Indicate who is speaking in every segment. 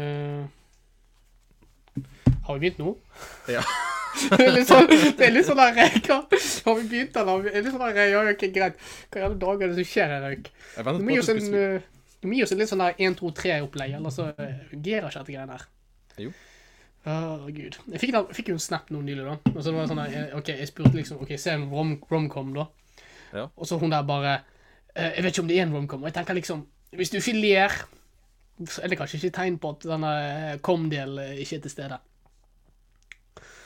Speaker 1: Eh, Har vi begynt nå?
Speaker 2: Ja.
Speaker 1: det er litt sånn, det er litt sånn der, hva, Har vi begynt, eller? har vi- Det er litt sånn der, ja, ok, greit. Hva i alle dager er det som skjer her, Røyk?
Speaker 2: Jeg
Speaker 1: Du
Speaker 2: ventet
Speaker 1: må
Speaker 2: på
Speaker 1: gi
Speaker 2: at
Speaker 1: oss
Speaker 2: du skulle
Speaker 1: en,
Speaker 2: si
Speaker 1: eh, du må gi oss en litt sånn der 1-2-3-opplegg, ellers så eh, fungerer ikke dette greiene her.
Speaker 2: Jo.
Speaker 1: Å, Gud. Jeg fikk, da, fikk jo en snap nå nylig, da. Og så var det sånn der, eh, ok, jeg spurte liksom, ok, se en rom, romcom da.
Speaker 2: Ja.
Speaker 1: Og så hun der bare, eh, jeg vet ikke om det er en romcom, og jeg tenker liksom, hvis du ikke ler, så er det kanskje ikke tegn på at denne eh, com-del eh, ikke er til stede.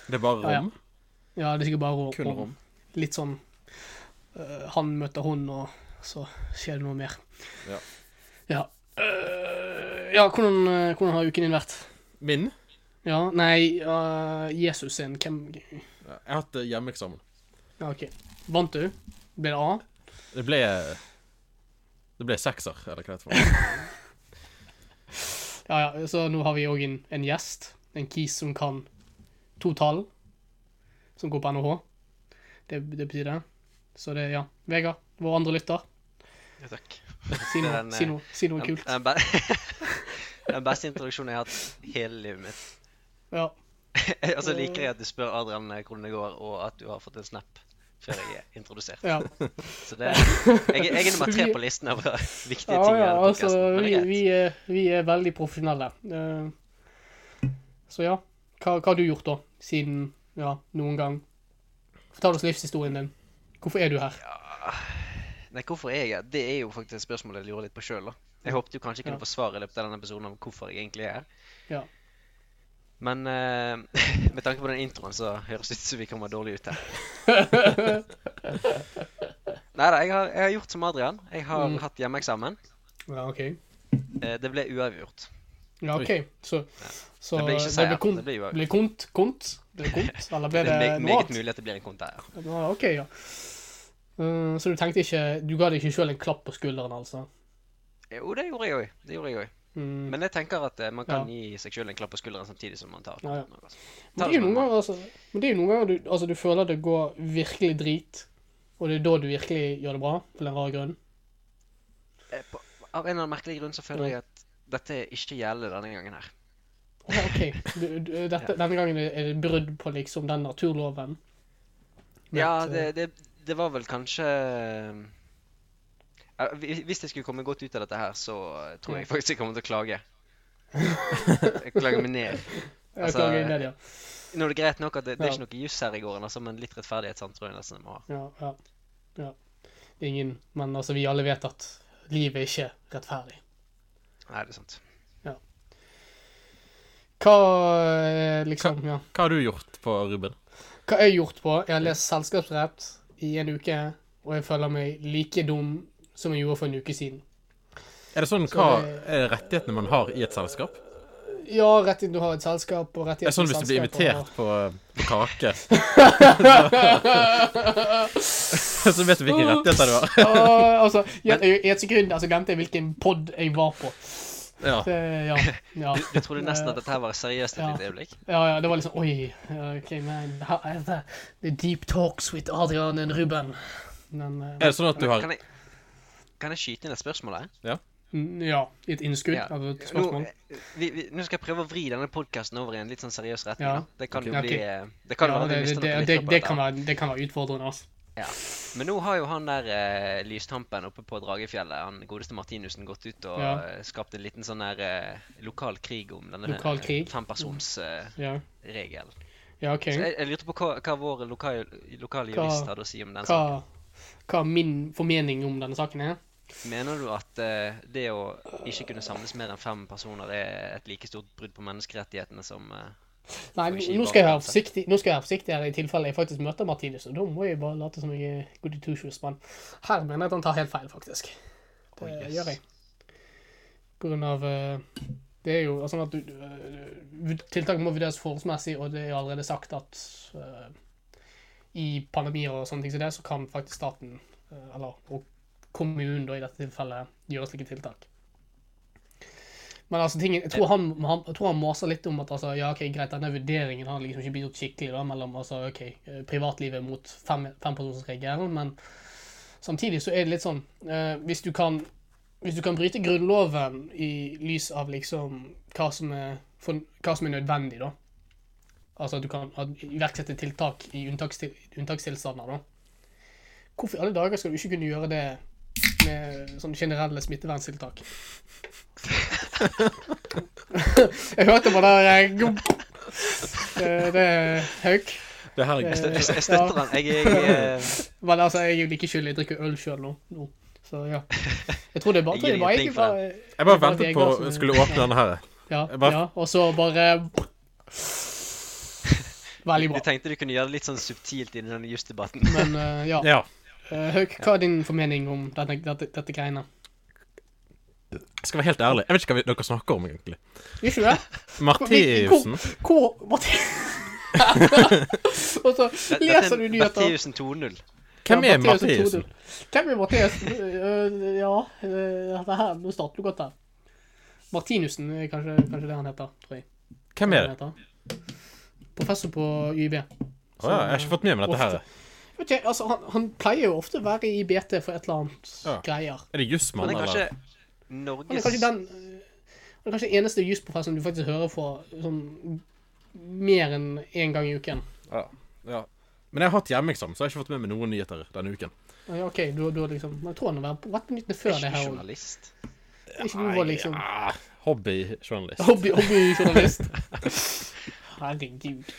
Speaker 2: Det er bare rom.
Speaker 1: Ja, ja. Ja, det er sikkert bare rom.
Speaker 2: Kun rom.
Speaker 1: Litt sånn øh, Han møter hun, og så skjer det noe mer.
Speaker 2: Ja.
Speaker 1: Ja, Øh, ja hvordan, øh, hvordan har uken din vært?
Speaker 2: Min?
Speaker 1: Ja, nei, øh, Jesus sin Hvem Ja,
Speaker 2: Jeg har hatt eh, hjemmeeksamen.
Speaker 1: OK. Vant du? Ble det A?
Speaker 2: Det ble eh, Det ble sekser, eller hva det heter.
Speaker 1: Ja, ja, så nå har vi òg en, en gjest. En kis som kan to tall. Som går på NHH. Det, det betyr det. Så det, ja. Vegard, vår andre lytter,
Speaker 3: Ja, takk.
Speaker 1: si
Speaker 3: Det
Speaker 1: noe,
Speaker 3: er en,
Speaker 1: si
Speaker 3: eh,
Speaker 1: noe, si noe
Speaker 3: Den,
Speaker 1: kult.
Speaker 3: den, be den beste introduksjonen jeg har hatt hele livet mitt.
Speaker 1: Ja.
Speaker 3: Og så liker jeg at du spør Adrian eh, hvordan det går, og at du har fått en snap før jeg er introdusert.
Speaker 1: ja.
Speaker 3: Så det, jeg, jeg er nummer tre på listen over viktige
Speaker 1: Ja,
Speaker 3: ting. i
Speaker 1: ja,
Speaker 3: denne
Speaker 1: altså,
Speaker 3: podcasten, men
Speaker 1: vi,
Speaker 3: det er
Speaker 1: vi,
Speaker 3: greit.
Speaker 1: er, vi er veldig profesjonelle. Eh, Så ja, hva, hva har du gjort da, siden ja, noen gang? Fortell oss livshistorien din. Hvorfor er du her?
Speaker 3: Nei, hvorfor er jeg her? Det er jo faktisk et spørsmål jeg lurer litt på sjøl. Jeg håpet jo kanskje jeg
Speaker 1: Ja.
Speaker 3: kunne få svar i løpet av denne episoden om hvorfor jeg egentlig er her.
Speaker 1: Ja.
Speaker 3: Men eh, med tanke på den introen, så høres det ut som vi kommer dårlig ut her. Nei da, jeg, har- jeg har gjort som Adrian. Jeg har
Speaker 1: Mm.
Speaker 3: hatt hjemmeeksamen.
Speaker 1: Ja, OK.
Speaker 3: Eh, Det ble uavgjort.
Speaker 1: Ja, ok. Så, så
Speaker 3: Det ble ikke
Speaker 1: det
Speaker 3: seier.
Speaker 1: ble kont,
Speaker 3: Det ble uavgjort.
Speaker 1: ble kont, kont, ble kont, eller ble
Speaker 3: Det
Speaker 1: det
Speaker 3: er me-
Speaker 1: noe
Speaker 3: meget
Speaker 1: annet?
Speaker 3: mulig at det blir en konter.
Speaker 1: Ja, ok, ja. Eh, Så du tenkte ikke, du ga deg ikke selv en klapp på skulderen, altså?
Speaker 3: Jo, det gjorde jeg òg. Det gjorde jeg òg.
Speaker 1: Mm.
Speaker 3: Men jeg tenker at eh, man kan
Speaker 1: Ja.
Speaker 3: gi seg sjøl en klapp på skulderen samtidig som man tar
Speaker 1: Ja, ja.
Speaker 3: kampen, altså.
Speaker 1: Men det
Speaker 3: Ta
Speaker 1: er
Speaker 3: det
Speaker 1: jo noen
Speaker 3: som en
Speaker 1: ganger, altså, men det er jo noen ganger du, altså, du føler det går virkelig drit, og det er da du virkelig gjør det bra, for en rar grunn.
Speaker 3: Eh, på- Av en eller annen merkelig grunn så føler
Speaker 1: Ja.
Speaker 3: jeg at dette ikke gjelder denne gangen her.
Speaker 1: Ja, ok, du, du, eh, dette, Denne gangen er det brudd på liksom den naturloven. Men
Speaker 3: Ja,
Speaker 1: at, eh,
Speaker 3: det, det, det var vel kanskje Eh, hvi- Hvis jeg skulle komme godt ut av dette her, så eh, tror jeg faktisk jeg kommer til å klage. Jeg klager meg ned.
Speaker 1: jeg
Speaker 3: altså,
Speaker 1: klager ned, ja.
Speaker 3: Nå er det greit nok at det, det er
Speaker 1: Ja.
Speaker 3: ikke noe juss her i gården, altså, men litt rettferdighet sant, tror jeg nesten jeg må ha.
Speaker 1: ja, ja, ja. Det er ingen, men altså, vi alle vet at livet er ikke rettferdig.
Speaker 3: Nei, det er sant.
Speaker 1: Hva eh, liksom, ja.
Speaker 2: Hva har du gjort på Ruben?
Speaker 1: Hva jeg har gjort på? Jeg har lest selskapsrett i en uke, og jeg føler meg like dum som jeg gjorde for en uke siden.
Speaker 2: Er det sånn
Speaker 1: Så
Speaker 2: hva
Speaker 1: det-
Speaker 2: er rettighetene man har i et selskap?
Speaker 1: Ja, rett inn du har et selskap og rett inn
Speaker 2: Er det sånn hvis du blir invitert på, eh, på kake, så vet du hvilke rettigheter du har?
Speaker 1: altså, i et, I et sekund altså, glemte jeg hvilken pod jeg var på.
Speaker 2: Ja.
Speaker 1: Det, ja, ja,
Speaker 3: Du, du trodde nesten at dette her var seriøst
Speaker 1: Eh,
Speaker 3: et
Speaker 1: Ja.
Speaker 3: lite øyeblikk?
Speaker 1: ja, ja, det var liksom Oi, ja, OK, man. her er det- The deep talks with Adrian and Ruben. Men eh,
Speaker 2: Er det sånn at du har
Speaker 3: Kan jeg, kan jeg skyte inn et spørsmål her?
Speaker 1: mm, ja, i et innskudd
Speaker 3: Ja.
Speaker 1: altså et
Speaker 3: Nå,
Speaker 1: spørsmål.
Speaker 3: eh, vi, vi, nå skal jeg prøve å vri denne podkasten over i en litt sånn seriøs retning.
Speaker 1: Ja.
Speaker 3: da. Det kan
Speaker 2: Ok.
Speaker 3: jo
Speaker 1: Ok.
Speaker 3: bli eh, Det kan jo
Speaker 1: Ja,
Speaker 3: være at
Speaker 1: det,
Speaker 3: jeg
Speaker 1: det,
Speaker 3: mister noen
Speaker 1: det,
Speaker 3: lyttere
Speaker 1: det,
Speaker 3: på
Speaker 1: det,
Speaker 3: dette
Speaker 1: kan
Speaker 3: her.
Speaker 1: være, det kan være utfordrende, altså.
Speaker 3: Men nå har jo han der eh, lystampen oppe på Dragefjellet, han godeste Martinussen, gått ut og
Speaker 1: Ja.
Speaker 3: eh, skapt en liten sånn der eh, lokal krig om denne
Speaker 1: Lokal krig?
Speaker 3: fempersonsregelen.
Speaker 1: Ja, ja OK.
Speaker 3: Så jeg, jeg lurte på hva, hva vår lokal, lokale
Speaker 1: Hva-
Speaker 3: jurist hadde å si om den saken.
Speaker 1: Hva, hva min formening om denne saken er?
Speaker 3: Mener du at eh, det å ikke kunne samles mer enn fem personer er et like stort brudd på menneskerettighetene som eh,
Speaker 1: Nei,
Speaker 3: Og ikke
Speaker 1: nå
Speaker 3: bare
Speaker 1: skal jeg være
Speaker 3: danse.
Speaker 1: forsiktig, nå skal jeg være forsiktig her i tilfelle jeg faktisk møter Martinus, og da må jeg bare late som jeg er good two shoes, men her mener jeg at han tar helt feil, faktisk. Det
Speaker 3: Å, yes.
Speaker 1: gjør jeg. På grunn av eh, Det er jo sånn at du, du, eh, tiltak må vurderes forholdsmessig, og det er allerede sagt at eh, i pandemier og sånne ting som det, så kan faktisk staten, eh, eller og kommunen da i dette tilfellet, gjøre slike tiltak. Men altså, tingen, jeg tror han, han, jeg tror han maser litt om at altså, ja, ok, greit, denne vurderingen har liksom ikke blitt gjort skikkelig da, mellom altså, ok, eh, privatlivet mot fem, fempersonsregelen, men samtidig så er det litt sånn, eh, hvis, du kan, hvis du kan bryte grunnloven i lys av liksom hva som er, for, hva som er nødvendig da, Altså at du kan ha- iverksette tiltak i unntakstil, unntakstilstander, da. Hvorfor i alle dager skal du ikke kunne gjøre det med sånne generelle smitteverntiltak? jeg hørte på det der eh, gump. Eh, Det er Hauk.
Speaker 2: Det her
Speaker 1: Det-
Speaker 3: Jeg
Speaker 2: er
Speaker 3: støtter, jeg støtter den. Jeg, jeg, eh,
Speaker 1: Men altså, jeg er jo like skyldig. Jeg drikker øl sjøl nå. nå. Så ja. Jeg tror det er bare
Speaker 3: Jeg gir
Speaker 1: det var
Speaker 3: ingenting
Speaker 1: egentlig
Speaker 3: for
Speaker 1: bare
Speaker 2: Jeg bare
Speaker 1: Det var
Speaker 2: ventet
Speaker 1: Vegard
Speaker 2: på
Speaker 1: som-
Speaker 2: å skulle åpne denne her.
Speaker 1: Ja,
Speaker 2: Jeg bare-
Speaker 1: ja. Og så bare Veldig
Speaker 3: du
Speaker 1: bra.
Speaker 3: tenkte du kunne gjøre det litt sånn subtilt i denne jusdebatten.
Speaker 1: Men eh, ja.
Speaker 2: Ja.
Speaker 1: Eh, Hauk, hva er din formening om denne, dette, dette greiene?
Speaker 2: Jeg skal være helt ærlig. Jeg vet ikke hva vi- dere snakker om, egentlig.
Speaker 1: Gjør ikke du det?
Speaker 2: Martiussen.
Speaker 1: Hvor Matti... Og så leser du nyheter.
Speaker 3: Bertheussen 2.0.
Speaker 2: Hvem er
Speaker 1: Ja, Mathias
Speaker 2: Martiussen?
Speaker 1: Todel. Hvem er Mathias? Eh, ja, eh, dette her, nå starter du godt her. Martinussen er kanskje, kanskje det han heter, tror jeg.
Speaker 2: Hvem er det?
Speaker 1: Han heter. Professor på YB.
Speaker 2: Å ja, jeg har ikke fått med meg dette her.
Speaker 1: Vet ikke, altså, han, han pleier jo ofte å være i BT for et eller annet
Speaker 2: Ja.
Speaker 1: greier.
Speaker 2: Er det Jussmann,
Speaker 3: Han er kanskje
Speaker 2: eller?
Speaker 1: Han er
Speaker 3: Norges
Speaker 1: kanskje den øh, Han er kanskje eneste jusprofessoren du faktisk hører fra sånn mer enn én gang i uken.
Speaker 2: Ja. ja. Men jeg har hatt hjemmeeksamen, så jeg har ikke fått med meg noen nyheter denne uken.
Speaker 1: Ja, OK, du, du har liksom Jeg tror han har vært på- vært på nyttene før det
Speaker 3: ikke
Speaker 1: her òg.
Speaker 3: journalist.
Speaker 1: Ikke du var liksom
Speaker 2: Nei, ja, Hobbyjournalist.
Speaker 1: hobby- hobbyjournalist? Herregud.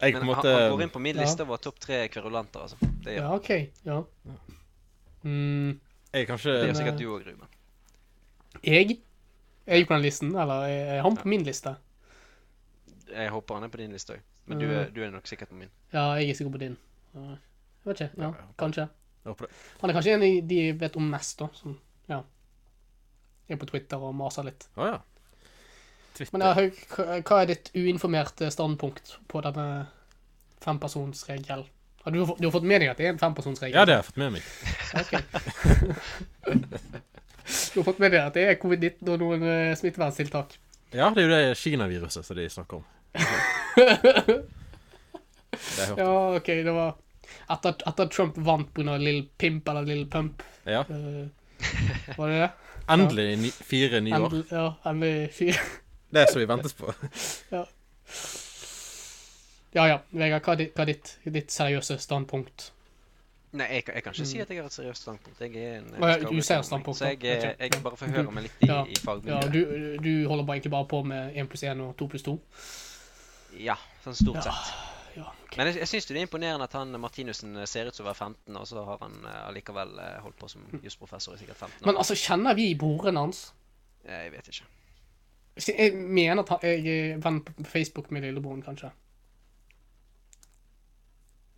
Speaker 2: Jeg på
Speaker 3: Men
Speaker 2: en
Speaker 3: han, han går
Speaker 2: måte
Speaker 3: inn på min
Speaker 1: Ja.
Speaker 3: liste over topp tre kverulanter, altså. Det gjør,
Speaker 1: Ja, OK. Ja. Mm,
Speaker 2: Jeg er
Speaker 3: det
Speaker 2: kanskje
Speaker 3: gjør
Speaker 1: eh,
Speaker 3: sikkert du òg, Ruben.
Speaker 1: jeg er jo på den listen, eller er er han på min liste?
Speaker 3: Jeg håper han er på din liste òg. Men du,
Speaker 1: Ja.
Speaker 3: er- du er nok sikkert på min.
Speaker 1: Ja, jeg er sikker på din. Ja, Jeg vet ikke. Ja, kanskje.
Speaker 2: Jeg håper det.
Speaker 1: Han er kanskje en av de- de vet om mest, da. Som ja. er på Twitter og maser litt.
Speaker 2: Å ja.
Speaker 1: Men
Speaker 2: Twitter.
Speaker 1: ja, Haug, hva- hva er ditt uinformerte standpunkt på denne fempersonsregelen? Har du, du har fått med deg at det er en fempersonsregel?
Speaker 2: Ja, det har jeg fått med meg.
Speaker 1: Ok. du har fått med deg at det er covid-19 og noen eh, smitteverntiltak.
Speaker 2: Ja, det er jo det Kina-viruset som de snakker om. Det har jeg hørt.
Speaker 1: Ja, OK, det var etter, etter Trump vant pga. Lill Pimp eller Lill Pump.
Speaker 2: Ja.
Speaker 1: eh, var det det?
Speaker 2: Endelig ni, fire nye år.
Speaker 1: Endel, ja, endelig fyr.
Speaker 2: Det er som vi ventet på.
Speaker 1: Ja ja, Vegard, hva er ditt, hva er ditt, ditt seriøse standpunkt?
Speaker 3: Nei, jeg, kan- jeg kan ikke si at jeg har et seriøst standpunkt. Jeg er en
Speaker 1: Mm. Å, ja,
Speaker 3: skravlet
Speaker 1: du ser
Speaker 3: økonom,
Speaker 1: standpunkt,
Speaker 3: Så jeg,
Speaker 1: da.
Speaker 3: eh,
Speaker 1: Ok.
Speaker 3: jeg bare forhører meg litt i,
Speaker 1: Ja.
Speaker 3: i
Speaker 1: Ja,
Speaker 3: fagmiljøet.
Speaker 1: du, du holder bare egentlig bare på med 1 pluss 1 og 2 pluss 2?
Speaker 3: Ja, sånn stort
Speaker 1: Ja.
Speaker 3: sett.
Speaker 1: Ja, ok.
Speaker 3: Men jeg, jeg syns det er imponerende at han eh, Martinussen eh, ser ut som å være 15, og så har han eh, allikevel eh, holdt på som jusprofessor i sikkert 15 år.
Speaker 1: Men altså, kjenner vi broren hans?
Speaker 3: Eh, Jeg vet ikke.
Speaker 1: Jeg mener at han, jeg er venn på Facebook med lillebroren, kanskje.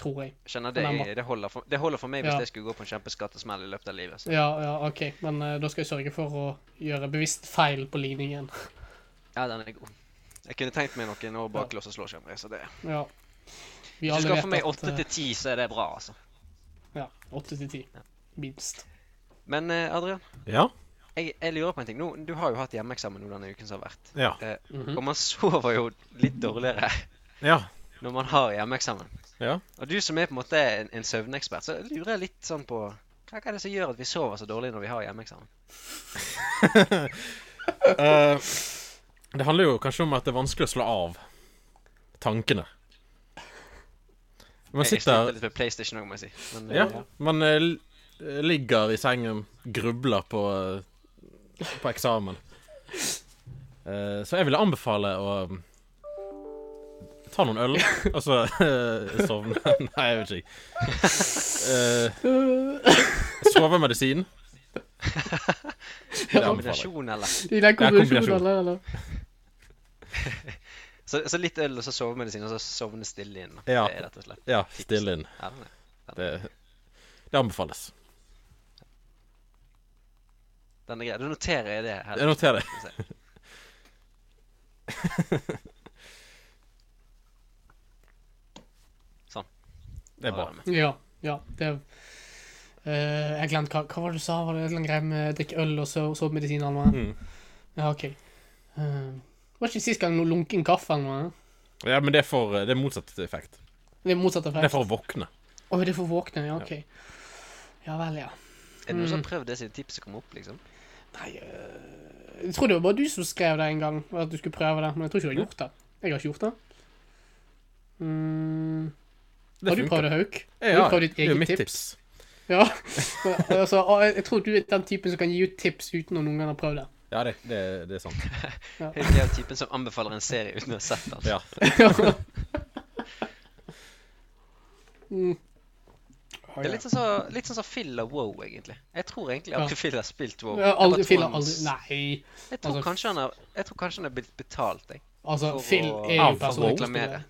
Speaker 1: Tror jeg.
Speaker 3: Skjønner, det,
Speaker 1: Han er
Speaker 3: det, holder for, det holder for meg hvis
Speaker 1: Ja.
Speaker 3: jeg skulle gå på en kjempeskattesmell i løpet av livet. Så.
Speaker 1: Ja, ja, OK. Men eh, da skal jeg sørge for å gjøre bevisst feil på ligningen.
Speaker 3: Ja, den er god. Jeg kunne tenkt meg noen år bak lås og slå, skjønner jeg. Så det.
Speaker 1: Ja. Vi
Speaker 3: Hvis du
Speaker 1: alle
Speaker 3: skal
Speaker 1: vet
Speaker 3: få meg
Speaker 1: at,
Speaker 3: 8
Speaker 1: eh,
Speaker 3: til 10, så er det bra, altså.
Speaker 1: Ja. 8 til 10.
Speaker 3: Ja.
Speaker 1: Minst.
Speaker 3: Men eh, Adrian,
Speaker 2: Ja.
Speaker 3: jeg, jeg lurer på en ting. Nå, du har jo hatt hjemmeeksamen nå denne uken som har vært.
Speaker 2: Ja. Mm.
Speaker 1: Mhm.
Speaker 3: Og man sover jo litt dårligere
Speaker 2: Ja.
Speaker 3: når man har hjemmeeksamen.
Speaker 2: Ja.
Speaker 3: Og du som er på en måte en, en søvnekspert, så lurer jeg litt sånn på hva hva er det som gjør at vi sover så dårlig når vi har hjemmeeksamen?
Speaker 2: Eh, det handler jo kanskje om at det er vanskelig å slå av tankene. Man
Speaker 3: Jeg, jeg sliter
Speaker 2: sitter
Speaker 3: litt med PlayStation òg, må jeg si. Men, eh,
Speaker 2: Ja. Man eh, l- ligger i sengen, grubler på, eh, på eksamen. Eh, så jeg ville anbefale å mm, ta noen øl, og så eh, sovne. Nei, jeg vet ikke. Uh, sovemedisin. Det anbefaler jeg.
Speaker 3: Kombinasjon,
Speaker 1: I
Speaker 3: eller?
Speaker 1: den kombinasjonen,
Speaker 2: kombinasjon.
Speaker 1: eller? eller?
Speaker 3: Så, så litt øl, og så sovemedisin, og så sovne stille inn. da.
Speaker 2: Ja.
Speaker 3: Det er rett og slett.
Speaker 2: Ja, stille inn.
Speaker 3: Ja, men-
Speaker 2: Det, det anbefales.
Speaker 3: Den er grei. Da noterer jeg det her.
Speaker 2: Jeg noterer det.
Speaker 3: Skal vi se.
Speaker 2: Det er
Speaker 3: Da
Speaker 2: bra.
Speaker 3: det med.
Speaker 1: Ja. Ja, det eh, Jeg glemte hva, hva var det du sa? Var det en eller annen greie med drikke øl og sove sove medisin eller noe?
Speaker 2: Mm.
Speaker 1: Ja, OK. Eh, var ikke sist gang noe lunken kaffe eller noe?
Speaker 2: Ja, men det er for eh, Det er motsatt effekt.
Speaker 1: Det er motsatt
Speaker 2: Det
Speaker 1: effekt.
Speaker 2: er for å våkne.
Speaker 1: Å, det er for våkne, ja, ok. Ja vel, ja.
Speaker 3: Er det noen som
Speaker 2: Mm.
Speaker 3: har prøvd det siden tipset kom opp, liksom?
Speaker 1: eh, Nei, øh, jeg tror det var bare du som skrev det en gang, at du skulle prøve det, men jeg tror ikke du har gjort det. Jeg har ikke gjort det. Mm.
Speaker 2: Det
Speaker 1: Har du prøvd det, Hauk?
Speaker 2: Ja,
Speaker 1: Har du prøvd ditt
Speaker 2: det er jo
Speaker 1: eget
Speaker 2: mitt
Speaker 1: tips?
Speaker 2: tips.
Speaker 1: Ja. altså, og jeg, jeg tror du er den typen som kan gi ut tips uten å noen gang ha prøvd det.
Speaker 2: Ja, det, det, det er sant.
Speaker 3: Høyt er typen som anbefaler en serie uten å ha sett den.
Speaker 2: Ja.
Speaker 1: mm.
Speaker 3: Det er litt sånn som litt sånn som Phil og Wow, egentlig. Jeg tror egentlig aldri Phil har spilt Wow.
Speaker 1: Ja, aldri,
Speaker 3: Jeg bare tror
Speaker 1: Phil
Speaker 3: han-
Speaker 1: har aldri Nei.
Speaker 3: Jeg tror,
Speaker 1: altså-
Speaker 3: kanskje han har, jeg tror kanskje han er blitt betalt, jeg.
Speaker 1: Altså,
Speaker 3: For å-
Speaker 1: Phil er
Speaker 2: Ja,
Speaker 1: jo
Speaker 2: for Wow.
Speaker 1: personlig
Speaker 3: Reklamere.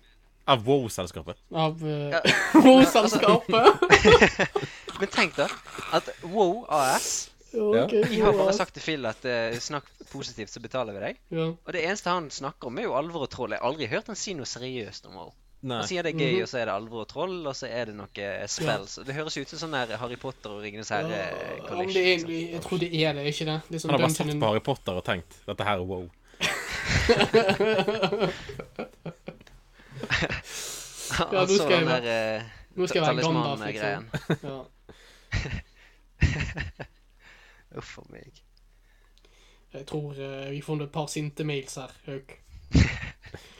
Speaker 2: Av Wow-selskapet.
Speaker 1: av eh,
Speaker 3: Ja.
Speaker 1: Wow-selskapet.
Speaker 3: Men tenk da, at Wow AS De har bare sagt til Phil at eh, snakk positivt, så betaler vi deg.
Speaker 1: ja.
Speaker 3: Og det eneste han snakker om, er jo alvor og troll. Jeg har aldri hørt han si noe seriøst om Wow.
Speaker 2: Nei.
Speaker 3: Han sier det er
Speaker 1: Mhm.
Speaker 3: gøy, og så er det alvor og troll, og så er det noe spells. Det høres ut som sånn der Harry Potter og Ringenes
Speaker 1: Ja, men det er egentlig,
Speaker 3: herre-collision. liksom.
Speaker 1: jeg tror det er det, ikke det? det er sånn
Speaker 2: Han har bare
Speaker 1: Dungeon
Speaker 2: sett
Speaker 1: and-
Speaker 2: på Harry Potter og tenkt dette her er wow.
Speaker 1: Ja, nå skal jeg være-
Speaker 3: der eh,
Speaker 1: Nå skal jeg være Gandalf, liksom.
Speaker 3: talisman-greien.
Speaker 1: Ja.
Speaker 3: Uff a meg.
Speaker 1: Jeg tror eh, vi får et par sinte mails her, Hauk.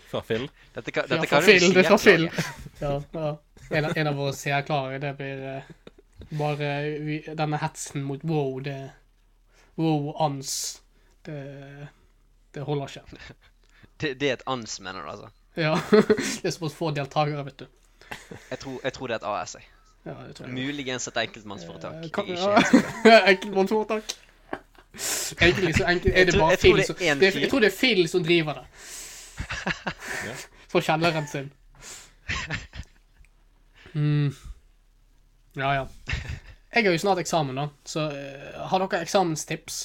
Speaker 2: Fra Phil.
Speaker 3: Dette kan,
Speaker 1: Ja,
Speaker 3: dette
Speaker 1: fra
Speaker 3: kan jo
Speaker 1: Phil,
Speaker 3: ikke
Speaker 1: det er fra
Speaker 3: jeg klage.
Speaker 1: Ja, ja. En, av- en av våre seerklare, det blir eh, bare eh, vi, denne hetsen mot wow, det Wow-ans. Det, det holder ikke.
Speaker 3: Det, det er et ans, mener du, altså?
Speaker 1: Ja. Det er såpass få deltakere, vet du.
Speaker 3: Jeg tror, jeg tror det er et AS. Jeg.
Speaker 1: Ja, det tror jeg.
Speaker 3: Muligens et enkeltmannsforetak.
Speaker 1: Eh,
Speaker 3: Jeg,
Speaker 1: kan-
Speaker 3: er ikke
Speaker 1: ja.
Speaker 3: helt sikker.
Speaker 1: Enkeltmannsforetak. Egentlig så enkelt er
Speaker 3: Jeg
Speaker 1: det
Speaker 3: tror-
Speaker 1: bare
Speaker 3: jeg tror
Speaker 1: Phil
Speaker 3: det
Speaker 1: som
Speaker 3: er én
Speaker 1: det-
Speaker 3: fyr.
Speaker 1: Jeg tror det er Phil som driver det.
Speaker 2: Ja.
Speaker 1: Fra kjelleren sin. Mm. Ja, ja. Jeg har jo snart eksamen, da, så eh, har dere eksamenstips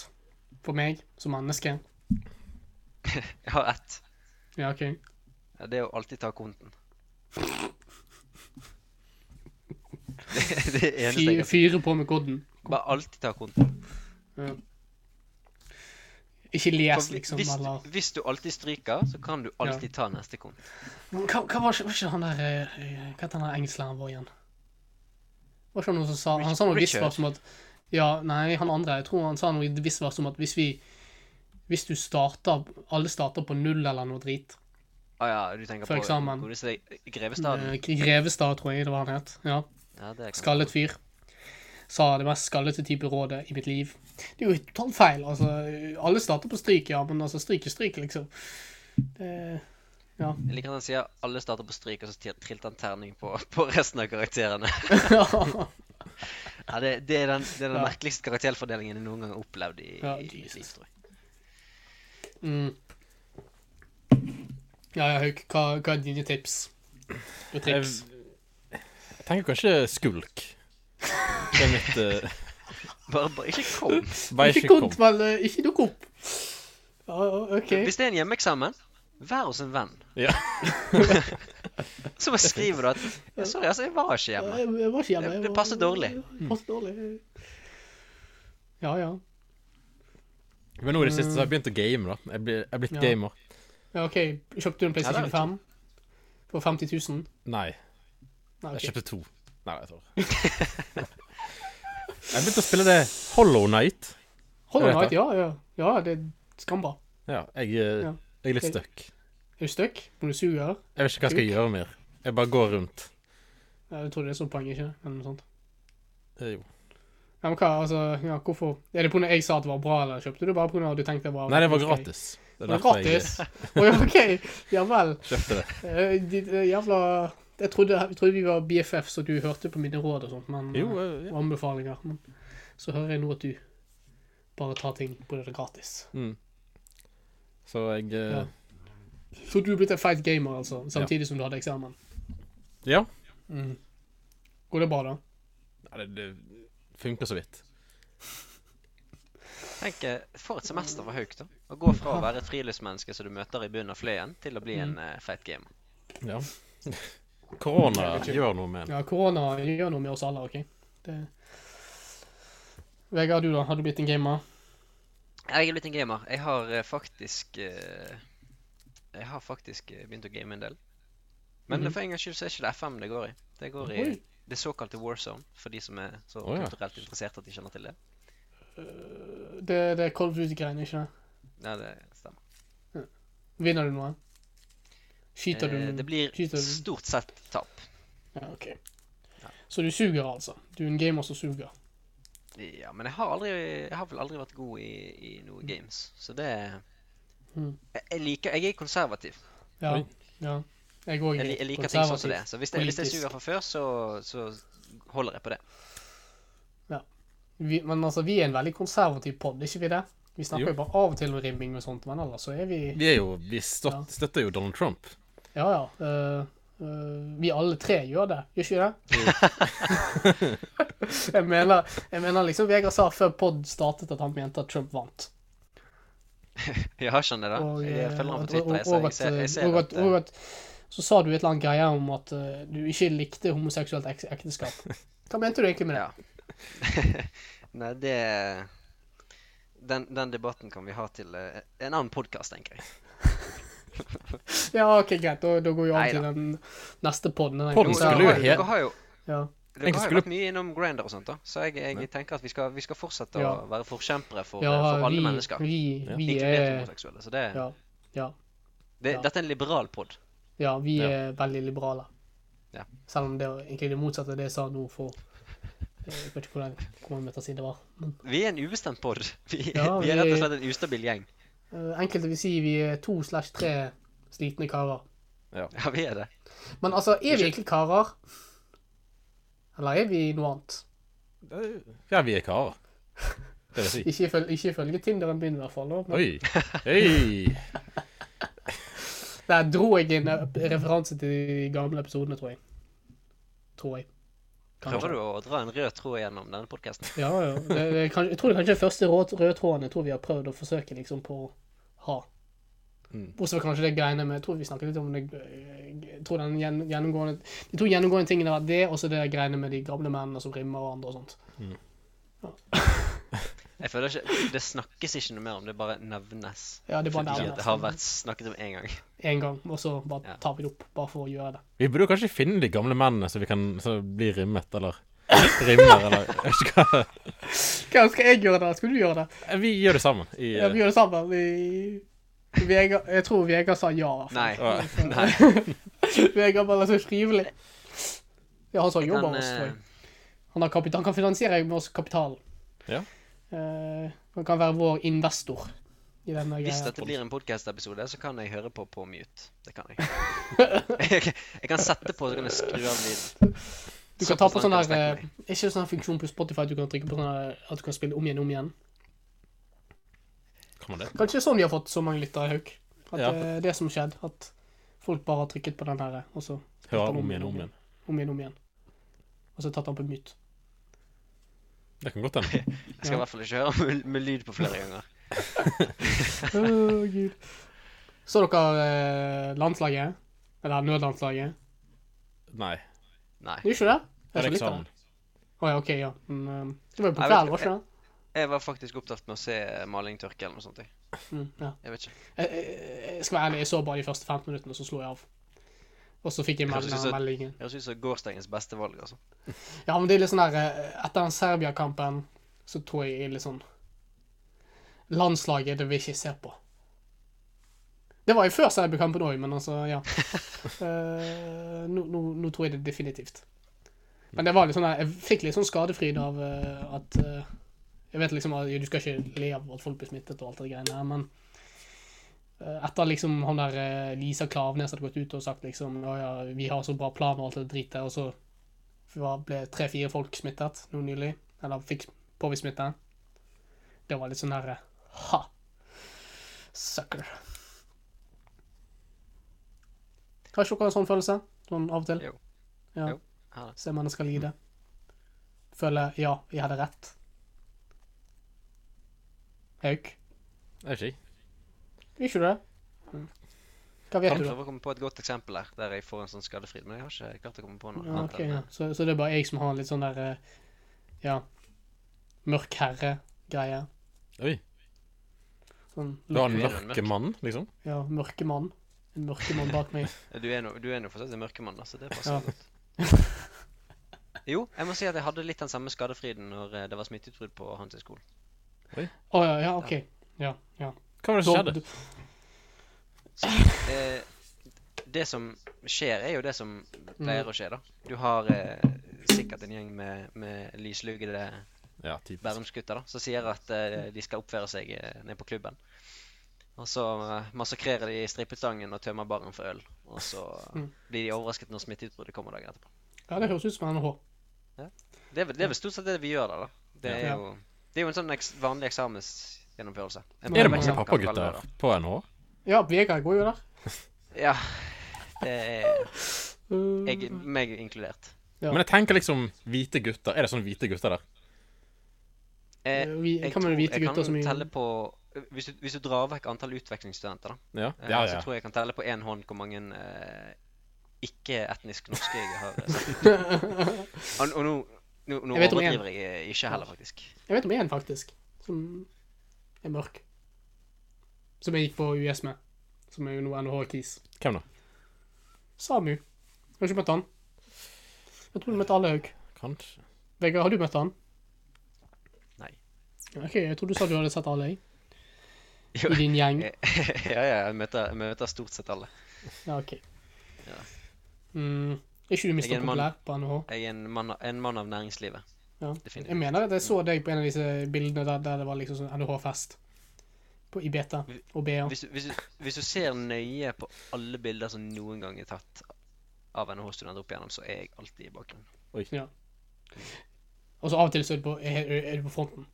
Speaker 1: for meg som menneske?
Speaker 3: jeg har ett.
Speaker 1: Ja, OK.
Speaker 3: Ja, Det er å alltid ta konten. Det, det er det eneste jeg
Speaker 1: Fy,
Speaker 3: kan si.
Speaker 1: fyre på med kodden.
Speaker 3: Bare alltid ta konten.
Speaker 1: Ja. Ikke les,
Speaker 3: For
Speaker 1: liksom,
Speaker 3: hvis,
Speaker 1: eller
Speaker 3: hvis du alltid stryker, så kan du alltid ta neste kont.
Speaker 1: Hva, hva var, ikke, var ikke han der eh, Hva heter han der engsleren vår igjen? Var ikke han noen som sa Han sa noe
Speaker 3: Richard.
Speaker 1: visvart som at Ja, nei, han andre. Jeg tror han sa noe visvart som at hvis vi Hvis du starter Alle starter på null eller noe drit.
Speaker 3: Ah, ja, du tenker
Speaker 1: For
Speaker 3: på
Speaker 1: eksamen.
Speaker 3: godeste Grevestaden?
Speaker 1: Eh, Grevestad, tror jeg det var han het. Ja.
Speaker 3: Ja, det kan
Speaker 1: Skallet fyr. Sa det mest skallete type rådet i mitt liv. Det er jo totalt feil. Altså, alle starter på stryk, ja, men altså, stryk er stryk, liksom. Det, ja.
Speaker 3: Jeg liker at han sier alle starter på stryk, og så til- trilte han terning på, på resten av karakterene. Ja, det, det er den, det er den
Speaker 1: Ja.
Speaker 3: merkeligste karakterfordelingen jeg noen gang har opplevd i,
Speaker 1: Ja,
Speaker 3: i mitt
Speaker 1: Jesus.
Speaker 3: liv, tror jeg.
Speaker 1: Mm. Ja, ja, Hauk, hva, hva er dine tips? Og
Speaker 2: Jeg,
Speaker 1: triks?
Speaker 2: jeg tenker kanskje skulk. Det er mitt eh,
Speaker 3: Bare, bare ikke kom.
Speaker 2: Bare
Speaker 1: ikke
Speaker 2: ikke kom.
Speaker 1: kont, vel, eh, ikke dukk opp. Ja, ja, OK.
Speaker 3: Hvis det er en hjemmeeksamen, vær hos en venn.
Speaker 2: Ja.
Speaker 3: Så bare skriver du at ja, 'Sorry, altså, jeg var ikke
Speaker 1: Ja,
Speaker 3: hjemme'.
Speaker 1: Jeg, jeg var ikke hjemme.
Speaker 3: Det-
Speaker 1: jeg
Speaker 3: det
Speaker 1: var-
Speaker 3: passer dårlig.
Speaker 1: Det passer dårlig. Ja, ja.
Speaker 2: Men nå i det siste så har jeg begynt å game, da. Jeg blir- jeg er blitt
Speaker 1: Ja.
Speaker 2: gamer.
Speaker 1: ja OK. Kjøpte du en
Speaker 3: Ja, det er
Speaker 1: PlayStation
Speaker 3: jo
Speaker 1: 5 for 50 000?
Speaker 2: Nei,
Speaker 1: Nei,
Speaker 2: jeg
Speaker 1: ok.
Speaker 2: kjøpte to. Nei, jeg tror Jeg begynte å spille det Hollow Night.
Speaker 1: Hollow
Speaker 2: Jeg vet
Speaker 1: Knight, ja, ja. Ja, det er skamba.
Speaker 2: Ja, jeg, eh,
Speaker 1: Ja.
Speaker 2: jeg er litt
Speaker 1: Jeg-
Speaker 2: stuck.
Speaker 1: Er du stuck? Må du suge her?
Speaker 2: Jeg vet ikke hva jeg skal gjøre mer. Jeg bare går rundt.
Speaker 1: Ja, Jeg tror det er sånn poeng, ikke? Eller noe sånt.
Speaker 2: Eh, Jo.
Speaker 1: Ja, men hva, altså, ja, hvorfor? Er det på grunn av jeg sa at det var bra, eller kjøpte du bare på grunn av at du tenkte det var
Speaker 2: Nei, det var
Speaker 1: ok?
Speaker 2: gratis. Det
Speaker 1: Var
Speaker 2: er
Speaker 1: det
Speaker 2: derfor jeg
Speaker 1: gratis? Å ja, OK. Ja vel.
Speaker 2: kjøpte det.
Speaker 1: Eh, de, de jævla jeg trodde, jeg trodde vi var BFF, så du hørte på mine råd og sånt. Men,
Speaker 2: Jo,
Speaker 1: eh,
Speaker 2: eh, ja.
Speaker 1: og anbefalinger. Men så hører jeg nå at du bare tar ting på det gratis.
Speaker 2: Mm. Så jeg eh,
Speaker 1: Så du er blitt en feit gamer, altså, samtidig som du hadde eksamen.
Speaker 2: Ja.
Speaker 1: Går det bra, da?
Speaker 2: ja det, det funker så vidt.
Speaker 3: Tenk, eh, For et semester for Hauk, da. Å gå fra å være et friluftsmenneske som du møter i bunnen av fløyen, til å bli en
Speaker 1: Mm.
Speaker 3: eh, feit gamer.
Speaker 2: Ja. Korona gjør noe med en.
Speaker 1: Ja, korona gjør noe med oss alle, OK? Det... Vegard, du da? Har du blitt en gamer?
Speaker 3: Jeg er blitt en gamer. Jeg har eh, faktisk eh, Jeg har faktisk eh, begynt å game en del. Men
Speaker 1: Mhm.
Speaker 3: for en gangs skyld så er ikke det FM det går i. Det går i
Speaker 1: Oi.
Speaker 3: det såkalte War Zone, for de som er så
Speaker 2: Å, ja.
Speaker 3: kulturelt interessert at de kjenner til det.
Speaker 1: Det, det er Cold Duty-greiene, ikke det?
Speaker 3: Ja, det stemmer.
Speaker 1: Vinner du noe? Skyter du
Speaker 3: Eh, Det blir
Speaker 1: skyter du-
Speaker 3: stort sett tap.
Speaker 1: Ja, OK. Så du suger, altså? Du er en gamer som suger?
Speaker 3: Ja, men jeg har aldri Jeg har vel aldri vært god i, i noe
Speaker 1: Mm.
Speaker 3: games, så det
Speaker 1: Mhm.
Speaker 3: jeg, jeg liker Jeg er konservativ.
Speaker 1: Ja.
Speaker 2: Oi.
Speaker 1: ja. Jeg òg
Speaker 3: Jeg,
Speaker 1: er
Speaker 3: li- jeg liker ting sånn som det. Så hvis jeg, hvis jeg
Speaker 1: politisk.
Speaker 3: suger fra før, så, så holder jeg på det.
Speaker 1: Vi, men altså, vi er en veldig konservativ pod, ikke vi det? Vi snakker
Speaker 2: Jo.
Speaker 1: jo bare av og til om rimming og sånt, men ellers så er vi
Speaker 2: Vi, er jo, vi støt,
Speaker 1: Ja.
Speaker 2: støtter jo Donald Trump.
Speaker 1: Ja, ja. øh, øh, vi alle tre gjør det, gjør ikke vi det? jeg, mener, jeg mener liksom Vegard sa før pod startet at han mente at Trump vant.
Speaker 3: Jeg har skjønner det.
Speaker 1: Og,
Speaker 3: Jeg
Speaker 1: øh,
Speaker 3: følger ham
Speaker 1: og-
Speaker 3: på Twitter. Jeg,
Speaker 1: og-
Speaker 3: så
Speaker 1: og
Speaker 3: jeg ser, jeg
Speaker 1: at-
Speaker 3: ser
Speaker 1: og
Speaker 3: at, eh,
Speaker 1: at- og at Så sa du et eller annet greie om at øh, du ikke likte homoseksuelt ek- ekteskap. Hva mente du egentlig med det?
Speaker 3: Ja. Nei, det den, den debatten kan vi ha til eh, en annen podkast, tenker jeg.
Speaker 1: Ja, ok, greit. Da, da går vi over til
Speaker 3: Neida.
Speaker 1: den neste poden.
Speaker 2: Podden Den
Speaker 3: Dere
Speaker 2: skulle
Speaker 3: har
Speaker 2: jo
Speaker 3: jo-
Speaker 2: he-
Speaker 3: dere har jo,
Speaker 1: Ja.
Speaker 3: dere har jo
Speaker 2: skulle-
Speaker 3: vært mye innom Grindr og sånt, da. Så jeg,
Speaker 2: Ja.
Speaker 3: jeg tenker at vi skal, vi skal fortsette
Speaker 1: Ja.
Speaker 3: å være forkjempere for,
Speaker 1: ja,
Speaker 3: for alle
Speaker 1: vi,
Speaker 3: mennesker.
Speaker 1: Vi,
Speaker 2: Ja.
Speaker 1: vi
Speaker 3: Inkludert
Speaker 1: er
Speaker 3: homoseksuelle. Så det,
Speaker 1: Ja. ja.
Speaker 3: det,
Speaker 1: ja.
Speaker 3: dette er en liberal pod.
Speaker 1: Ja, vi
Speaker 2: Ja.
Speaker 1: er veldig liberale.
Speaker 3: Ja.
Speaker 1: Selv om det er egentlig det motsatte av det jeg sa nå for eh, Jeg vet ikke hvordan, hvordan metasiden var. Men,
Speaker 3: Vi er en ubestemt pod. Vi,
Speaker 1: Ja,
Speaker 3: vi er rett
Speaker 1: vi-
Speaker 3: og slett en ustabil gjeng.
Speaker 1: eh, enkelte vil si vi er to slash tre slitne karer.
Speaker 3: Ja, vi er det.
Speaker 1: Men altså, er
Speaker 3: Ikke-
Speaker 1: vi egentlig karer? Eller er vi noe annet?
Speaker 2: Ja, vi er karer. Det vil si.
Speaker 1: Ikke ifølge, ikke ifølge Tinderen min, i hvert fall. da, Men
Speaker 2: Oi. Hei.
Speaker 1: der dro jeg en eh, referanse til de gamle episodene, tror jeg. Tror jeg.
Speaker 3: Prøver du å dra en rød tråd gjennom denne podkasten?
Speaker 1: Ja, ja. Det, det, er kanskje, jeg tror det er kanskje den første rå- røde tråden jeg tror vi har prøvd å forsøke liksom på å ha.
Speaker 2: Mm.
Speaker 1: Bortsett fra kanskje det greiene med Jeg tror vi snakket litt om det eh, Jeg tror den gjen- gjennomgående De to gjennomgående tingene har vært det, og så det greiene med de gamle mennene som rimmer og andre og sånt.
Speaker 3: Jeg føler ikke, Det snakkes ikke noe mer om det, bare nevnes.
Speaker 1: Ja, det er bare
Speaker 3: Fordi
Speaker 1: nærmere.
Speaker 3: at det har vært snakket om én gang.
Speaker 1: En gang, og så
Speaker 3: Ja.
Speaker 1: bare tar vi det opp, bare for å gjøre det.
Speaker 2: Vi burde jo kanskje finne de gamle mennene så vi kan så bli rimmet, eller Rimmer, eller jeg vet ikke hva.
Speaker 1: Hva skal jeg gjøre da? Skal du gjøre det?
Speaker 2: Vi gjør det sammen. I,
Speaker 1: Ja, vi gjør det sammen. Vi... Vegard, jeg tror Vegard sa ja. i hvert fall.
Speaker 3: Nei.
Speaker 2: Å,
Speaker 3: Nei.
Speaker 1: Vegard bare så skrivelig. Ja, han sa
Speaker 3: Jeg
Speaker 1: jo
Speaker 3: kan,
Speaker 1: bare oss, tror jeg.
Speaker 3: eh,
Speaker 1: Han, har kapital, han kan finansiere med oss kapitalen.
Speaker 2: Ja.
Speaker 1: Eh, han kan være vår investor i denne
Speaker 3: Hvis
Speaker 1: greia.
Speaker 3: dette blir en podcast-episode, så kan jeg høre på på mute. Det kan jeg. jeg, kan- jeg kan sette på, så kan jeg skru av lyden.
Speaker 1: Du kan ta på
Speaker 3: Såpass
Speaker 1: sånn
Speaker 3: langt
Speaker 1: her
Speaker 3: kan
Speaker 1: eh,
Speaker 3: jeg strekke meg.
Speaker 1: Er ikke det sånn her funksjon på Spotify at du kan trykke på sånn her, at du kan spille om igjen om igjen?
Speaker 2: Kan man eh, det?
Speaker 1: Kanskje det er sånn vi har fått så mange lyttere, Hauk. At
Speaker 2: Ja.
Speaker 1: eh, det som skjedde, at folk bare har trykket på den her, og så
Speaker 2: Høre om igjen, om igjen.
Speaker 1: om igjen, om igjen. Og så tatt han på myt.
Speaker 2: Det kan godt hende.
Speaker 1: eh,
Speaker 3: Jeg skal i hvert fall ikke høre med, med lyd på flere ganger.
Speaker 1: Å, gud. Så dere eh, landslaget? Eller nødlandslaget?
Speaker 2: Nei.
Speaker 3: Nei.
Speaker 1: Gjorde ikke det?
Speaker 2: Det
Speaker 1: Jeg
Speaker 2: er
Speaker 1: så litt av det.
Speaker 2: eksamen.
Speaker 1: Å ja, OK, ja. Men, eh, det var jo på
Speaker 3: Jeg vet
Speaker 1: kvelden,
Speaker 3: ikke,
Speaker 1: var ikke det?
Speaker 3: Jeg var faktisk opptatt med å se maling tørke eller noe sånt. jeg.
Speaker 1: Mm, ja.
Speaker 3: Jeg vet ikke.
Speaker 1: jeg, jeg- jeg skal være ærlig, jeg så bare de første 15 minuttene, og så slo jeg av. Og så fikk jeg
Speaker 3: Kanskje
Speaker 1: melding av
Speaker 3: så-
Speaker 1: meldingen.
Speaker 3: Høres ut som gårsdagens beste valg, altså.
Speaker 1: Ja, men det er litt sånn der eh, Etter den Serbia-kampen så tror jeg jeg er litt sånn Landslaget, det vil jeg ikke se på. Det var jo før Serbia-kampen òg, men altså, ja. Eh, nå, nå, nå tror jeg det definitivt. Men det var litt sånn der, jeg fikk litt sånn skadefryd av eh, at eh, Jeg vet liksom at du skal ikke le av at folk blir smittet og alt det greiene her, men eh, etter liksom han der eh, Lisa Klaveness hadde gått ut og sagt liksom Å ja, vi har så bra plan og alt det dritet, og så var- ble tre-fire folk smittet nå nylig. Eller fikk påvist smitte. Det var litt sånn der eh, Ha! Sucker. Har ikke dere en sånn følelse? Sånn av og til?
Speaker 3: Jo.
Speaker 1: Ja.
Speaker 3: Jo, jeg har det.
Speaker 1: Se mennesker lide. Føle ja, jeg hadde rett. Hauk?
Speaker 2: Jeg vet ikke.
Speaker 1: Vil ikke du det? Mm. Hva
Speaker 3: Jeg
Speaker 1: vet du, da?
Speaker 3: prøver å komme på et godt eksempel her, der jeg får en sånn skadefryd. Men jeg har ikke klart å komme på noe
Speaker 1: Ja,
Speaker 3: annet.
Speaker 1: ok,
Speaker 3: enn
Speaker 1: ja. Så, så det er bare jeg som har litt sånn der eh, Ja. Mørk herre-greie.
Speaker 2: Oi.
Speaker 1: Sånn
Speaker 2: Du har en
Speaker 3: Mørk-
Speaker 2: mørke mann, liksom?
Speaker 1: Ja, mørke mann. En mørke mann bak meg.
Speaker 3: Eh, Du er nå du er nå fortsatt en mørkemann, da, så det passer
Speaker 1: Ja.
Speaker 3: godt. Jo, jeg må si at jeg hadde litt den samme skadefryden når eh, det var smitteutbrudd på hans skole.
Speaker 1: Å ja, ja, OK. Ja. ja.
Speaker 2: Hva var det som skjedde?
Speaker 1: Da-
Speaker 3: Eh, det som skjer, er jo det som pleier
Speaker 1: Mm.
Speaker 3: å skje, da. Du har eh, sikkert en gjeng med, med lyslugede
Speaker 2: Ja, typisk.
Speaker 3: Bærumsgutter da, som sier at eh, de skal oppføre seg eh, nede på klubben. Og så eh, massakrerer de strippestangen og tømmer baren for øl. Og så
Speaker 1: Mm.
Speaker 3: blir de overrasket når smitteutbruddet kommer dagen etterpå.
Speaker 1: Ja, det høres ut som NHH.
Speaker 3: Det er, vel- det er vel stort sett det vi gjør der, da. Det er
Speaker 1: Ja.
Speaker 3: jo, det er jo en sånn eks vanlig eksamensgjennomførelse. En
Speaker 1: Er
Speaker 2: Er det
Speaker 1: mange
Speaker 2: mange
Speaker 3: prøveeksamen, kan du kalle
Speaker 2: pappagutter på NH?
Speaker 1: Ja, Vegard går jo der.
Speaker 3: det, da. Ja. Det er
Speaker 1: Uh,
Speaker 3: jeg, meg inkludert.
Speaker 1: Ja.
Speaker 2: Men jeg tenker liksom hvite gutter. Er det sånn hvite gutter der?
Speaker 3: Eh,
Speaker 1: vi,
Speaker 3: Jeg,
Speaker 1: kan
Speaker 3: tror-
Speaker 1: vel vite
Speaker 3: jeg
Speaker 1: gutter
Speaker 3: kan
Speaker 1: så mye
Speaker 3: telle på eh, hvis du, hvis du drar vekk antall utvekslingsstudenter, da,
Speaker 2: Ja,
Speaker 3: eh,
Speaker 2: ja.
Speaker 3: så
Speaker 2: ja.
Speaker 3: tror jeg jeg kan telle på én hånd hvor mange eh, ikke-etnisk norske jeg har sett. Og, og nå, nå, nå
Speaker 1: Jeg vet om en.
Speaker 3: overdriver jeg eh, ikke heller, faktisk.
Speaker 1: Jeg vet om en, faktisk, som er mørk. Som jeg gikk på US med. Som er jo nå NHH-kis.
Speaker 2: Hvem da?
Speaker 1: Samu. Har du ikke møtt han? Jeg tror du møtte Allehaug.
Speaker 2: Kanskje
Speaker 1: Vegard, har du møtt han?
Speaker 3: Nei.
Speaker 1: OK, jeg tror du sa du hadde sett alle, jeg.
Speaker 3: Jo,
Speaker 1: I din gjeng.
Speaker 3: ja, ja, jeg møter, jeg møter stort sett alle.
Speaker 1: Ja, OK.
Speaker 3: Ja.
Speaker 1: Mm, er ikke du
Speaker 3: Jeg
Speaker 1: mista
Speaker 3: er en mann.
Speaker 1: populær på NHH?
Speaker 3: Jeg er en mann, av- en mann av næringslivet.
Speaker 1: Ja.
Speaker 3: Definitivt.
Speaker 1: Jeg mener at jeg så deg på en av disse bildene der, der det var liksom sånn NHH-fest. På I beta og BA.
Speaker 3: Hvis du, hvis, du, hvis du ser nøye på alle bilder som noen gang er tatt av NHH-studenter opp igjennom, så er jeg alltid i bakgrunnen.
Speaker 1: Og så av og til så er du på, er, er du på fronten.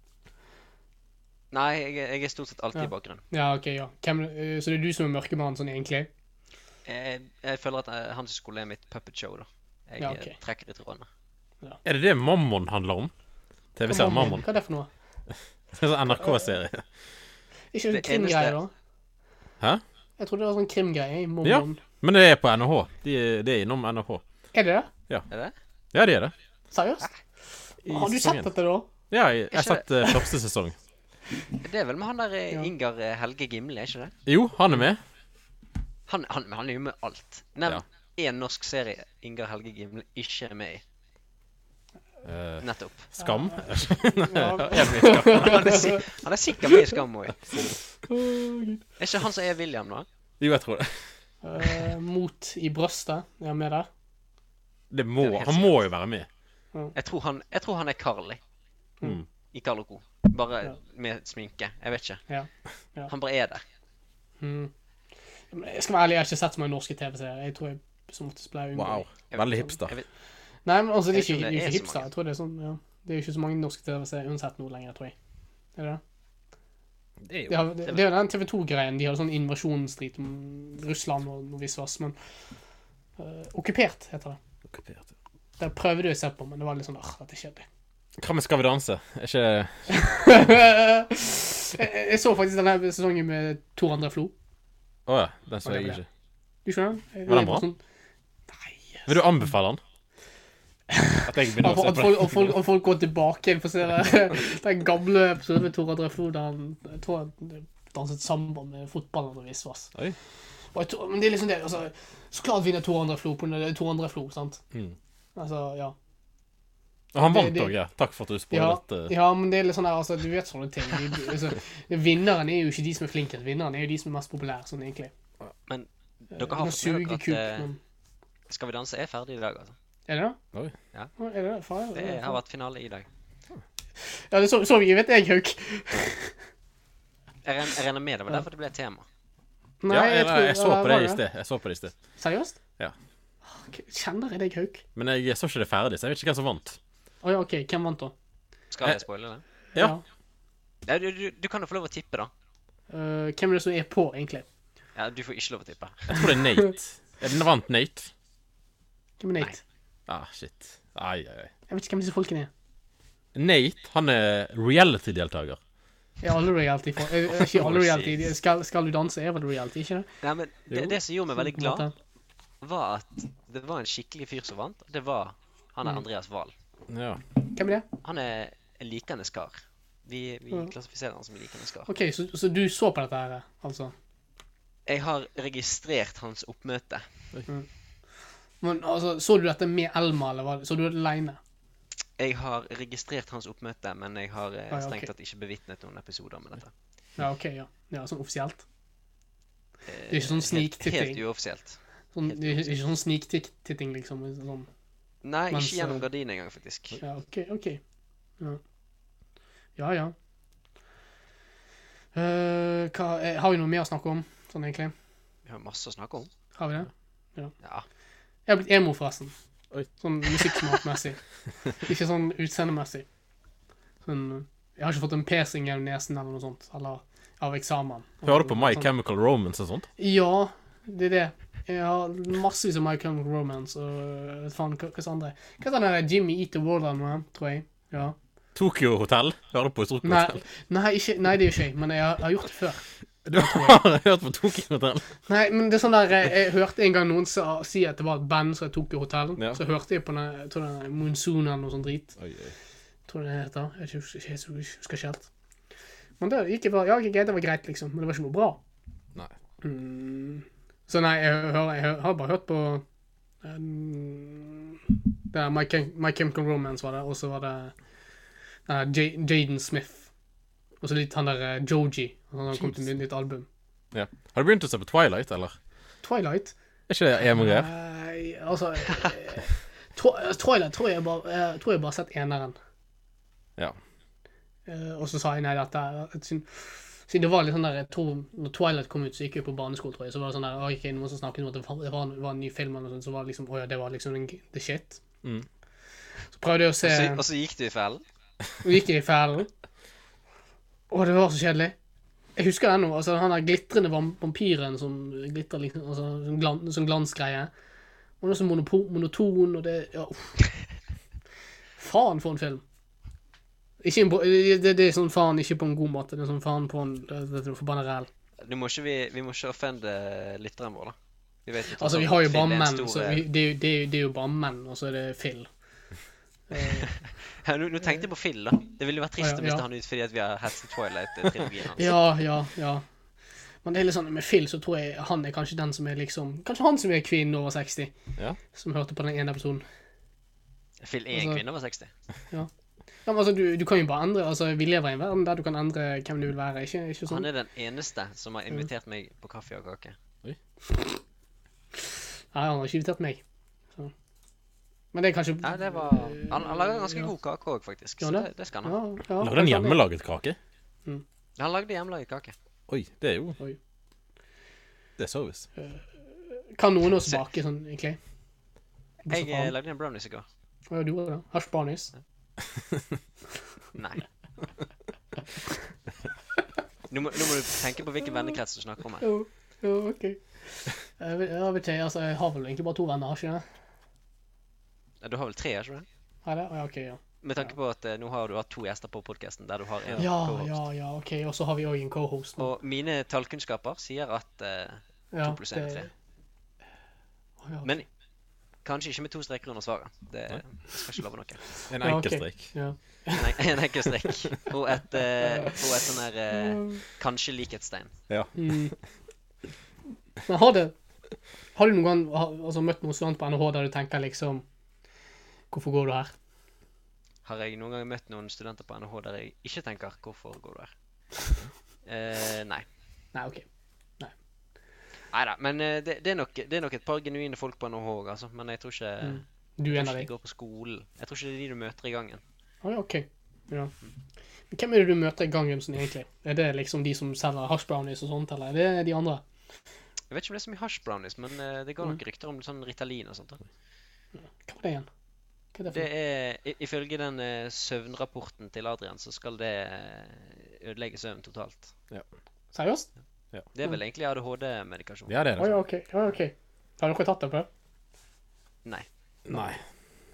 Speaker 3: Nei, jeg, er- jeg er stort sett alltid
Speaker 1: Ja.
Speaker 3: i bakgrunnen.
Speaker 1: Ja, ok, ja. Hvem, eh, så det er du som er mørkemannen, sånn egentlig?
Speaker 3: Jeg, jeg føler at eh, hans skole er mitt puppet show, da. Jeg
Speaker 1: Ja,
Speaker 3: eh,
Speaker 1: ok.
Speaker 3: trekker i trådene.
Speaker 2: Er det det Mammon handler om? TV-serien Mammon?
Speaker 1: Hva er det for noe?
Speaker 2: En sånn NRK-serie.
Speaker 1: Ikke en
Speaker 3: Det
Speaker 1: krimgreie, da?
Speaker 3: eneste-
Speaker 2: Hæ?
Speaker 1: Jeg trodde det var sånn krimgreie. i
Speaker 2: Ja.
Speaker 1: Mormon.
Speaker 2: Men det er på NH. De, de er innom NH.
Speaker 1: Er det det?
Speaker 3: Er det?
Speaker 2: Ja, de er det.
Speaker 1: Seriøst?
Speaker 2: I
Speaker 1: Har du
Speaker 2: sesong
Speaker 1: sett
Speaker 2: én.
Speaker 1: dette, da?
Speaker 2: Ja, jeg jeg har
Speaker 3: Ikke-
Speaker 2: sett eh, første sesong.
Speaker 3: Det er vel med han der eh,
Speaker 1: Ja.
Speaker 3: Ingar eh, Helge Gimle, er ikke det?
Speaker 2: Jo, han er med.
Speaker 3: Han, han, men han er jo med alt. Nevn én norsk serie Ingar Helge Gimle ikke er med i.
Speaker 2: Eh,
Speaker 3: Nettopp.
Speaker 2: Skam.
Speaker 1: Ja.
Speaker 3: Han er, si han er sikkert med i Skam òg.
Speaker 1: Å, Gud.
Speaker 3: Er ikke han som er William, da?
Speaker 2: Jo, jeg tror det.
Speaker 1: Eh, mot i brøstet. Er han med der?
Speaker 2: det må,
Speaker 3: Det er helt
Speaker 2: han må jo være med.
Speaker 3: Jeg tror han, jeg tror han er Carly.
Speaker 2: Mm.
Speaker 3: I Carl Co. Bare
Speaker 1: Ja.
Speaker 3: med sminke. Jeg vet ikke.
Speaker 1: Ja. Ja.
Speaker 3: Han bare er der.
Speaker 1: Mm. Men Jeg skal være ærlig, jeg har ikke sett så mange norske TV-serier. Jeg tror jeg som oftest ble unngått.
Speaker 2: Wow.
Speaker 3: Jeg vet-
Speaker 2: Veldig hipster.
Speaker 3: jeg vet-
Speaker 1: Nei, men altså, det er
Speaker 3: Jeg
Speaker 1: ikke, det
Speaker 3: tror
Speaker 1: er
Speaker 3: det
Speaker 1: ikke
Speaker 3: er så
Speaker 1: hipster.
Speaker 3: mange.
Speaker 1: Jeg tror det er sånn, ja. Det er jo ikke så mange norske TV-serier uansett nå lenger, tror jeg. Er det det?
Speaker 2: Det er
Speaker 1: Det,
Speaker 2: jo
Speaker 1: har, det, det er jo den TV 2-greien. De hadde sånn invasjonsstrid om Russland og noe visvas. Men eh, Okkupert heter det.
Speaker 2: okkupert.
Speaker 1: Det prøvde jeg å se på, men det var litt sånn ah, dette er kjedelig.
Speaker 2: Hva med Skal vi danse? Er ikke
Speaker 1: jeg, jeg så faktisk denne sesongen med Tor André Flo.
Speaker 2: Å ja. Den så
Speaker 1: Å, det
Speaker 2: jeg
Speaker 1: ble
Speaker 2: ikke.
Speaker 1: Du skjønner? Jeg-
Speaker 2: Var den
Speaker 1: jeg
Speaker 2: bra?
Speaker 1: sånn-
Speaker 2: Vil du anbefale han? At jeg begynner
Speaker 1: At,
Speaker 2: å se
Speaker 1: at,
Speaker 2: på
Speaker 1: folk,
Speaker 2: det?
Speaker 1: at, folk, at folk går tilbake igjen for å se det- den gamle episoden med Tor André Flo der han jeg tror han danset samba med fotballen og visvas.
Speaker 2: Oi.
Speaker 1: Og jeg tror, men det er liksom det, altså, Så klart vinner Tor André Flo på det. Det er Tor André Flo, sant?
Speaker 2: Mm.
Speaker 1: Altså, ja.
Speaker 2: Og han
Speaker 1: det-
Speaker 2: vant
Speaker 1: det-
Speaker 2: òg, ja. Takk for at du
Speaker 1: Ja,
Speaker 2: spoilet. eh,
Speaker 1: ja, men det er litt sånn der, altså, du vet sånne ting. De, altså, vinneren er jo ikke de som er flinkest, vinneren er jo de som er mest populære, sånn egentlig.
Speaker 3: Men
Speaker 1: Du
Speaker 3: dere
Speaker 1: kan
Speaker 3: har fått med
Speaker 1: suge
Speaker 3: dere at
Speaker 1: kuk,
Speaker 3: eh,
Speaker 1: men
Speaker 3: Skal vi danse er ferdig i dag, altså.
Speaker 1: Er det det?
Speaker 2: Oi.
Speaker 3: Ja.
Speaker 1: Å, Er det det? Faen, er
Speaker 3: Det
Speaker 1: det det?
Speaker 3: har vært finale i dag.
Speaker 1: Ja, det så, så vi, vet jeg, Hauk.
Speaker 3: Jeg regner, jeg regner med det var derfor det ble et tema.
Speaker 2: Ja, jeg, jeg, så
Speaker 1: eller
Speaker 2: på det
Speaker 1: var
Speaker 2: i sted. Jeg så på det i sted.
Speaker 1: Seriøst?
Speaker 2: Ja.
Speaker 1: Ok, Kjenner jeg deg, Hauk?
Speaker 2: Men jeg så ikke det ferdig, så jeg vet ikke hvem som vant.
Speaker 1: Å ja, OK. Hvem vant, da?
Speaker 3: Skal
Speaker 2: Eh.
Speaker 3: jeg spoile det?
Speaker 2: Ja.
Speaker 3: Ja, du, du, du kan jo få lov å tippe, da.
Speaker 1: Eh, hvem er det som er på, egentlig?
Speaker 3: Ja, Du får ikke lov å tippe.
Speaker 2: Jeg tror det er Nate. Er den vant Nate?
Speaker 1: Hvem er Nate?
Speaker 2: Ah, shit. Ai, ai, ai.
Speaker 1: Jeg vet ikke hvem disse folkene er.
Speaker 2: Nate, han er reality-deltaker.
Speaker 1: Er alle reality for, er, er ikke alle reality de- skal, skal du danse er vel reality, ikke det?
Speaker 3: Nei, men det,
Speaker 2: Jo.
Speaker 3: det som gjorde meg veldig
Speaker 1: På en
Speaker 3: glad,
Speaker 1: måte.
Speaker 3: var at det var en skikkelig fyr som vant. og Det var han er
Speaker 1: Mm.
Speaker 3: Andreas Wahl.
Speaker 2: Ja.
Speaker 1: Hvem er det?
Speaker 3: Han er en likende kar. Vi, vi
Speaker 1: Ja.
Speaker 3: klassifiserer han som en likende kar.
Speaker 1: OK, så, så du så på dette her, altså?
Speaker 3: Jeg har registrert hans oppmøte.
Speaker 1: Men altså, Så du dette med Elma, eller var det? så du det aleine?
Speaker 3: Jeg har registrert hans oppmøte, men jeg har eh,
Speaker 1: Ah, ja, ok.
Speaker 3: strengt tatt ikke bevitnet noen episoder med dette.
Speaker 1: Ja, OK, ja. ja. Sånn offisielt?
Speaker 3: Det
Speaker 1: er ikke sånn sneak-titting.
Speaker 3: Eh, Helt uoffisielt.
Speaker 1: Sånn,
Speaker 3: Helt
Speaker 1: ikke, ikke sånn sniktitting, liksom. Sånn.
Speaker 3: Nei,
Speaker 1: Mens,
Speaker 3: ikke gjennom
Speaker 1: eh,
Speaker 3: gardinen engang, faktisk.
Speaker 1: Ja, OK. ok. Ja ja. ja. Eh, hva, eh, har vi noe mer å snakke om, sånn egentlig?
Speaker 3: Vi har masse å snakke om.
Speaker 1: Har vi det?
Speaker 3: Ja.
Speaker 1: Jeg har blitt emo, forresten.
Speaker 2: Oi.
Speaker 1: Sånn musikksmakmessig. ikke sånn utseendemessig. Sånn, jeg har ikke fått en piercing gjennom nesen eller noe sånt. Eller av eksamen.
Speaker 2: Hører du på My
Speaker 1: Sånn.
Speaker 2: Chemical Romance og sånt?
Speaker 1: Ja, det er det. Jeg har massevis av My Chemical Romance og øh, faen, hva, hva sa andre? Hva sa den der Jimmy Eat the World eller noe, tror jeg? Ja.
Speaker 2: Tokyo Hotel? Hører du på Tokyo
Speaker 1: Nei,
Speaker 2: Hotel?
Speaker 1: nei, ikke, nei, det er jo ikke jeg, men jeg har, jeg har gjort det før.
Speaker 2: Du har hørt på Tokyo Hotel?
Speaker 1: Nei, men det er sånn der Jeg, jeg hørte en gang noen sa, si at det var et band som tok i hotell.
Speaker 2: Ja.
Speaker 1: Så hørte jeg på den, jeg tror det er Monsoon eller noe sånt drit.
Speaker 2: Oi, oi.
Speaker 1: Tror jeg det heter. Jeg husker ikke- jeg husker ikke helt. Men det gikk jeg bare Ja, ok, det var greit, liksom. Men det var ikke noe bra.
Speaker 2: Nei.
Speaker 1: Mm. Så nei, jeg, hører, jeg hører, har bare hørt på um, det er My, Chem My Chemical Romance var det, og så var det eh, J- Jaden Smith. Og så litt han der eh, Joji. Han har kommet med et nytt album.
Speaker 2: Ja. Har du begynt å se på Twilight, eller?
Speaker 1: Twilight?
Speaker 2: Er ikke det emo-greier?
Speaker 1: Nei, altså eh, Twi- Twilight tror jeg bare eh, tror jeg bare har sett eneren.
Speaker 2: Ja.
Speaker 1: Eh, og så sa jeg nei, dette er et syn- Siden det var litt sånn der jeg tror, Når Twilight kom ut, så gikk jeg på barneskolen, tror jeg. Så var det sånn der «Å, ok, noen som snakket om at det var, det var, en, var en ny film, eller noe sånt, så var det liksom Å ja, det var liksom en, the shit.
Speaker 2: Mm.
Speaker 1: Så prøvde jeg å se
Speaker 3: Og så, og så gikk du i fellen.
Speaker 1: og gikk jeg i fellen. Å, det var så kjedelig. Jeg husker det ennå. Altså, han der glitrende vam- vampyren som glitrer liksom, altså, sånn, glan, sånn glansgreie. Og det er så monopo, monoton, og det ja, uff. Faen for en film. Ikke en, bra- det, det- det er sånn faen ikke på en god måte. Det er sånn faen på en det, det er noe forbanna ræl.
Speaker 3: Du må ikke, vi, vi må ikke offende lytteren vår, da. Vi vet jo tross
Speaker 1: Altså, vi
Speaker 3: alt
Speaker 1: har jo
Speaker 3: at
Speaker 1: bare
Speaker 3: Phil er en
Speaker 1: menn, så
Speaker 3: stor, eh,
Speaker 1: vi, det, er jo- det, er jo- det er jo bare menn, og så er det Phil. Eh,
Speaker 3: Ja, nå, nå tenkte jeg på Phil, da. Det ville jo vært trist
Speaker 1: Å, ja,
Speaker 3: å miste
Speaker 1: ja.
Speaker 3: han ut fordi at vi har hetset Twilight-trilogien hans.
Speaker 1: Ja, ja, ja. Men det er litt sånn, med Phil så tror jeg han er kanskje den som er liksom Kanskje han som er kvinnen over 60,
Speaker 2: Ja.
Speaker 1: som hørte på den ene episoden.
Speaker 3: Phil er en
Speaker 1: Altså-
Speaker 3: kvinne over 60.
Speaker 1: Ja, men altså, du, du kan jo bare endre altså, Vi lever i en verden der du kan endre hvem du vil være. Ikke, ikke
Speaker 3: Han
Speaker 1: sånn.
Speaker 3: er den eneste som har invitert meg på kaffe og kake.
Speaker 1: Nei, han har ikke invitert meg. Så. Men det er kanskje
Speaker 3: Ja, det var Han, han lager ganske god kake òg, faktisk. Så
Speaker 1: Gjør Eh, han
Speaker 3: det, det skal han ha.
Speaker 1: Ja, ja,
Speaker 2: Lagde en hjemmelaget kake?
Speaker 3: Han lagde hjemmelaget kake.
Speaker 2: Oi, det er jo
Speaker 1: Oi.
Speaker 2: Det er service.
Speaker 1: Kan noen også bake sånn, egentlig?
Speaker 3: Jeg
Speaker 1: Bortsett fra
Speaker 3: eh,
Speaker 1: han.
Speaker 3: lagde en brownies i går.
Speaker 1: Å, ja, du gjorde det? Hash barnies?
Speaker 3: Nei. Nå må, nå må du tenke på hvilken vennekrets du snakker om her.
Speaker 1: Jo, jo, OK. Jeg vet, jeg vet ikke, altså, jeg har vel egentlig bare to venner, har ikke jeg?
Speaker 3: Ja, Du har vel tre, er ikke det?
Speaker 1: Har jeg det? Å, ja, OK, ja.
Speaker 3: Med tanke på at eh, nå har du hatt to gjester på podkasten der du har en
Speaker 1: Ja,
Speaker 3: co-host.
Speaker 1: ja, ja, ok. Og så har vi òg en cohost. nå.
Speaker 3: Og mine tallkunnskaper sier at eh,
Speaker 1: Ja,
Speaker 3: to pluss én er
Speaker 1: det-
Speaker 3: tre.
Speaker 1: Å, ja, ok.
Speaker 3: Men kanskje ikke med to streker under svaret. Det jeg skal ikke love noe.
Speaker 2: En
Speaker 1: Ja, ok.
Speaker 2: enkel strek.
Speaker 1: ja.
Speaker 3: Nei, en enkel strek. Og et, eh, og et sånn her eh, kanskje likhetstegn.
Speaker 1: Mm. Men har det Har du noen gang ha- altså, møtt noen student på NHH der du tenker liksom Hvorfor går du her?
Speaker 3: Har jeg noen gang møtt noen studenter på NHH der jeg ikke tenker 'hvorfor går du her'? Eh, nei.
Speaker 1: Nei, OK.
Speaker 3: Nei da. Men eh, det, det, er nok, det er nok et par genuine folk på NHH òg, altså. Men jeg tror ikke,
Speaker 1: Mm. Du er
Speaker 3: jeg
Speaker 1: en
Speaker 3: tror
Speaker 1: av
Speaker 3: ikke de
Speaker 1: dem?
Speaker 3: går på skolen. Jeg tror ikke det er de du møter i gangen.
Speaker 1: Å ja, OK. Ja. Men hvem er det du møter i gangen sånn egentlig? Er det liksom de som selger hash brownies og sånt, eller er det de andre?
Speaker 3: Jeg vet ikke om det er så mye hash brownies, men eh, det går
Speaker 1: Mm.
Speaker 3: nok rykter om sånn Ritalin og sånt. da.
Speaker 1: Hva var det igjen? Hva er det for
Speaker 3: Det er, i- Ifølge den eh, søvnrapporten til Adrian, så skal det eh, ødelegge søvnen totalt.
Speaker 1: Seriøst?
Speaker 3: Det er vel egentlig ADHD-medikasjon.
Speaker 2: Ja, det
Speaker 1: Å
Speaker 2: er det.
Speaker 1: ja, OK. Å, ja, ok. Har dere tatt det på det?
Speaker 3: Nei.
Speaker 2: Nei.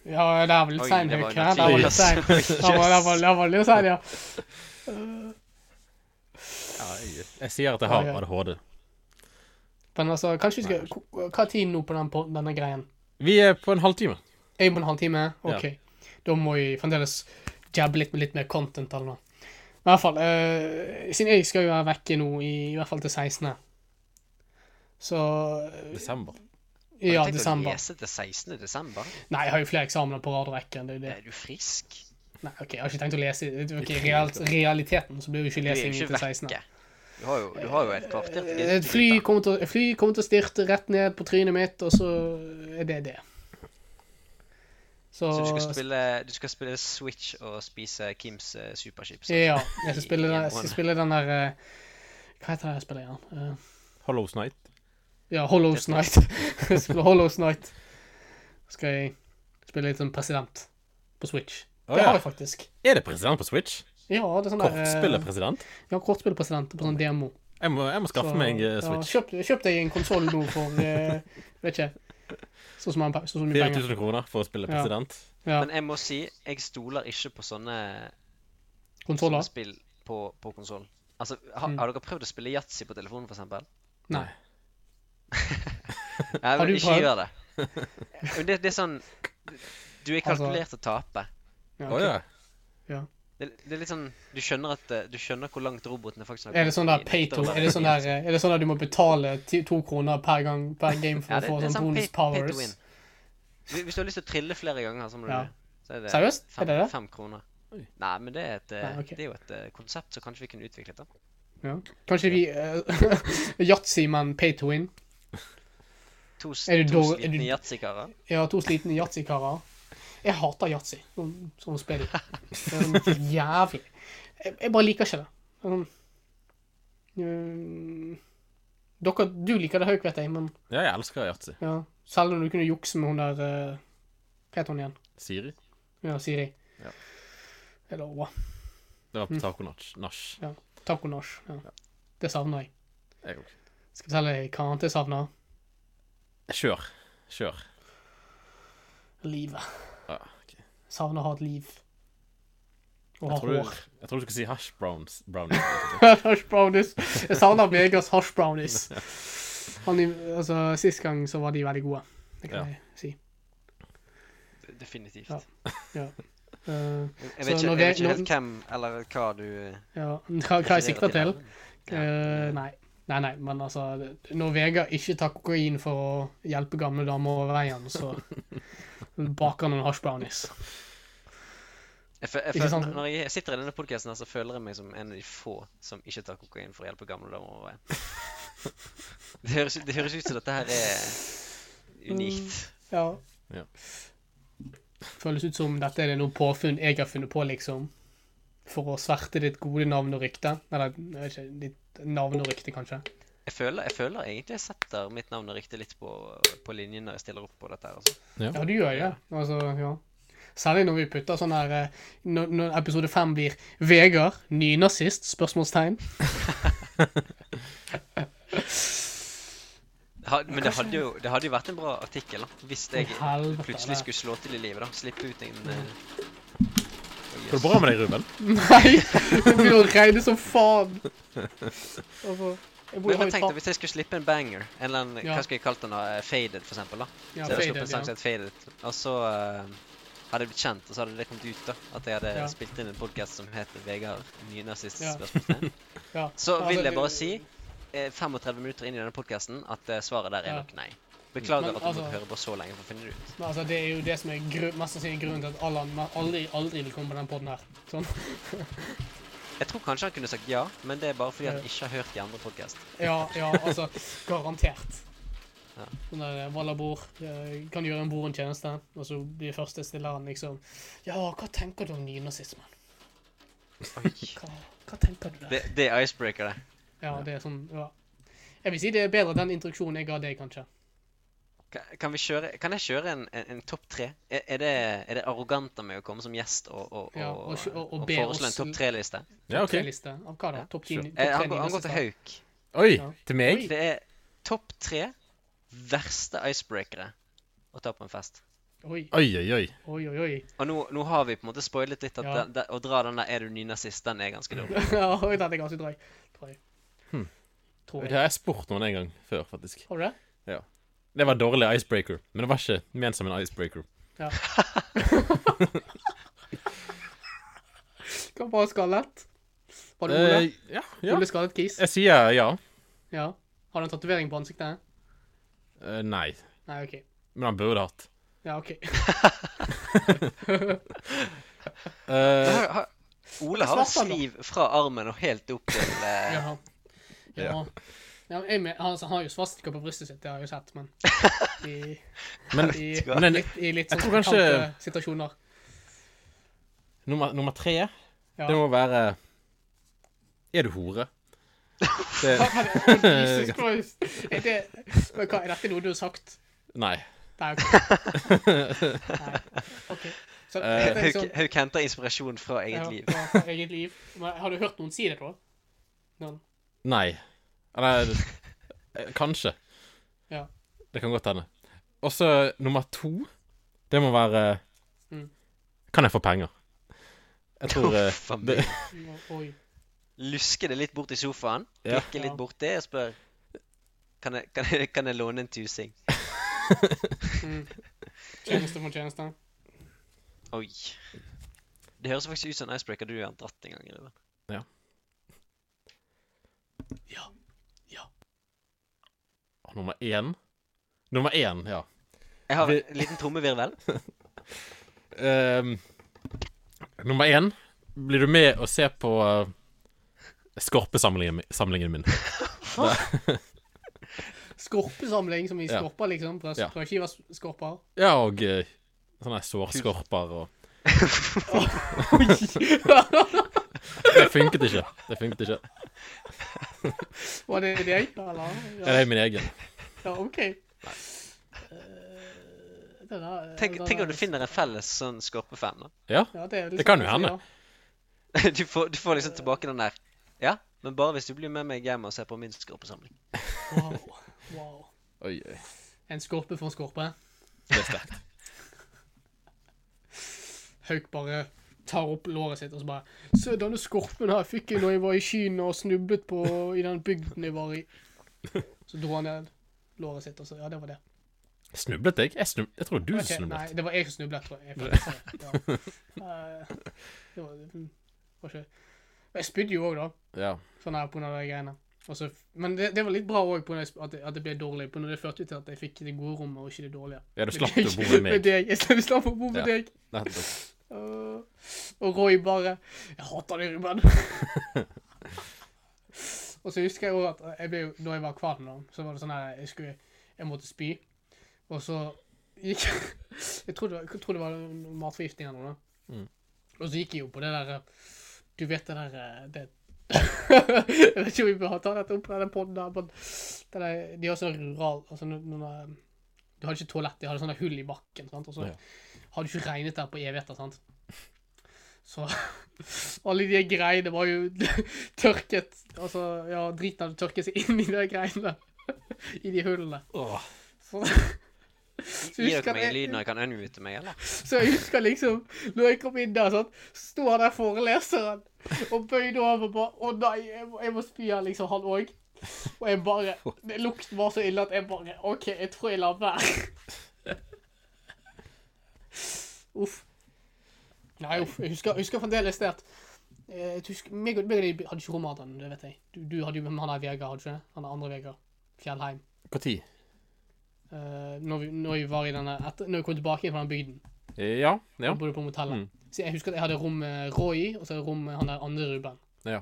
Speaker 1: Ja, det er vel litt
Speaker 3: Oi,
Speaker 1: sein
Speaker 3: det
Speaker 1: høyk
Speaker 3: var
Speaker 1: her. Det
Speaker 3: naturlig.
Speaker 1: var litt sein. Det var, det var, det var litt sein, ja.
Speaker 2: Ja, jeg, jeg sier at jeg har
Speaker 1: Ja, ja.
Speaker 2: ADHD.
Speaker 1: Men altså, kanskje vi skal ko- Hva er tiden nå på den, på denne greien?
Speaker 2: Vi er på en halvtime.
Speaker 1: Er vi på en halvtime? OK. Da må vi fremdeles jabbe litt med litt mer content eller noe. Men i hvert fall, eh, siden jeg skal jo være vekke nå, i, i hvert fall til 16. Så eh,
Speaker 2: Desember.
Speaker 3: Har du
Speaker 1: Ja,
Speaker 3: tenkt å
Speaker 1: desember.
Speaker 3: lese til 16. desember?
Speaker 1: Nei, jeg har jo flere eksamener på rad og rekke. Det er jo det.
Speaker 3: Er du frisk?
Speaker 1: Nei, OK, jeg har ikke tenkt å lese Ok, real, realiteten, så blir jo ikke
Speaker 3: Du er jo
Speaker 1: lesing
Speaker 3: ikke
Speaker 1: til 16.
Speaker 3: vekke. Du har jo, du har jo et kvarter til
Speaker 1: Eh, Et fly kommer til, å- et fly kommer til å styrte rett ned på trynet mitt, og så er det det. Så,
Speaker 3: Så du skal, spille, du skal spille Switch og spise Kims eh, superchips?
Speaker 1: Ja. Jeg skal spille, den- jeg
Speaker 3: Hjemme.
Speaker 1: skal spille den der eh, Hva heter det jeg spiller igjen? Eh,
Speaker 2: Hollows Night.
Speaker 1: Ja, Hollows Night. Jeg spiller Hollows Night. Skal jeg spille litt som president på Switch.
Speaker 2: Å,
Speaker 1: det
Speaker 2: ja.
Speaker 1: har jeg faktisk.
Speaker 2: Er det president på Switch?
Speaker 1: Ja, det er sånn der eh,
Speaker 2: Kortspillerpresident?
Speaker 1: Ja, kortspillpresident på sånn demo.
Speaker 2: Jeg må, jeg må skaffe
Speaker 1: Så,
Speaker 2: meg eh,
Speaker 1: ja,
Speaker 2: Switch.
Speaker 1: kjøp, kjøp deg en konsoll nå for eh, Vet ikke. Sånn som han så så mye penger.
Speaker 2: 4000 kroner for å spille
Speaker 1: Ja.
Speaker 2: president.
Speaker 1: Ja.
Speaker 3: Men jeg må si, jeg stoler ikke på sånne, sånne
Speaker 1: Konsoller?
Speaker 3: spill på, på konsoll. Altså, har, har dere prøvd å spille yatzy på telefonen, for eksempel?
Speaker 1: Mm. Nei.
Speaker 3: Nei,
Speaker 1: Har
Speaker 3: men
Speaker 1: du
Speaker 3: ikke
Speaker 1: prøvd?
Speaker 3: gjør det. Men det. Det er sånn Du er
Speaker 1: Altså-
Speaker 3: kalkulert å tape.
Speaker 1: Ja,
Speaker 2: Å
Speaker 1: ok.
Speaker 2: ja.
Speaker 3: Det, det er litt sånn Du skjønner at eh, Du skjønner hvor langt robotene faktisk har
Speaker 1: Er det sånn der
Speaker 3: i-
Speaker 1: pay to
Speaker 3: etter å være
Speaker 1: Er det sånn der, eh, er det sånn at du må betale ti- to kroner per gang per game for
Speaker 3: Ja,
Speaker 1: å
Speaker 3: det,
Speaker 1: få
Speaker 3: det er
Speaker 1: sånn
Speaker 3: sånn pay,
Speaker 1: bonus
Speaker 3: pay to
Speaker 1: powers?
Speaker 3: win. Hvis hvis du har lyst til å trille flere ganger, så må du
Speaker 1: Ja.
Speaker 3: så er det
Speaker 1: Seriøst? Er
Speaker 3: Fem,
Speaker 1: det det?
Speaker 3: fem kroner.
Speaker 2: Oi.
Speaker 3: Nei, men det er, et, eh,
Speaker 1: Nei, ok.
Speaker 3: det er jo et eh, konsept som kanskje vi kunne utviklet. da.
Speaker 1: Ja. Kanskje vi uh, Yatzy, men pay to win?
Speaker 3: To, s-
Speaker 1: Er du
Speaker 3: to
Speaker 1: dårlig- er
Speaker 3: slitne
Speaker 1: du-
Speaker 3: yatzykarer.
Speaker 1: Jeg har to slitne yatzy-karer. Jeg hater yatzy som, som spill. Det er sånn jævlig. Jeg, jeg bare liker ikke det. Det er Sånn, Mm, dere, du liker det høyt, vet jeg, men
Speaker 2: ja, jeg elsker yatzy.
Speaker 1: ja. Selv om du kunne jukse med hun der eh, Hva heter hun igjen?
Speaker 2: Siri.
Speaker 1: Ja, Siri.
Speaker 2: Ja.
Speaker 1: Eller Oa.
Speaker 2: Det var
Speaker 1: Mm.
Speaker 2: på Taco Nach. Nach.
Speaker 1: Taco-nach. Ja. Det savner jeg.
Speaker 2: Jeg òg.
Speaker 1: Skal jeg fortelle deg hva annet jeg savner?
Speaker 2: Kjør. Kjør.
Speaker 1: Livet.
Speaker 2: Ja, ok.
Speaker 1: Savner å ha et liv. Og
Speaker 2: Jeg
Speaker 1: ha
Speaker 2: tror, du,
Speaker 1: hår.
Speaker 2: jeg tror du skulle si hash browns. brownies.
Speaker 1: hash brownies. Jeg savner Vegas hash brownies. Han, i- altså, sist gang så var de veldig gode. Det kan
Speaker 2: Ja.
Speaker 1: jeg si.
Speaker 3: D- Definitivt.
Speaker 1: Ja. Eh, Så
Speaker 3: Jeg vet ikke,
Speaker 1: når
Speaker 3: jeg vet
Speaker 1: vi-
Speaker 3: ikke
Speaker 1: når-
Speaker 3: helt hvem eller hva du eh,
Speaker 1: ja. Hva, hva jeg sikter
Speaker 3: refererer
Speaker 1: til?
Speaker 3: her, men-
Speaker 1: Eh, nei. nei, nei, men altså det- Når Vegard ikke tar kokain for å hjelpe gamle damer over veien, så baker han noen hash brownies.
Speaker 3: Jeg fø- jeg
Speaker 1: Ikke
Speaker 3: føler-
Speaker 1: sant?
Speaker 3: Når jeg sitter i denne podkasten, så føler jeg meg som en av de få som ikke tar kokain for å hjelpe gamle damer over veien. Det høres, ut- det høres ut som dette her er unikt.
Speaker 1: Ja.
Speaker 2: Ja.
Speaker 1: Føles ut som dette er noe påfunn jeg har funnet på, liksom. For å sverte ditt gode navn og rykte. Eller jeg vet ikke, ditt navn og rykte, kanskje.
Speaker 3: Jeg føler, jeg føler egentlig jeg setter mitt navn og rykte litt på, på linjen når jeg stiller opp på dette. her. Altså.
Speaker 1: Ja, du gjør jo det. Altså, ja. Særlig når vi putter sånn her eh, Når, når episode fem blir 'Vegard nynazist?' spørsmålstegn.
Speaker 3: Ha, men det hadde, jo, det hadde jo vært en bra artikkel da, hvis jeg
Speaker 1: Helvete,
Speaker 3: plutselig skulle slå til i livet. da, Slippe ut en eh,
Speaker 2: Går det bra med deg, Ruben?
Speaker 1: Nei! Det blir jo reine som faen. Altså, jeg bor
Speaker 3: Men,
Speaker 1: har
Speaker 3: men
Speaker 1: jo
Speaker 3: tenk deg,
Speaker 1: tatt-
Speaker 3: hvis jeg skulle slippe en banger, en eller annen,
Speaker 1: Ja.
Speaker 3: hva skulle jeg kalt den da, Eh, Faded for eksempel da.
Speaker 1: ja,
Speaker 3: så jeg hadde
Speaker 1: faded,
Speaker 3: sluppet en sang som
Speaker 1: ja.
Speaker 3: het Faded, og så eh, hadde jeg blitt kjent, og så hadde det kommet ut da, at jeg hadde
Speaker 1: Ja.
Speaker 3: spilt inn en podcast som heter Vegard Nynazist
Speaker 1: Ja.
Speaker 3: spørsmålstegn.
Speaker 1: Ja. Altså,
Speaker 3: Så vil jeg bare
Speaker 1: det-
Speaker 3: si, eh, 35 minutter inn i denne podcasten, at eh, svaret der er
Speaker 1: Ja.
Speaker 3: nok nei. Beklager
Speaker 1: Men
Speaker 3: at du måtte
Speaker 1: altså-
Speaker 3: høre på så lenge for å finne det ut.
Speaker 1: Men altså, det er jo det som er gru- mest sannsynlig grunnen til at Allan ma- aldri, aldri vil komme på den podden her. Sånn.
Speaker 3: Jeg tror kanskje han kunne sagt ja, men det er bare fordi han
Speaker 1: Ja.
Speaker 3: ikke har hørt de andre podcast.
Speaker 1: Ja, ja, altså, garantert.
Speaker 3: Ja.
Speaker 1: Sånn der eh, Walla-bror. eh, Kan gjøre en bror en tjeneste, og så blir første stilleren liksom Ja, hva tenker du om nynazismen? Hva, hva tenker du der?
Speaker 3: Det, det er icebreaker det.
Speaker 1: Ja, det er sånn ja. Jeg vil si det er bedre den introduksjonen jeg ga deg, kanskje.
Speaker 3: Ka- Kan, vi kjøre, kan jeg kjøre en, en, en topp tre? Er, er, det, er det arrogant av meg å komme som gjest og, og,
Speaker 1: Ja,
Speaker 3: og,
Speaker 1: og kjø- og- og be
Speaker 3: foreslå
Speaker 1: oss-
Speaker 3: en topp tre-liste?
Speaker 2: Ja, OK.
Speaker 1: Liste. Av hva da?
Speaker 3: Ja,
Speaker 1: Topp ti
Speaker 2: sure.
Speaker 1: ni-
Speaker 3: Eh,
Speaker 1: topp tre
Speaker 3: Han, går- han går til
Speaker 1: nynazister?
Speaker 3: Hauk.
Speaker 2: Oi!
Speaker 1: Ja.
Speaker 2: Til meg?
Speaker 3: Det er topp tre verste icebreakere å ta på en fest.
Speaker 1: Oi,
Speaker 2: Oi, oi, oi.
Speaker 1: oi, oi. oi.
Speaker 3: Og nå, nå har vi på en måte spoilet litt at
Speaker 1: Ja.
Speaker 3: den- den- å dra den der 'er du nynazist', den er ganske dum.
Speaker 1: Ja, oi, den er ganske drøy. Tror jeg. Tror
Speaker 2: Hm.
Speaker 1: jeg.
Speaker 2: Det har jeg spurt noen en gang før, faktisk.
Speaker 1: Har du det?
Speaker 2: Det var dårlig icebreaker, men det var ikke ment som en icebreaker.
Speaker 1: Kan bare skallet. Var det Ole?
Speaker 2: Eh, ja, ja.
Speaker 1: Ole skallet kis?
Speaker 2: Jeg sier ja.
Speaker 1: Ja. Har du en tatovering på ansiktet?
Speaker 2: Eh, nei.
Speaker 1: Nei, OK.
Speaker 2: Men han burde hatt.
Speaker 1: Ja, OK.
Speaker 2: Eh,
Speaker 3: Har- har- Ole har
Speaker 2: Eh,
Speaker 1: Svart han da?
Speaker 3: sliv fra armen og helt opp til eh,
Speaker 1: Ja. Ja. ja jeg men, han, han har jo svastika på brystet sitt, det har jeg jo sett, men i,
Speaker 2: Men,
Speaker 1: i,
Speaker 2: men den,
Speaker 1: litt, i litt sånn
Speaker 2: tror kanskje-
Speaker 1: pikante situasjoner.
Speaker 2: nummer, nummer tre,
Speaker 1: Ja.
Speaker 2: det må være Er du hore? Det,
Speaker 1: Hva- hva er det? Jesus Christ. Er det, men hva, er dette noe du har sagt?
Speaker 2: nei.
Speaker 1: Nei, ok. Nei. ok. Så,
Speaker 2: Eh,
Speaker 1: det er sånn-
Speaker 3: Hauk Hauk henter inspirasjon fra eget
Speaker 1: ja,
Speaker 3: liv.
Speaker 1: ja, fra eget liv. Men, har du hørt noen si det, da? Noen?
Speaker 2: Nei. Eller eh, Kanskje.
Speaker 1: Ja.
Speaker 2: Det kan godt hende. Og så nummer to, det må være
Speaker 1: Mm.
Speaker 2: Kan jeg få penger? Jeg tror eh,
Speaker 3: Uff, faen
Speaker 2: det,
Speaker 3: meg.
Speaker 1: Oi.
Speaker 3: Luske det litt bort i sofaen,
Speaker 2: Ja.
Speaker 3: klikke
Speaker 1: Ja.
Speaker 3: litt borti og spør kan jeg, kan, jeg, kan jeg låne en tusing?
Speaker 1: Mm. Tjeneste for tjeneste.
Speaker 3: Oi. Det høres faktisk ut som en icebreaker du har dratt en gang. Ruben.
Speaker 2: Å, Ah, Nummer én? Nummer én, ja.
Speaker 3: Jeg har
Speaker 2: Vi-
Speaker 3: en liten trommevirvel.
Speaker 2: Ehm, nummer én Blir du med og ser på uh, skorpesamlingen mi- samlingen min?
Speaker 1: Skorpesamling, som i
Speaker 2: Ja.
Speaker 1: skorper, liksom. Brøst,
Speaker 2: Ja.
Speaker 1: Brødskiverskorper.
Speaker 2: Ja, og eh, sånne sårskorper og Det funket ikke. Det funket ikke.
Speaker 1: Var det deg, eller?
Speaker 2: Ja, Det er min egen.
Speaker 1: ja OK. Eh, det der-
Speaker 3: Tenk,
Speaker 1: det
Speaker 3: tenk om
Speaker 1: der-
Speaker 3: du finner en felles sånn skorpefan. da.
Speaker 2: Ja.
Speaker 1: ja, det, er liksom,
Speaker 2: Det kan jo hende.
Speaker 1: Ja.
Speaker 3: Du får, du får liksom tilbake den der. Ja, men bare hvis du blir med meg hjem og ser på min skorpesamling.
Speaker 1: Wow. wow.
Speaker 2: Oi, oi.
Speaker 1: En skorpe for en skorpe.
Speaker 2: Det er sterkt.
Speaker 1: Hauk bare tar opp låret sitt og så bare Se, denne skorpen her fikk jeg når jeg var i Kina og snublet på i den bygden jeg var i. Så dro han ned låret sitt, og så Ja, det var det.
Speaker 2: Snublet jeg? Jeg, snub... jeg tror du
Speaker 1: Ok,
Speaker 2: snublet.
Speaker 1: Nei, det var jeg som snublet, tror jeg. jeg faktisk, ja. Eh, det var, det var ikke Jeg spydde jo òg, da.
Speaker 2: Ja.
Speaker 1: Sånn her på grunn av de greiene. Og så- men det, det var litt bra òg, at, det- at det ble dårlig. På når det førte jo til at jeg fikk det gode rommet, og ikke det dårlige.
Speaker 2: ja, du
Speaker 1: Med
Speaker 2: slapp
Speaker 1: deg-
Speaker 2: å bo med
Speaker 1: Med
Speaker 2: meg.
Speaker 1: deg. Jeg slapp- slapp å bo med
Speaker 2: Ja.
Speaker 1: deg.
Speaker 2: Nettopp.
Speaker 1: Øh, og Roy bare 'Jeg hater deg, Ruben'. og så husker jeg òg at jeg ble, jo- når jeg var kvalm, da, så var det sånn her jeg, skulle, jeg måtte spy. Og så gikk jeg Jeg tror det var, jeg tror det var noe matforgiftning eller noe. da.
Speaker 2: Mm.
Speaker 1: Og så gikk jeg jo på det der Du vet det der eh, det, Jeg vet ikke om vi bør ta dette opp på denne podden her, men det der, de har sånn rural altså, noen, noen, Du hadde ikke toalett, de hadde sånne hull i bakken, sant? og så
Speaker 2: Ja.
Speaker 1: hadde du ikke regnet der på evigheter, sant? Så alle de greiene var jo tørket Altså, ja, driten hadde tørket seg inn i de greiene. I de hullene.
Speaker 2: Åh.
Speaker 1: Så, så
Speaker 3: Gi dere
Speaker 1: husker
Speaker 3: meg
Speaker 1: jeg,
Speaker 3: en lyd når jeg kan unmute meg, eller?
Speaker 1: så jeg husker liksom Når jeg kom inn der, sånn, så sto han der foreleseren og bøyde over og bare Å nei, jeg må, jeg må spy her, liksom, han òg. Og jeg bare det- Lukten var så ille at jeg bare OK, jeg tror jeg lar være. Uff. Nei, uff. Jeg husker, jeg husker fremdeles det at eh, jeg husker, meg, og, meg og de hadde ikke romantan, det vet jeg. Du, du hadde jo med han der Vegard, hadde du ikke det? Han der andre Vegard. Fjellheim.
Speaker 2: Når?
Speaker 1: Eh, når, vi, når vi var i denne etter, Når vi kom tilbake inn fra den bygden.
Speaker 2: Ja. ja. Mm.
Speaker 1: Jeg bodde på motellet. Så jeg husker at jeg hadde rom med Roy, og så rom med han der andre Ruben.
Speaker 2: Ja.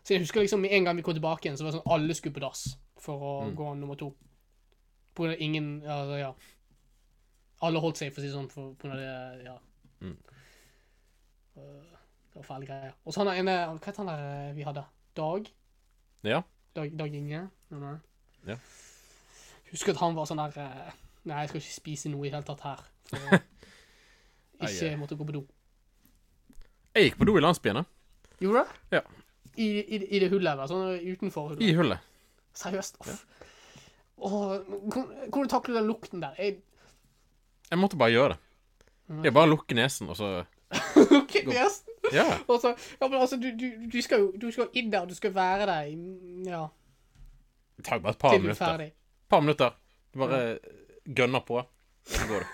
Speaker 1: Så jeg husker liksom med en gang vi kom tilbake igjen, så var det sånn alle skulle på dass for å
Speaker 2: Mm.
Speaker 1: gå nummer to. På grunn av ingen Altså, ja. Alle holdt seg, for å si det sånn, for, på grunn av det Ja.
Speaker 2: Mm.
Speaker 1: Øh, det var fæle greier. Og så han der ene Hva het han der eh, vi hadde? Dag?
Speaker 2: Ja.
Speaker 1: Dag, Dag Inge? Nei, nei.
Speaker 2: Ja.
Speaker 1: Husker at han var sånn der eh, Nei, jeg skal ikke spise noe i det hele tatt her. For å ikke
Speaker 2: Eie.
Speaker 1: måtte gå på do.
Speaker 2: Jeg gikk på do i landsbyen, da.
Speaker 1: Gjorde du det?
Speaker 2: Ja.
Speaker 1: I, i, I det hullet, eller sånn utenfor hullet?
Speaker 2: I hullet.
Speaker 1: Seriøst? Off. Åh, men hvordan hvordan takler du den lukten der? Jeg
Speaker 2: Jeg måtte bare gjøre det.
Speaker 1: Mm.
Speaker 2: Jeg bare lukker nesen, og så
Speaker 1: lukker nesen.
Speaker 2: Ja.
Speaker 1: Og så- Ja, men altså, du, du, du skal jo du skal inn der, du skal være der i- ja,
Speaker 2: Det tar jo bare et par
Speaker 1: til du er
Speaker 2: minutter.
Speaker 1: ferdig.
Speaker 2: Et par minutter. Du bare gønner på. Så går du.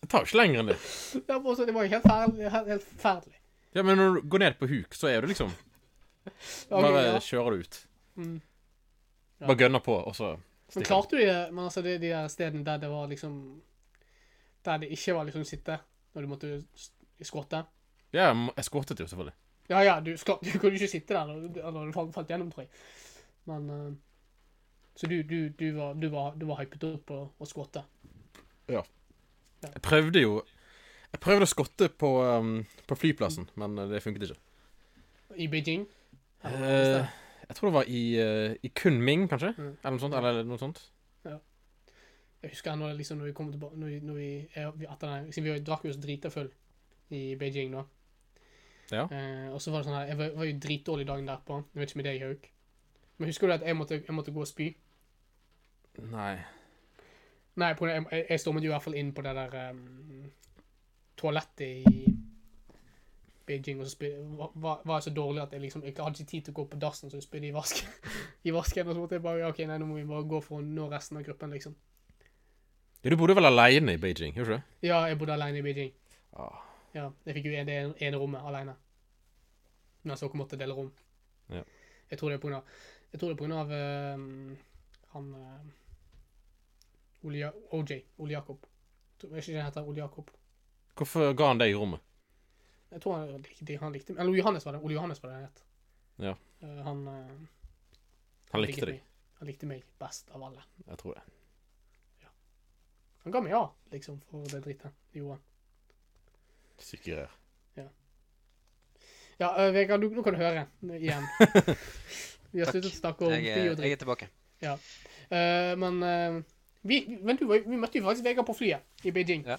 Speaker 2: Det tar jo ikke lenger enn det.
Speaker 1: Ja, men også, det var jo helt ferdig. Helt, helt ferdig.
Speaker 2: Ja, Men når du går ned på huk, så er du liksom
Speaker 1: Ja, ok,
Speaker 2: Bare
Speaker 1: ja.
Speaker 2: kjører du ut.
Speaker 1: Mm. Ja.
Speaker 2: Bare gønner på, og så
Speaker 1: Men
Speaker 2: stikker du.
Speaker 1: klarte du det? Men altså, det, de der stedene der det var liksom Der det ikke var liksom sitte, når du måtte s- skvotte?
Speaker 2: Ja, jeg må- jeg skvottet jo, selvfølgelig.
Speaker 1: Ja, ja, du, så klart, du kunne jo ikke sitte der når du- når du falt, falt gjennom, tror jeg. Men eh, Så du, du, du, var, du, var, du var hypet opp og, og skvatte.
Speaker 2: Jeg prøvde jo Jeg prøvde å skotte på, um, på flyplassen, men eh, det funket ikke.
Speaker 1: I Beijing? Eller noe annet
Speaker 2: Eh, jeg tror det var i, eh, i Kunming, kanskje?
Speaker 1: Mm.
Speaker 2: Eller noe sånt. Eller noe sånt.
Speaker 1: sted. Jeg husker når, liksom, når vi kom tilbake når vi, når vi, er- vi, etter den, Siden vi var- drakk jo oss drita full i Beijing, da.
Speaker 2: Ja.
Speaker 1: Eh, og så var det sånn her Jeg var, var jo dritdårlig dagen derpå. Jeg vet ikke med deg, Hauk. Men husker du at jeg måtte, jeg måtte gå og spy?
Speaker 2: Nei.
Speaker 1: Nei, på, jeg, jeg- jeg stormet jo i hvert fall inn på det der um, toalettet i Beijing, og så spy, var- var, var jeg så dårlig at jeg liksom ikke hadde ikke tid til å gå på dassen, så jeg spydde i vasken. I vasken, og så måtte jeg bare, ja, ok, nei, nå må vi bare gå for å nå resten av gruppen, liksom.
Speaker 2: Ja, Du bodde vel aleine i Beijing, gjorde du ikke det?
Speaker 1: Ja, jeg bodde alene i Beijing.
Speaker 2: Ah.
Speaker 1: Ja, jeg fikk jo en- det ene, ene rommet alene. Men så måtte jeg dele rom.
Speaker 2: Ja.
Speaker 1: Jeg tror det er på grunn av, jeg tror det er på grunn av um, han, um, Ole, Ja- OJ, Ole Jakob. Jeg vet ikke han heter Ole Jakob.
Speaker 2: Hvorfor ga han deg rommet?
Speaker 1: Jeg tror han, lik- de- han likte meg. Eller Ole Johannes var det. Ole Johannes var det han het.
Speaker 2: Ja.
Speaker 1: Eh, han, eh,
Speaker 2: Han likte
Speaker 1: meg.
Speaker 2: deg.
Speaker 1: Han likte meg best av alle.
Speaker 2: Jeg tror det.
Speaker 1: Han ga meg ja, liksom, for det dritet de gjorde.
Speaker 2: Syke greier.
Speaker 1: Ja, eh, Vegard, du, nå kan du høre igjen. Vi har
Speaker 3: Takk.
Speaker 1: sluttet å snakke om
Speaker 3: Jeg,
Speaker 1: by
Speaker 3: er-
Speaker 1: og
Speaker 3: jeg
Speaker 1: dritt.
Speaker 3: er tilbake.
Speaker 1: Eh, men eh, vi, men du, var jo- vi møtte jo faktisk Vegard på flyet i Beijing.
Speaker 3: Ja.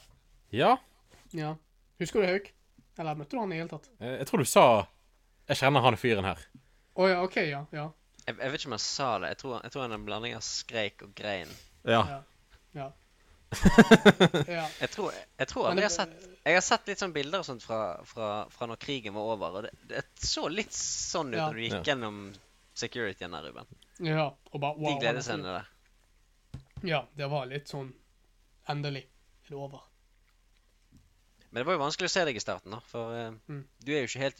Speaker 2: Ja,
Speaker 1: Ja. Husker du det, Hauk? Eller møtte du han i det hele tatt?
Speaker 2: eh, jeg tror du sa Jeg kjenner han fyren her.
Speaker 1: Å ja, OK, ja. ja.
Speaker 3: Jeg, jeg vet ikke om han sa det. Jeg tror, jeg tror han er en blanding av skreik og grein.
Speaker 2: Ja.
Speaker 1: ja.
Speaker 3: Jeg tror, jeg tror
Speaker 1: Men
Speaker 3: aldri jeg har
Speaker 1: det-
Speaker 3: sett Jeg har sett litt sånn bilder og sånt fra, fra, fra når krigen var over, og det, det så litt sånn ut
Speaker 1: Ja.
Speaker 3: når du gikk
Speaker 2: Ja.
Speaker 3: gjennom securityen der, Ruben.
Speaker 1: ja. Og bare
Speaker 3: De
Speaker 1: wow. han er fin.
Speaker 3: gledesscenene der.
Speaker 1: Ja, det var litt sånn Endelig er det over.
Speaker 3: Men det var jo vanskelig å se deg i starten, da, for eh,
Speaker 1: Mm.
Speaker 3: du er jo ikke helt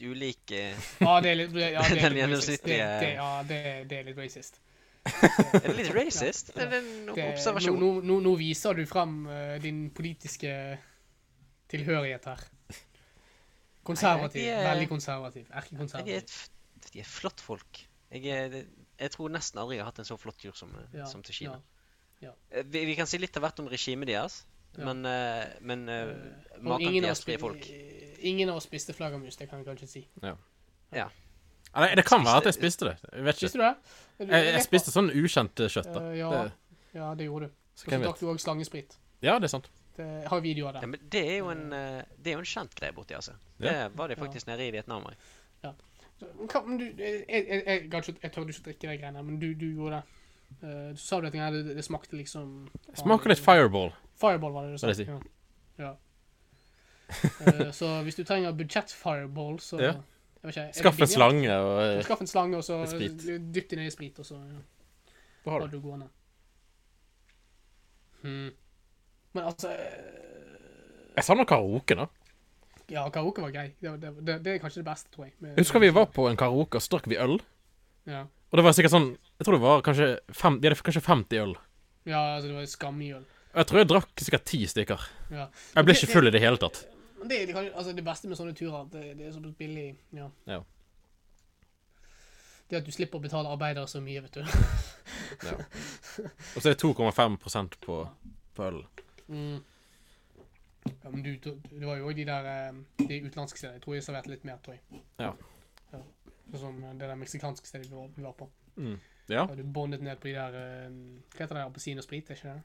Speaker 3: ulik eh,
Speaker 1: Ja, det er litt, det, ja, det er
Speaker 3: Den
Speaker 1: litt racist. Det,
Speaker 3: gjennomsnittlige-
Speaker 1: det, ja, det, det er litt racist.
Speaker 3: Er det litt racist? Er det en
Speaker 1: Det, nå,
Speaker 3: observasjon?
Speaker 1: nå, nå, nå viser du frem eh, din politiske tilhørighet her. Konservativ.
Speaker 3: Nei, jeg er-
Speaker 1: Veldig konservativ.
Speaker 3: Jeg er
Speaker 1: Erkekonservativ.
Speaker 3: et, f- de er flott folk. Jeg, er, det- jeg tror nesten aldri jeg har hatt en så flott tur som, eh,
Speaker 1: Ja,
Speaker 3: som til Kina.
Speaker 1: ja.
Speaker 3: Eh, Vi, vi kan si litt av hvert om regimet deres,
Speaker 1: Ja.
Speaker 3: men, eh, men eh,
Speaker 1: Og
Speaker 3: maken
Speaker 1: ingen
Speaker 3: til
Speaker 1: av oss
Speaker 3: gjestfrie
Speaker 1: spi-
Speaker 3: folk.
Speaker 1: Ingen av oss spiste flaggermus, det kan jeg kanskje si.
Speaker 2: Eller, eh, det kan være at jeg spiste det. Jeg vet ikke.
Speaker 1: Spiste du det? Er du-
Speaker 2: Jeg, jeg
Speaker 1: rett på?
Speaker 2: spiste sånn ukjent eh, kjøtt, da.
Speaker 1: Eh, ja,
Speaker 2: Det,
Speaker 1: ja, det gjorde du. Og
Speaker 2: så
Speaker 1: så
Speaker 2: hvem vet.
Speaker 1: drakk du òg slangesprit.
Speaker 2: Ja, det er sant.
Speaker 1: Det, jeg har videoer
Speaker 3: Ja,
Speaker 1: der.
Speaker 3: men det er jo en, eh, det er jo en kjent greie borti, altså. Det var de faktisk nede i Vietnam òg.
Speaker 1: Så, hva- Men du, jeg, jeg, jeg, jeg, gadd ikke- jeg tørde ikke å drikke de greiene, men du, du gjorde det. Eh, Så sa du at det, det smakte liksom
Speaker 2: Smaker litt fireball.
Speaker 1: Fireball var det du sa.
Speaker 2: Vil jeg si.
Speaker 1: Ja. ja. Eh, så hvis du trenger budsjett-fireball, så
Speaker 2: Ja.
Speaker 1: jeg vet ikke, er det
Speaker 2: Skaff en
Speaker 1: billigere?
Speaker 2: slange og eh,
Speaker 1: Skaff en slange, og så
Speaker 2: Med sprit.
Speaker 1: dypp det ned i sprit, og så ja,
Speaker 2: Hva
Speaker 1: har
Speaker 2: har du?
Speaker 1: du gående. Hmm. Men altså eh,
Speaker 2: Jeg savner karaoke, da.
Speaker 1: Ja, karaoke var grei. Det, det, det, det er kanskje det beste, tror jeg. med-
Speaker 2: Jeg husker vi var på en karaoke og så drakk vi øl.
Speaker 1: Ja,
Speaker 2: Og det var sikkert sånn Jeg tror det var kanskje fem, Vi hadde kanskje 50 øl.
Speaker 1: ja altså, det var skamgjøl.
Speaker 2: Og jeg tror jeg drakk sikkert ti stykker.
Speaker 1: Ja.
Speaker 2: Jeg ble ikke full i det hele tatt.
Speaker 1: Men det er det kanskje, altså det beste med sånne turer, at det, det er såpass billig. Ja.
Speaker 2: Ja.
Speaker 1: Det at du slipper å betale arbeidere så mye, vet du.
Speaker 2: Og så er det 2,5 på, på øl.
Speaker 1: Mm. Ja, men du, du, det var jo også de der eh, de utenlandske stedene. Jeg tror jeg serverte litt mer, tror jeg.
Speaker 2: Ja.
Speaker 1: ja. Sånn som det der meksikanske stedet vi var, vi var på.
Speaker 2: Mm. Ja.
Speaker 1: Da du bondet ned på de der eh, Hva heter det? Appelsin og sprit, er ikke det?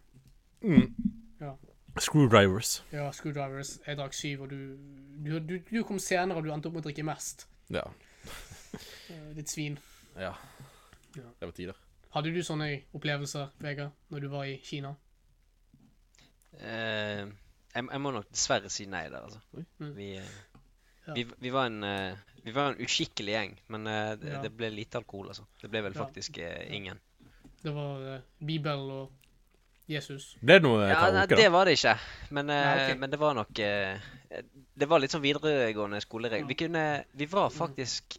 Speaker 2: Mm.
Speaker 1: Ja.
Speaker 2: Screwdrivers.
Speaker 1: Ja, screwdrivers. Jeg drakk syv, og du Du, du, du kom senere, og du endte opp med å drikke mest.
Speaker 2: Ja.
Speaker 1: Eh, Ditt svin.
Speaker 2: ja.
Speaker 1: Ja.
Speaker 2: Det var tider.
Speaker 1: Hadde du sånne opplevelser, Vegard, når du var i Kina?
Speaker 3: Eh, jeg, jeg må nok dessverre si nei der, altså.
Speaker 1: Mm.
Speaker 3: Vi, eh,
Speaker 1: Ja.
Speaker 3: vi, vi, var en, eh, vi var en uskikkelig gjeng, men eh, det,
Speaker 1: Ja.
Speaker 3: det ble lite alkohol, altså. Det ble vel
Speaker 1: Ja.
Speaker 3: faktisk eh, ingen.
Speaker 1: Det var eh, Bibelen og Jesus.
Speaker 2: Ble det noe
Speaker 3: Ja, nei,
Speaker 2: karaoke,
Speaker 3: det
Speaker 2: da?
Speaker 3: var det ikke, men, eh,
Speaker 1: Nei, ok.
Speaker 3: men det var nok eh, Det var litt sånn videregående skoleregler.
Speaker 1: Ja.
Speaker 3: Vi kunne Vi var faktisk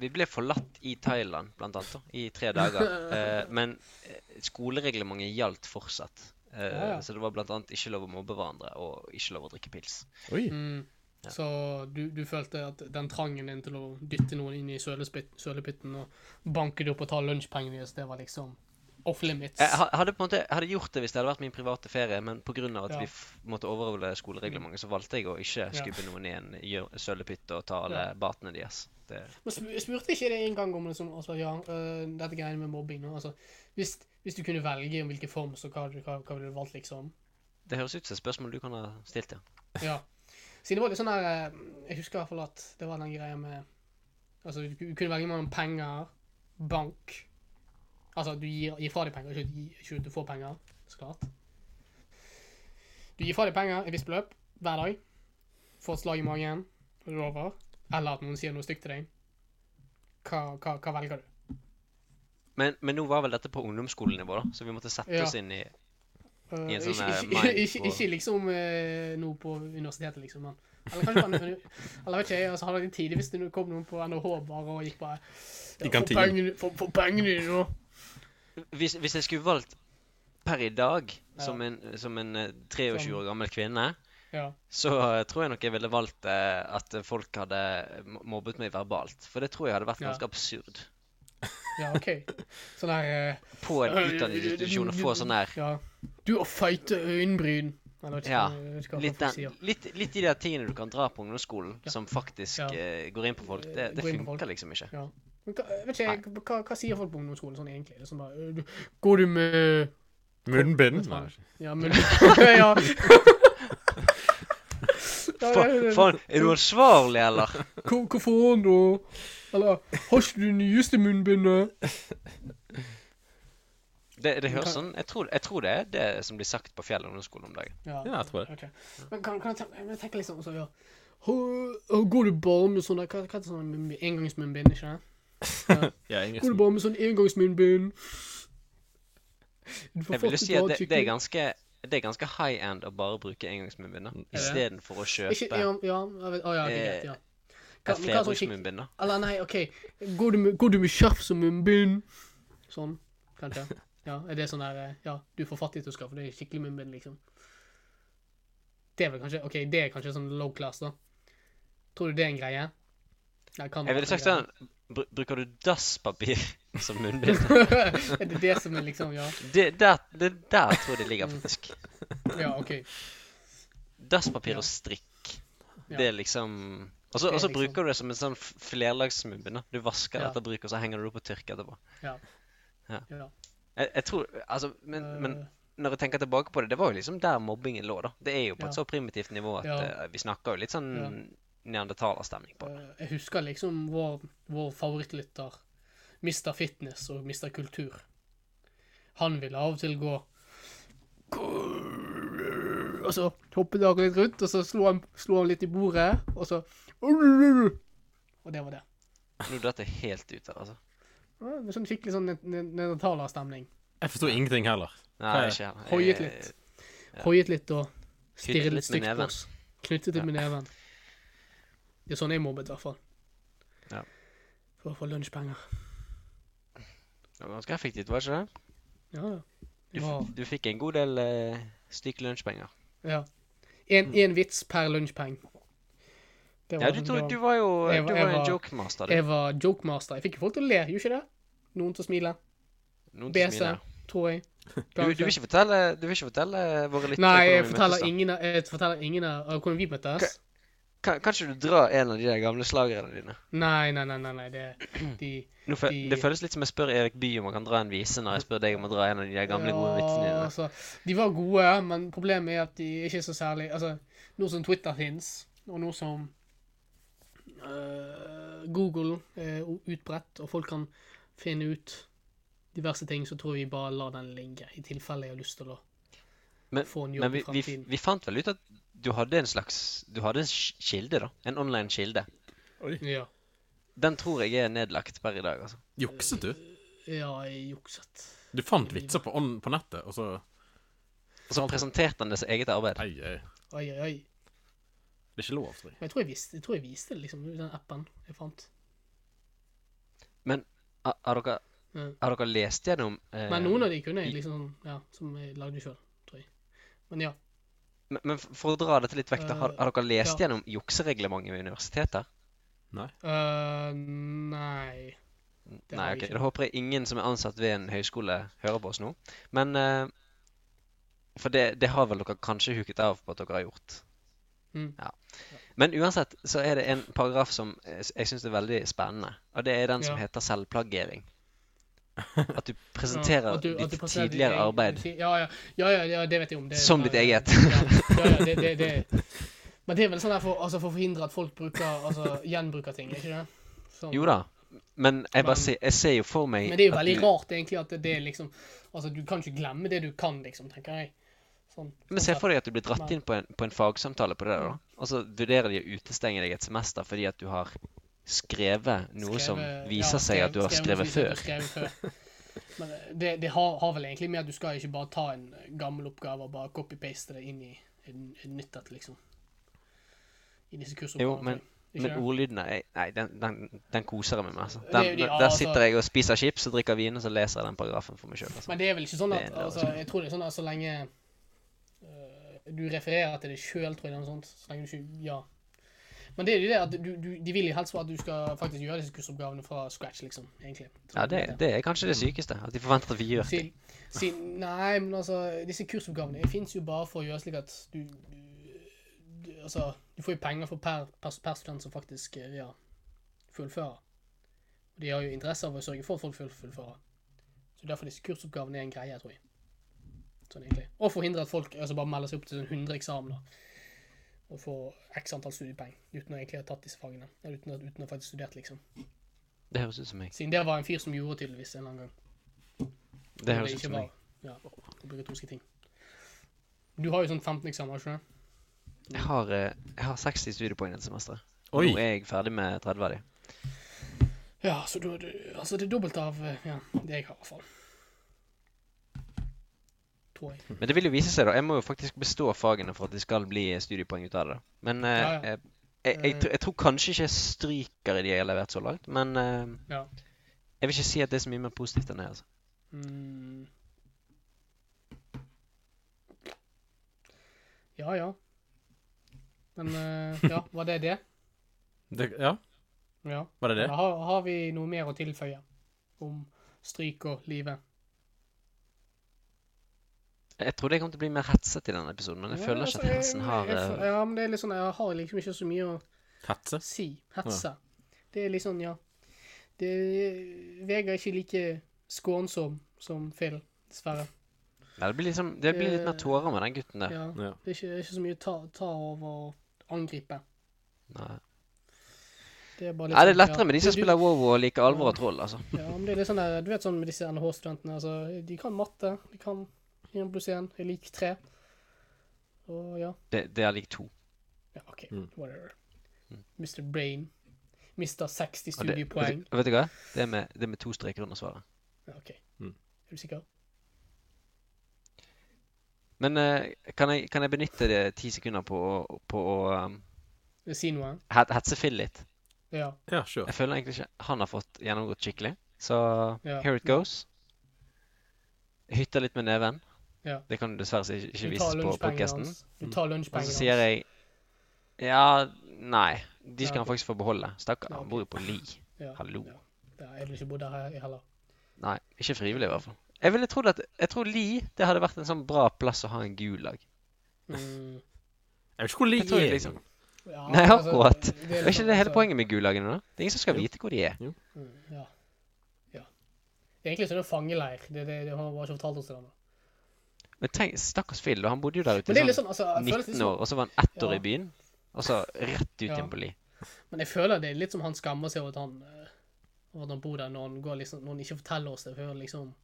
Speaker 3: Vi ble forlatt i Thailand, blant annet, da, i tre dager. Eh, men eh, skolereglementet gjaldt fortsatt. Eh,
Speaker 1: Ja, ja.
Speaker 3: Så det var blant annet ikke lov å mobbe hverandre og ikke lov å drikke pils.
Speaker 2: Oi.
Speaker 1: Mm.
Speaker 3: Ja.
Speaker 1: Så du, du følte at den trangen din til å dytte noen inn i sølepyt- sølepytten og banke det opp og ta lunsjpengene deres, det var liksom off limits.
Speaker 3: Jeg Eh, ha- hadde på en måte jeg hadde gjort det hvis det hadde vært min private ferie, men pga. at
Speaker 1: Ja.
Speaker 3: vi f måtte overholde skolereglementet, så valgte jeg å ikke skubbe noen i en gjø- sølepytt og ta alle
Speaker 1: Ja.
Speaker 3: batene deres. Det,
Speaker 1: Men sp- spurte ikke det en gang om liksom, altså, ja, øh, dette greiene med mobbing nå? Altså, hvis, hvis du kunne velge om hvilken form, så hva, hva, hva ville du valgt, liksom?
Speaker 3: det høres ut som et spørsmål du kan ha stilt, ja.
Speaker 1: Ja. Siden det var litt sånn der øh, Jeg husker i hvert fall at det var den greia med Altså, du ku- kunne velge mellom penger, bank Altså, du gir, gir fra deg penger, ikke, at du gir- ikke at du får penger, så klart. Du gir fra deg penger, et visst beløp, hver dag. Får et slag i magen, og det er over. Eller at noen sier noe stygt til deg. Hva, hva, hva velger du?
Speaker 3: Men, men nå var vel dette på ungdomsskolenivå, da, så vi måtte sette
Speaker 1: Ja.
Speaker 3: oss inn i
Speaker 1: Eh,
Speaker 3: I en
Speaker 1: ikke,
Speaker 3: sånn, eh,
Speaker 1: ikke,
Speaker 3: mind
Speaker 1: ikke,
Speaker 3: på-
Speaker 1: ikke liksom eh, noe på universitetet, liksom. Men. Eller kanskje på en- Eller vet ikke jeg. Altså, hadde det tidlig hvis det kom noen på NHH bare og gikk bare
Speaker 2: I
Speaker 1: Få
Speaker 2: kantinen.
Speaker 1: pengene få- få pengene dine nå!
Speaker 3: Hvis, hvis jeg skulle valgt per i dag,
Speaker 1: Ja.
Speaker 3: som en, som en eh, 23 år gammel kvinne,
Speaker 1: Ja.
Speaker 3: så eh, tror jeg nok jeg ville valgt eh, at folk hadde mo- mobbet meg verbalt. For det tror jeg hadde vært
Speaker 1: Ja.
Speaker 3: ganske absurd.
Speaker 1: ja, OK. Sånn der eh,
Speaker 3: På en utdanningsinstitusjon å få sånn der
Speaker 1: Ja. Du har feite øyenbryn. Eller vet ikke,
Speaker 3: Ja,
Speaker 1: jeg vet ikke hva
Speaker 3: Litt,
Speaker 1: folk
Speaker 3: den,
Speaker 1: sier.
Speaker 3: litt, litt de der tingene du kan dra på ungdomsskolen
Speaker 1: Ja.
Speaker 3: som faktisk
Speaker 1: Ja.
Speaker 3: eh, går inn på folk, det, det
Speaker 1: Går inn på folk.
Speaker 3: funker liksom ikke.
Speaker 1: Ja. Men hva, vet ikke, jeg, hva, hva sier folk på ungdomsskolen sånn egentlig? Det er sånn bare eh, du, Går du med
Speaker 2: Munnbind?
Speaker 1: Vet
Speaker 2: Nei.
Speaker 1: man. Ja, men Ja. Ja,
Speaker 3: Fa-
Speaker 1: det- det-
Speaker 3: Faen, er du ansvarlig, eller?
Speaker 1: Hva hva faen, da? Eller har ikke du det nyeste munnbindet?
Speaker 3: Det, det høres
Speaker 1: kan-
Speaker 3: sånn jeg tror, jeg tror det er det som blir sagt på Fjell ungdomsskole om dagen.
Speaker 2: Ja, jeg tror det.
Speaker 1: Ok. Men kan, kan jeg tenke, jeg tenker liksom så, ja. Har- har- Går du bare med sånn der Hva, hva er det sånn munnbind- engangsmunnbind, ikke det?
Speaker 2: Ja,
Speaker 1: Går du
Speaker 2: Ingebrigtsen.
Speaker 1: bare med sånn engangsmunnbind? Du får
Speaker 3: Jeg vil jo
Speaker 1: fast et
Speaker 3: si at
Speaker 1: annet
Speaker 3: det, det er
Speaker 1: skikkelig-
Speaker 3: ganske det er ganske high end å bare bruke engangsmunnbind da,
Speaker 2: Er
Speaker 1: det?
Speaker 3: istedenfor å
Speaker 1: Ikke,
Speaker 3: kjøpe
Speaker 1: ja, ja, jeg vet- å, ja, ok, greit, ja. Hva,
Speaker 3: Eh,
Speaker 1: men
Speaker 3: et
Speaker 1: hva er sånn skikkelig-
Speaker 3: flerbruksmunnbind. da.
Speaker 1: Eller nei, OK. Går du med, går du med skjerf som munnbind? Sånn, kanskje. Ja, er det sånn der eh, Ja, du får fattig til å skaffe deg skikkelig munnbind, liksom. Det er vel kanskje OK, det er kanskje sånn low class, da. Tror du det er en greie? Nei, kan
Speaker 3: Jeg ville
Speaker 1: være
Speaker 3: sagt
Speaker 1: en
Speaker 3: sånn br Bruker du dasspapir som munnbind?
Speaker 1: greie. er det det som er liksom Ja,
Speaker 3: Det der, det der tror jeg det ligger, faktisk.
Speaker 1: ja OK.
Speaker 3: Dasspapir
Speaker 1: Ja.
Speaker 3: og strikk.
Speaker 1: Ja.
Speaker 3: Det er liksom Og så
Speaker 1: Det er
Speaker 3: og så
Speaker 1: liksom-
Speaker 3: bruker du det som en sånn f- flerlagsmunnbind. da. Du vasker
Speaker 1: Ja.
Speaker 3: etter bruk, og så henger du det opp og tørker etterpå.
Speaker 1: Ja.
Speaker 3: Jeg, jeg tror, altså, men, men
Speaker 1: eh,
Speaker 3: når jeg tenker tilbake på det, det var jo liksom der mobbingen lå, da. Det er jo på et
Speaker 1: Ja.
Speaker 3: så primitivt nivå at
Speaker 1: Ja.
Speaker 3: eh, vi snakker jo litt sånn neandertalerstemning på det.
Speaker 1: Eh, Jeg husker liksom vår, vår favorittlytter, Mr. Fitness og Mr. Kultur. Han ville av og til gå Og så hoppet han litt rundt, og så slo han, slo han litt i bordet, og så Og det var det.
Speaker 3: Nå datt jeg helt ut her, altså.
Speaker 1: Ja, det var Sånn skikkelig sånn ne- ne- neandertalerstemning.
Speaker 2: Jeg forsto ingenting heller.
Speaker 3: Nei,
Speaker 2: Hva er-
Speaker 3: ikke Eh, heller.
Speaker 1: Hoiet
Speaker 3: Jeg-
Speaker 1: litt. Hoiet litt og stirret litt
Speaker 3: Knyttet litt med
Speaker 1: stygt på
Speaker 3: neven.
Speaker 1: oss. Knyttet det
Speaker 3: Ja.
Speaker 1: med neven. Det er sånn jeg mobbet, i hvert fall.
Speaker 3: Ja.
Speaker 1: For å få lunsjpenger.
Speaker 3: Det var ganske effektivt, var det ikke det?
Speaker 1: Ja, ja.
Speaker 3: Du,
Speaker 1: Det
Speaker 3: f-
Speaker 1: var-
Speaker 3: du fikk en god del uh, stykk lunsjpenger.
Speaker 1: Ja. En, en vits per lunsjpeng. Det var
Speaker 3: Mm. Ja, du,
Speaker 1: sånn-
Speaker 3: tog,
Speaker 1: det
Speaker 3: du
Speaker 1: var-
Speaker 3: var jo
Speaker 1: Jeg var-
Speaker 3: du
Speaker 1: jeg
Speaker 3: var
Speaker 1: var-
Speaker 3: en jokemaster, du.
Speaker 1: Jeg var jokemaster. Jeg fikk jo folk til å le, gjorde ikke det? Noen til å smile,
Speaker 3: Noen til å
Speaker 1: bese,
Speaker 3: smile.
Speaker 1: tror jeg.
Speaker 3: Du, du, vil ikke fortelle, du vil ikke fortelle eh, våre lyttere
Speaker 1: Nei, jeg
Speaker 3: hvordan vi
Speaker 1: forteller
Speaker 3: møttes? da?
Speaker 1: ingen av jeg forteller ingen av av hvordan vi møttes.
Speaker 3: Kan, kan ikke du dra en av de der gamle slagerne dine?
Speaker 1: Nei, nei, nei, nei, nei, det de,
Speaker 3: Nå fø-
Speaker 1: De-
Speaker 3: Det føles litt som jeg spør Erik Bye om han kan dra en vise, når jeg spør deg om å dra en av de der gamle, gode vitsene
Speaker 1: Ja,
Speaker 3: dine.
Speaker 1: altså, de var gode, men problemet er at de ikke er så særlig Altså, nå som Twitter fins, og nå som øh, Google er o- utbredt, og folk kan finne ut diverse ting, så tror jeg vi bare lar den ligge, i tilfelle jeg har lyst til å
Speaker 3: Men-
Speaker 1: få en jobb
Speaker 3: Men vi,
Speaker 1: i
Speaker 3: vi,
Speaker 1: fremtiden.
Speaker 3: vi fant vel ut at du hadde en slags Du hadde en sk- kilde, da. En online kilde.
Speaker 1: Ja.
Speaker 3: Den tror jeg er nedlagt per i dag, altså.
Speaker 2: Jukset du?
Speaker 1: ja, jeg jukset.
Speaker 2: Du fant vitser på, on- på nettet, og så
Speaker 3: Og så presenterte han det som eget arbeid.
Speaker 2: Ei, ei.
Speaker 1: Oi, oi, oi.
Speaker 2: Det er ikke lov, tror jeg.
Speaker 1: Men jeg tror jeg, visste, jeg tror jeg viste det, liksom, i den appen jeg fant.
Speaker 3: Har, har, dere,
Speaker 1: Ja.
Speaker 3: har dere lest gjennom eh,
Speaker 1: Men noen av de kunne jeg
Speaker 3: i-
Speaker 1: liksom sånn, ja, som jeg lagde sjøl, tror jeg. Men ja.
Speaker 3: Men, men for å dra dette litt vekk, da, har, har dere
Speaker 1: Eh,
Speaker 3: lest
Speaker 1: ja.
Speaker 3: gjennom juksereglementet ved universiteter?
Speaker 1: Eh, nei. Det har
Speaker 3: Nei, ok.
Speaker 1: jeg ikke.
Speaker 3: Da håper jeg ingen som er ansatt ved en høyskole hører på oss nå. Men eh, For det, det har vel dere kanskje huket av på at dere har gjort.
Speaker 1: Mm.
Speaker 3: Ja. Men uansett så er det en paragraf som eh, s- jeg syns er veldig spennende. Og det er den som
Speaker 1: Ja.
Speaker 3: heter selvplagiering. At du presenterer
Speaker 1: Ja, at du- at du
Speaker 3: ditt
Speaker 1: presenterer ditt
Speaker 3: tidligere
Speaker 1: eget-
Speaker 3: arbeid
Speaker 1: Ja ja. ja, ja, ja, det vet jeg om. Det,
Speaker 3: Som
Speaker 1: ja,
Speaker 3: ditt
Speaker 1: ja,
Speaker 3: eget.
Speaker 1: Ja, ja, ja det, det, det. Men det er vel sånn der for, altså, for å forhindre at folk bruker, altså, gjenbruker ting, er ikke det? Sånn.
Speaker 3: Jo da. Men jeg
Speaker 1: Men-
Speaker 3: bare ser, jeg ser jo for meg
Speaker 1: Men det er jo
Speaker 3: at
Speaker 1: veldig
Speaker 3: du-
Speaker 1: rart egentlig at det, det er liksom Altså, du kan ikke glemme det du kan, liksom, tenker jeg. Sånn,
Speaker 3: Men
Speaker 1: sånn
Speaker 3: se
Speaker 1: sett.
Speaker 3: for deg at du blir dratt
Speaker 1: Nei. Mm.
Speaker 3: inn på en, på en fagsamtale på det der, da. Og så vurderer de å utestenge deg et semester fordi at du har skrevet noe som
Speaker 1: Skrevet- ja,
Speaker 3: viser seg
Speaker 1: skrevet-
Speaker 3: at du har
Speaker 1: noe som
Speaker 3: skrevet
Speaker 1: viser at du
Speaker 3: før.
Speaker 1: har skrevet før. Men eh, det, det har, har vel egentlig med at du skal ikke bare ta en gammel oppgave og bare copy-paste det inn i en, en nytt et, liksom. I disse kursene.
Speaker 3: Jo, men- Men ordlyden er Nei, den, den, den koser jeg meg med. Altså.
Speaker 1: Det er jo
Speaker 3: Den,
Speaker 1: de- ja,
Speaker 3: der
Speaker 1: altså-
Speaker 3: sitter jeg og spiser chips og drikker vin, og så leser jeg den paragrafen for meg sjøl. Altså.
Speaker 1: Men det er vel ikke sånn
Speaker 3: Det
Speaker 1: at
Speaker 3: er en
Speaker 1: altså, Jeg tror det er sånn at så lenge øh, du refererer til det sjøl, tror jeg det er noe sånt. Så lenge du ikke Ja. Men det er jo det at du, du, de vil jo helst at du skal faktisk gjøre disse kursoppgavene fra scratch, liksom. egentlig.
Speaker 3: Ja, det, det er kanskje det
Speaker 1: Mm.
Speaker 3: sykeste. At de forventer at vi gjør ting.
Speaker 1: Si, si, nei, men altså, disse kursoppgavene fins jo bare for å gjøre slik at du, du, du Altså, du får jo penger for per, per, per student som faktisk eh, ja, fullfører. Og de har jo interesse av å sørge for at folk full- fullfører. Så derfor disse kursoppgavene er en greie, tror jeg. Sånn egentlig. Og forhindre at folk altså, bare melder seg opp til sånn 100 eksamener. Og får x antall studiepoeng uten å egentlig ha tatt disse fagene. Eller uten, å- uten å faktisk studert, liksom.
Speaker 3: Det høres ut som meg.
Speaker 1: Siden det var en fyr som gjorde tydeligvis en eller annen gang.
Speaker 3: Det høres ut
Speaker 1: ikke
Speaker 3: som
Speaker 1: var
Speaker 3: meg.
Speaker 1: ja, obligatoriske ting. Du har jo sånn 15 eksamener, har du ikke det?
Speaker 3: Jeg har, eh, jeg har 60 studiepoeng dette semesteret. Nå
Speaker 2: Oi!
Speaker 3: er jeg ferdig med 30 av de.
Speaker 1: Ja, så du, du, altså det er dobbelt av eh, ja, det jeg har, i hvert fall. Tror jeg.
Speaker 3: Men det vil jo vise seg, da. Jeg må jo faktisk bestå fagene for at det skal bli eh, studiepoeng ut av det. da. Men eh,
Speaker 1: Ja, ja.
Speaker 3: eh, Jeg, jeg, tr- jeg tror kanskje ikke jeg stryker i de jeg har levert så langt, men eh,
Speaker 1: Ja.
Speaker 3: jeg vil ikke si at det er så mye mer positivt enn det. altså.
Speaker 1: Mm. Ja, ja. Men eh, ja, var det det?
Speaker 2: Det, ja,
Speaker 1: Ja.
Speaker 2: var det det?
Speaker 1: Da har, har vi noe mer å tilføye om stryk og livet?
Speaker 3: Jeg trodde jeg kom til å bli mer hetset i denne episoden, men jeg føler ikke at hetsen har
Speaker 1: altså, jeg,
Speaker 3: eh,
Speaker 1: jeg, Ja, men det er litt sånn, jeg har liksom ikke så mye å
Speaker 2: Hetse?
Speaker 1: Si. Hetse. Det er litt sånn, ja. Det, Vegard er ikke like skånsom som Phil, dessverre.
Speaker 3: ja, Det blir liksom, det blir litt mer
Speaker 1: Eh,
Speaker 3: tårer med den gutten der.
Speaker 1: Ja.
Speaker 2: Ja.
Speaker 1: Det er ikke, ikke så mye å ta, ta over og angripe.
Speaker 3: Nei,
Speaker 1: Det er bare
Speaker 3: Nei, det er
Speaker 1: sånn,
Speaker 3: lettere med de som
Speaker 1: Du- du-
Speaker 3: spiller WoW og liker alvor og troll, altså.
Speaker 1: Ja, men det er litt sånn der, Du vet sånn med disse NHH-studentene. altså, De kan matte. De kan 1 pluss 1 er lik 3. Og ja.
Speaker 3: Det, det er lik to.
Speaker 1: ja OK,
Speaker 2: Mm.
Speaker 1: whatever.
Speaker 3: Mm.
Speaker 1: Mr. Brain mister 60
Speaker 3: Og det,
Speaker 1: studiepoeng.
Speaker 3: vet, du, vet du hva? Det er med, det er med to streker under svaret.
Speaker 1: Ja, OK.
Speaker 2: Mm.
Speaker 1: Er du sikker?
Speaker 3: Men eh, kan, jeg, kan jeg benytte det ti sekunder på å, på å um,
Speaker 1: Si noe.
Speaker 3: het- hetse Phil litt?
Speaker 1: Ja.
Speaker 2: Ja, sure.
Speaker 3: Jeg føler egentlig ikke han har fått gjennomgått skikkelig. Så
Speaker 1: Ja.
Speaker 3: here it goes. Hytter litt med neven.
Speaker 1: Ja.
Speaker 3: Det kan dessverre ikke, ikke
Speaker 1: Du tar
Speaker 3: vises på
Speaker 1: lunsjpengene
Speaker 3: podcasten.
Speaker 1: hans. Du tar
Speaker 3: Og
Speaker 1: lunsjpengene
Speaker 3: så
Speaker 1: hans.
Speaker 3: sier jeg Ja, nei. De skal
Speaker 1: Ja,
Speaker 3: han faktisk få beholde. Stakkar.
Speaker 1: Ja,
Speaker 3: Han
Speaker 1: ok.
Speaker 3: bor jo på Li.
Speaker 1: Ja.
Speaker 3: Hallo.
Speaker 1: Ja. Ja, jeg vil ikke bo der he- heller.
Speaker 3: Nei, ikke frivillig i hvert fall. Jeg ville trodd at Jeg tror Li det hadde vært en sånn bra plass å ha en gulag.
Speaker 1: Mm,
Speaker 2: Jeg vet ikke hvor
Speaker 3: Jeg tror jeg
Speaker 2: Li
Speaker 3: liksom
Speaker 2: er.
Speaker 1: ja,
Speaker 3: Nei,
Speaker 1: altså,
Speaker 3: akkurat.
Speaker 1: det
Speaker 3: Er
Speaker 1: liksom-
Speaker 3: ikke det hele
Speaker 1: altså,
Speaker 3: poenget med gulagene, da? Det er ingen som skal
Speaker 2: Jo.
Speaker 3: vite hvor de er.
Speaker 1: mm, Ja. ja. Det er egentlig sånn en fangeleir. Det, det, det har han bare ikke fortalt oss til ennå.
Speaker 3: Men tenk, stakkars Phil, da. Han bodde jo der ute
Speaker 1: Men det er
Speaker 3: i
Speaker 1: litt
Speaker 3: sånn
Speaker 1: sånn, altså, jeg føler litt
Speaker 3: 19
Speaker 1: som-
Speaker 3: år, og så var han ett år
Speaker 1: Ja.
Speaker 3: i byen, og så rett ut
Speaker 1: Ja.
Speaker 3: igjen på Li.
Speaker 1: Men jeg føler det er litt som han skammer seg over at han, eh, over at han bor der, når han, går, liksom, når han ikke forteller oss det før liksom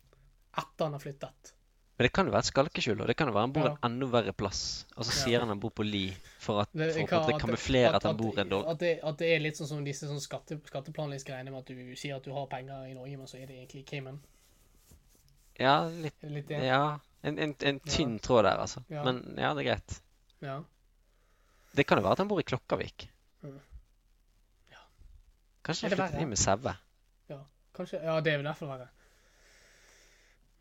Speaker 1: etter han har flyttet.
Speaker 3: Men det kan jo være et skalkeskjul, og det kan jo være han bor
Speaker 1: Ja.
Speaker 3: en enda verre plass. Og så
Speaker 1: Ja.
Speaker 3: sier han han bor på Li for at
Speaker 1: Det-
Speaker 3: for å
Speaker 1: hva-
Speaker 3: på en måte kamuflere at han bor en dårlig
Speaker 1: At det, at det er litt sånn som disse sånn skatte, skatteplanleggingsgreiene med at du sier at du har penger i Norge, men så er det egentlig i Cayman.
Speaker 3: Ja, litt
Speaker 1: Er det litt det?
Speaker 3: Ja. En, en, en
Speaker 1: Ja.
Speaker 3: tynn tråd der, altså.
Speaker 1: Ja.
Speaker 3: Men ja, det er greit.
Speaker 1: ja.
Speaker 3: Det kan jo være at han bor i Klokkarvik.
Speaker 1: Mm. Ja.
Speaker 3: Kanskje
Speaker 1: Er det
Speaker 3: han flyttet
Speaker 1: verre?
Speaker 3: inn med Sæve.
Speaker 1: Kanskje, ja, det vil derfor være.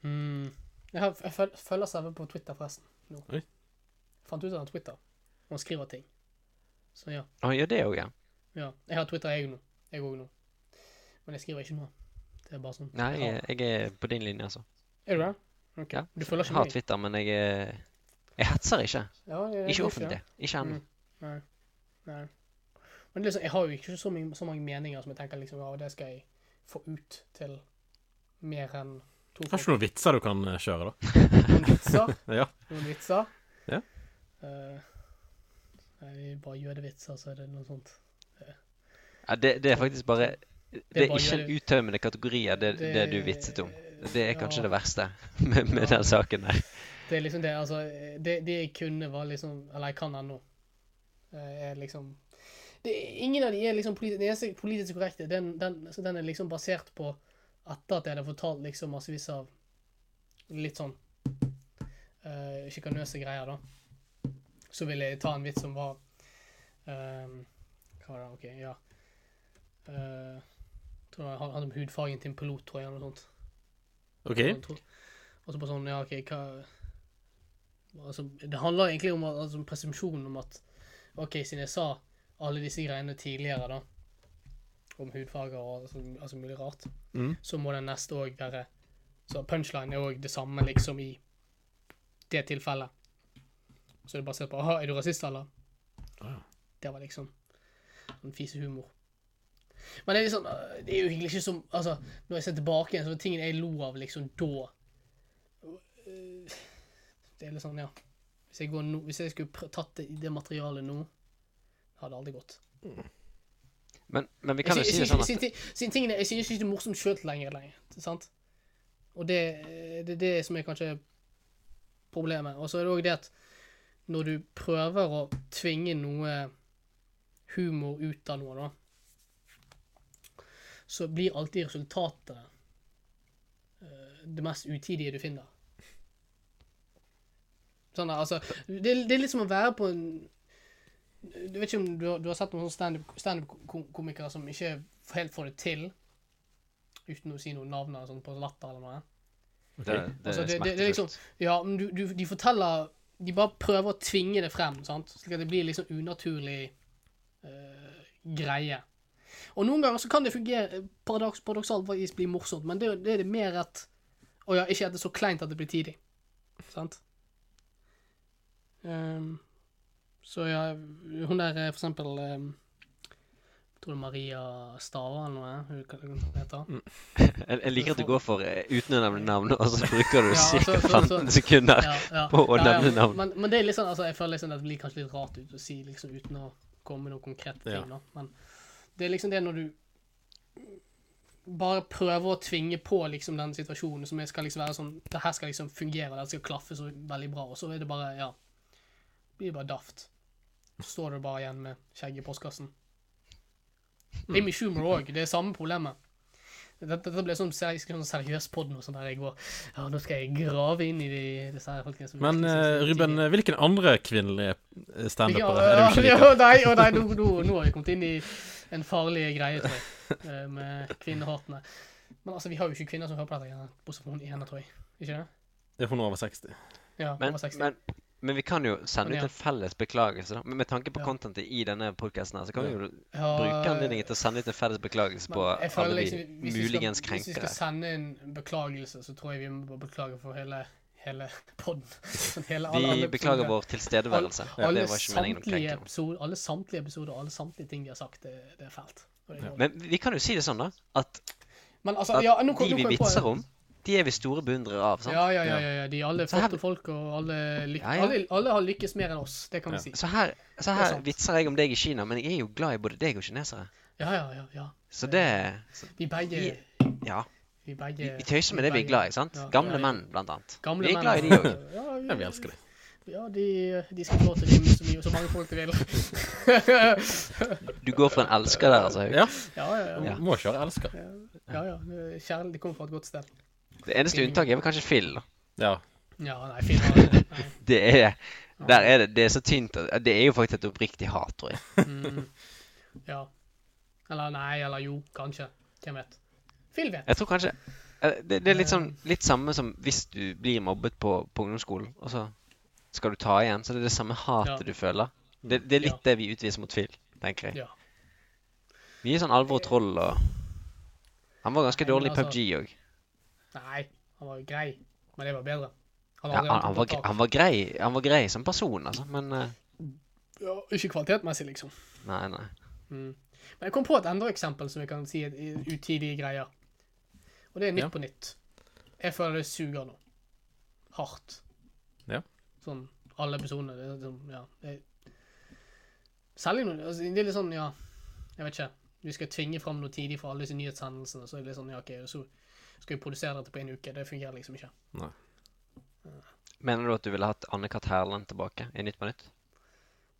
Speaker 1: Hmm. Mm. Jeg, har, jeg føl- følger Sæve på Twitter forresten. Nå.
Speaker 2: Oi.
Speaker 1: Fant ut av den Twitter. Og han skriver ting. Så ja.
Speaker 3: Å, han gjør det òg, ja.
Speaker 1: ja. Jeg har Twitter, jeg nå. Jeg òg nå. Men jeg skriver ikke noe. Det er bare sånn.
Speaker 3: Nei,
Speaker 1: Ja.
Speaker 3: jeg, jeg er på din linje, altså.
Speaker 1: Er du det? Ok.
Speaker 3: Ja.
Speaker 1: Du følger
Speaker 3: Jeg
Speaker 1: ikke
Speaker 3: har
Speaker 1: meg?
Speaker 3: Twitter, men jeg, er- jeg hetser ikke.
Speaker 1: Ja, jeg- jeg-
Speaker 3: Ikke
Speaker 1: jeg-
Speaker 3: offentlig. Ikke ennå.
Speaker 1: Mm. Nei. Nei. Men liksom, jeg har jo ikke så, mye, så mange meninger som jeg tenker liksom, ja, det skal jeg få ut til mer enn to
Speaker 2: Har ikke du noen vitser du kan eh, kjøre, da?
Speaker 1: Noen vitser.
Speaker 2: Ja.
Speaker 1: Noen vitser.
Speaker 2: Ja.
Speaker 1: Eh, nei, det er bare jødevitser, så er det noe sånt.
Speaker 3: Ja, det, det er faktisk bare Det er
Speaker 1: bare
Speaker 3: ikke en
Speaker 1: jøde-
Speaker 3: uttømmende kategori av det, det du vitset om. Det er kanskje det verste med, med
Speaker 1: Ja.
Speaker 3: den saken der.
Speaker 1: Det er liksom det, altså, det, det jeg kunne var liksom, eller jeg kan ennå, eh, er liksom, det, er- ingen av de er liksom politisk, det eneste politisk korrekte, den, den, så den er liksom basert på etter at jeg hadde fortalt liksom massevis av litt sånn uh, skikanøse greier da. Så ville jeg ta en vits som var, eh, hva var det, ok, ja. Eh, tror jeg han hadde om hudfargen til en pilot, tror jeg, eller noe sånt.
Speaker 2: OK.
Speaker 1: Og tro- Og så bare sånn, ja, ok, hva Altså, det handler egentlig om at- altså, presumpsjonen om at OK, siden jeg sa alle disse greiene tidligere, da, om hudfarger og altså, altså mulig rart,
Speaker 2: Mm.
Speaker 1: så må den neste òg være Så punchline er òg det samme, liksom, i det tilfellet. Så det er basert på Aha, er du rasist, eller?
Speaker 2: Ah, ja.
Speaker 1: Det var liksom sånn fisehumor. Men det er liksom øh, Det er jo egentlig ikke som Altså, når jeg ser tilbake igjen, så var tingene jeg lo av liksom da øh, Det er litt sånn, ja. Hvis jeg, går nå, hvis jeg skulle pr tatt det, det materialet nå, hadde det aldri gått.
Speaker 3: Men, men vi
Speaker 1: Jeg
Speaker 3: kan jo
Speaker 1: sy-
Speaker 3: si det
Speaker 1: jeg
Speaker 3: sånn
Speaker 1: syns
Speaker 3: at
Speaker 1: ikke det er morsomt sjøl lenger. lenger ikke sant? Og det, eh, det er det som er kanskje problemet. Og så er det òg det at når du prøver å tvinge noe humor ut av noe, da, så blir alltid resultatet eh, det mest utidige du finner. Sånn der, altså, det, er- det er litt som å være på en Du vet ikke om du har, du har sett noen sånne standup-komikere som ikke helt får det til, uten å si noen navn eller sånn på latter eller noe?
Speaker 3: det, det
Speaker 1: Altså,
Speaker 3: er
Speaker 1: det- det- det er liksom-
Speaker 3: smertefullt.
Speaker 1: Ja, men du, du, de forteller De bare prøver å tvinge det frem, sant? slik at det blir liksom unaturlig eh, greie. Og noen ganger så kan det fungere paradoks, paradoksalt faktisk bli morsomt, men det, er jo- det er det mer at Å ja, ikke at det er så kleint at det blir tidig. Sant? Ehm, så ja, hun der eh, for eksempel um, Tror det er Maria Stava eller noe? Hun kan- hva hun heter
Speaker 3: Jeg, jeg liker at du går for eh, uten å nevne navn, og så bruker du
Speaker 1: Ja, så-
Speaker 3: ca.
Speaker 1: så- så-
Speaker 3: 15 sekunder.
Speaker 1: ja, ja.
Speaker 3: på å
Speaker 1: Ja, ja,
Speaker 3: nevne navn.
Speaker 1: Men, men det er litt sånn, altså, jeg føler liksom at det blir kanskje litt rart ut å si liksom, uten å komme med noen konkrete ting.
Speaker 2: Ja.
Speaker 1: Da. Men det er liksom det når du bare prøver å tvinge på liksom, den situasjonen som jeg skal liksom være sånn Det her skal liksom fungere, det skal klaffe så veldig bra, og så er det bare Ja. Blir det bare daft. Så står du bare igjen med skjegget i postkassen.
Speaker 2: Mm.
Speaker 1: Amy Schumer òg. Det er samme problemet. Dette, dette ble sånn, seri sånn seriøs podd nå, sånn der jeg går Ja, nå skal jeg grave inn i de, disse her folkene som
Speaker 2: Men
Speaker 1: virkelig synes
Speaker 2: eh,
Speaker 1: det er
Speaker 2: Ruben,
Speaker 1: tidlig.
Speaker 2: hvilken andre kvinnelige eh,
Speaker 1: Ja,
Speaker 2: standupere er det du ikke
Speaker 1: ja,
Speaker 2: liker?
Speaker 1: nei, å nei, nå, nå, nå har vi kommet inn i en farlig greie, tror jeg, eh, med kvinnehatene. Men altså, vi har jo ikke kvinner som hører på dette, greiene, bortsett fra hun ene, tror jeg. Ikke det?
Speaker 2: Er hun over 60?
Speaker 1: Ja,
Speaker 3: Men,
Speaker 1: over 60.
Speaker 3: men, men vi kan jo sende
Speaker 1: Men
Speaker 3: ut
Speaker 1: ja.
Speaker 3: en felles beklagelse, da. Men med tanke på
Speaker 1: Ja.
Speaker 3: contentet i denne podkasten her, så kan vi jo
Speaker 1: ja,
Speaker 3: bruke anledningen til å sende ut en felles beklagelse på
Speaker 1: men jeg føler
Speaker 3: alle
Speaker 1: liksom,
Speaker 3: de
Speaker 1: hvis vi skal-
Speaker 3: muligens
Speaker 1: Hvis vi skal
Speaker 3: krenkere.
Speaker 1: sende en beklagelse, så tror jeg vi må bare beklage for hele, hele podden. Sånn hele- alle- alle
Speaker 3: Vi beklager
Speaker 1: episoder.
Speaker 3: vår tilstedeværelse.
Speaker 1: alle,
Speaker 3: Det var ikke meningen å
Speaker 1: samtlige
Speaker 3: krenke. noen.
Speaker 1: episoder, alle samtlige episoder og alle samtlige ting vi har sagt, det, det er fælt. Og det er dårlig.
Speaker 3: Men vi kan jo si det sånn, da. At,
Speaker 1: Men altså,
Speaker 3: at
Speaker 1: ja, nå kom,
Speaker 3: de
Speaker 1: nå kom
Speaker 3: vi
Speaker 1: jeg på
Speaker 3: vitser om, de er vi store beundrere av. sant?
Speaker 1: Ja, ja, ja, ja, ja. De er alle
Speaker 3: Så her-
Speaker 1: flotte folk, og alle, lyk
Speaker 3: Ja, ja.
Speaker 1: Alle, alle har lykkes mer enn oss. Det kan vi
Speaker 2: Ja.
Speaker 1: si.
Speaker 3: Så her, så
Speaker 1: Det er
Speaker 3: her
Speaker 1: sant.
Speaker 3: vitser jeg om deg i Kina, men jeg er jo glad i både deg og kinesere.
Speaker 1: Ja, ja, ja. ja.
Speaker 3: Så det så,
Speaker 1: Vi begge
Speaker 3: Vi- Ja.
Speaker 1: Vi begge
Speaker 3: Vi, vi tøyser med det vi er glad i, sant?
Speaker 1: Ja, ja,
Speaker 3: Gamle
Speaker 1: ja.
Speaker 3: menn, blant annet.
Speaker 1: Gamle
Speaker 3: vi er
Speaker 1: menn,
Speaker 3: glad i de
Speaker 1: altså.
Speaker 3: òg.
Speaker 1: Ja,
Speaker 2: Ja, vi elsker det.
Speaker 1: Ja, de, de skal få lov til å rime så mye og så mange folk de vil.
Speaker 3: Du går for en elsker der, altså. Haug.
Speaker 2: Ja,
Speaker 1: ja, ja, ja.
Speaker 2: må kjøre elsker.
Speaker 1: ja, ja. Kjærlighet det kommer fra et godt sted.
Speaker 3: Det eneste unntaket er vel kanskje Phil. da.
Speaker 2: Ja.
Speaker 1: Ja, nei, fint. ja, Nei.
Speaker 3: Det er, der er det, det er så tynt at Det er jo faktisk et oppriktig hat, tror jeg.
Speaker 1: Mm. Ja. Eller nei, eller jo, kanskje. Hvem vet. Phil vet.
Speaker 3: Jeg tror kanskje eh, Det, det er litt sånn litt samme som hvis du blir mobbet på, på ungdomsskolen, og så skal du ta igjen. Så det er det samme hatet
Speaker 1: Ja.
Speaker 3: du føler. Det, det er litt
Speaker 1: Ja.
Speaker 3: det vi utviser mot Phil, tenker jeg.
Speaker 1: Ja.
Speaker 3: Mye sånn alvor og troll og Han var ganske
Speaker 1: Nei, men
Speaker 3: dårlig i
Speaker 1: altså-
Speaker 3: PubG òg.
Speaker 1: Nei, han var jo grei, men det var bedre. Han
Speaker 3: Ja,
Speaker 1: har aldri
Speaker 3: han,
Speaker 1: hatt
Speaker 3: han,
Speaker 1: noe
Speaker 3: var
Speaker 1: tak.
Speaker 3: gre- han, var grei- han var grei som person, altså, men eh,
Speaker 1: Ja, ikke kvalitetmessig, liksom.
Speaker 3: Nei, nei.
Speaker 1: Mm. Men jeg kom på et enda eksempel som jeg kan si er utidige greier. Og det er Nytt
Speaker 2: Ja.
Speaker 1: på nytt. Jeg føler det suger nå. Hardt.
Speaker 2: Ja.
Speaker 1: Sånn alle episodene. Det er sånn, ja. Det er- Særlig når altså, det er litt sånn, ja Jeg vet ikke. Vi skal tvinge fram noe tidlig for alle disse nyhetshendelsene. Så er det litt sånn, ja, OK, så skal vi produsere dette på en uke. Det fungerer liksom ikke.
Speaker 3: Mener du at du ville hatt Anne-Kat. Herland tilbake i Nytt på nytt?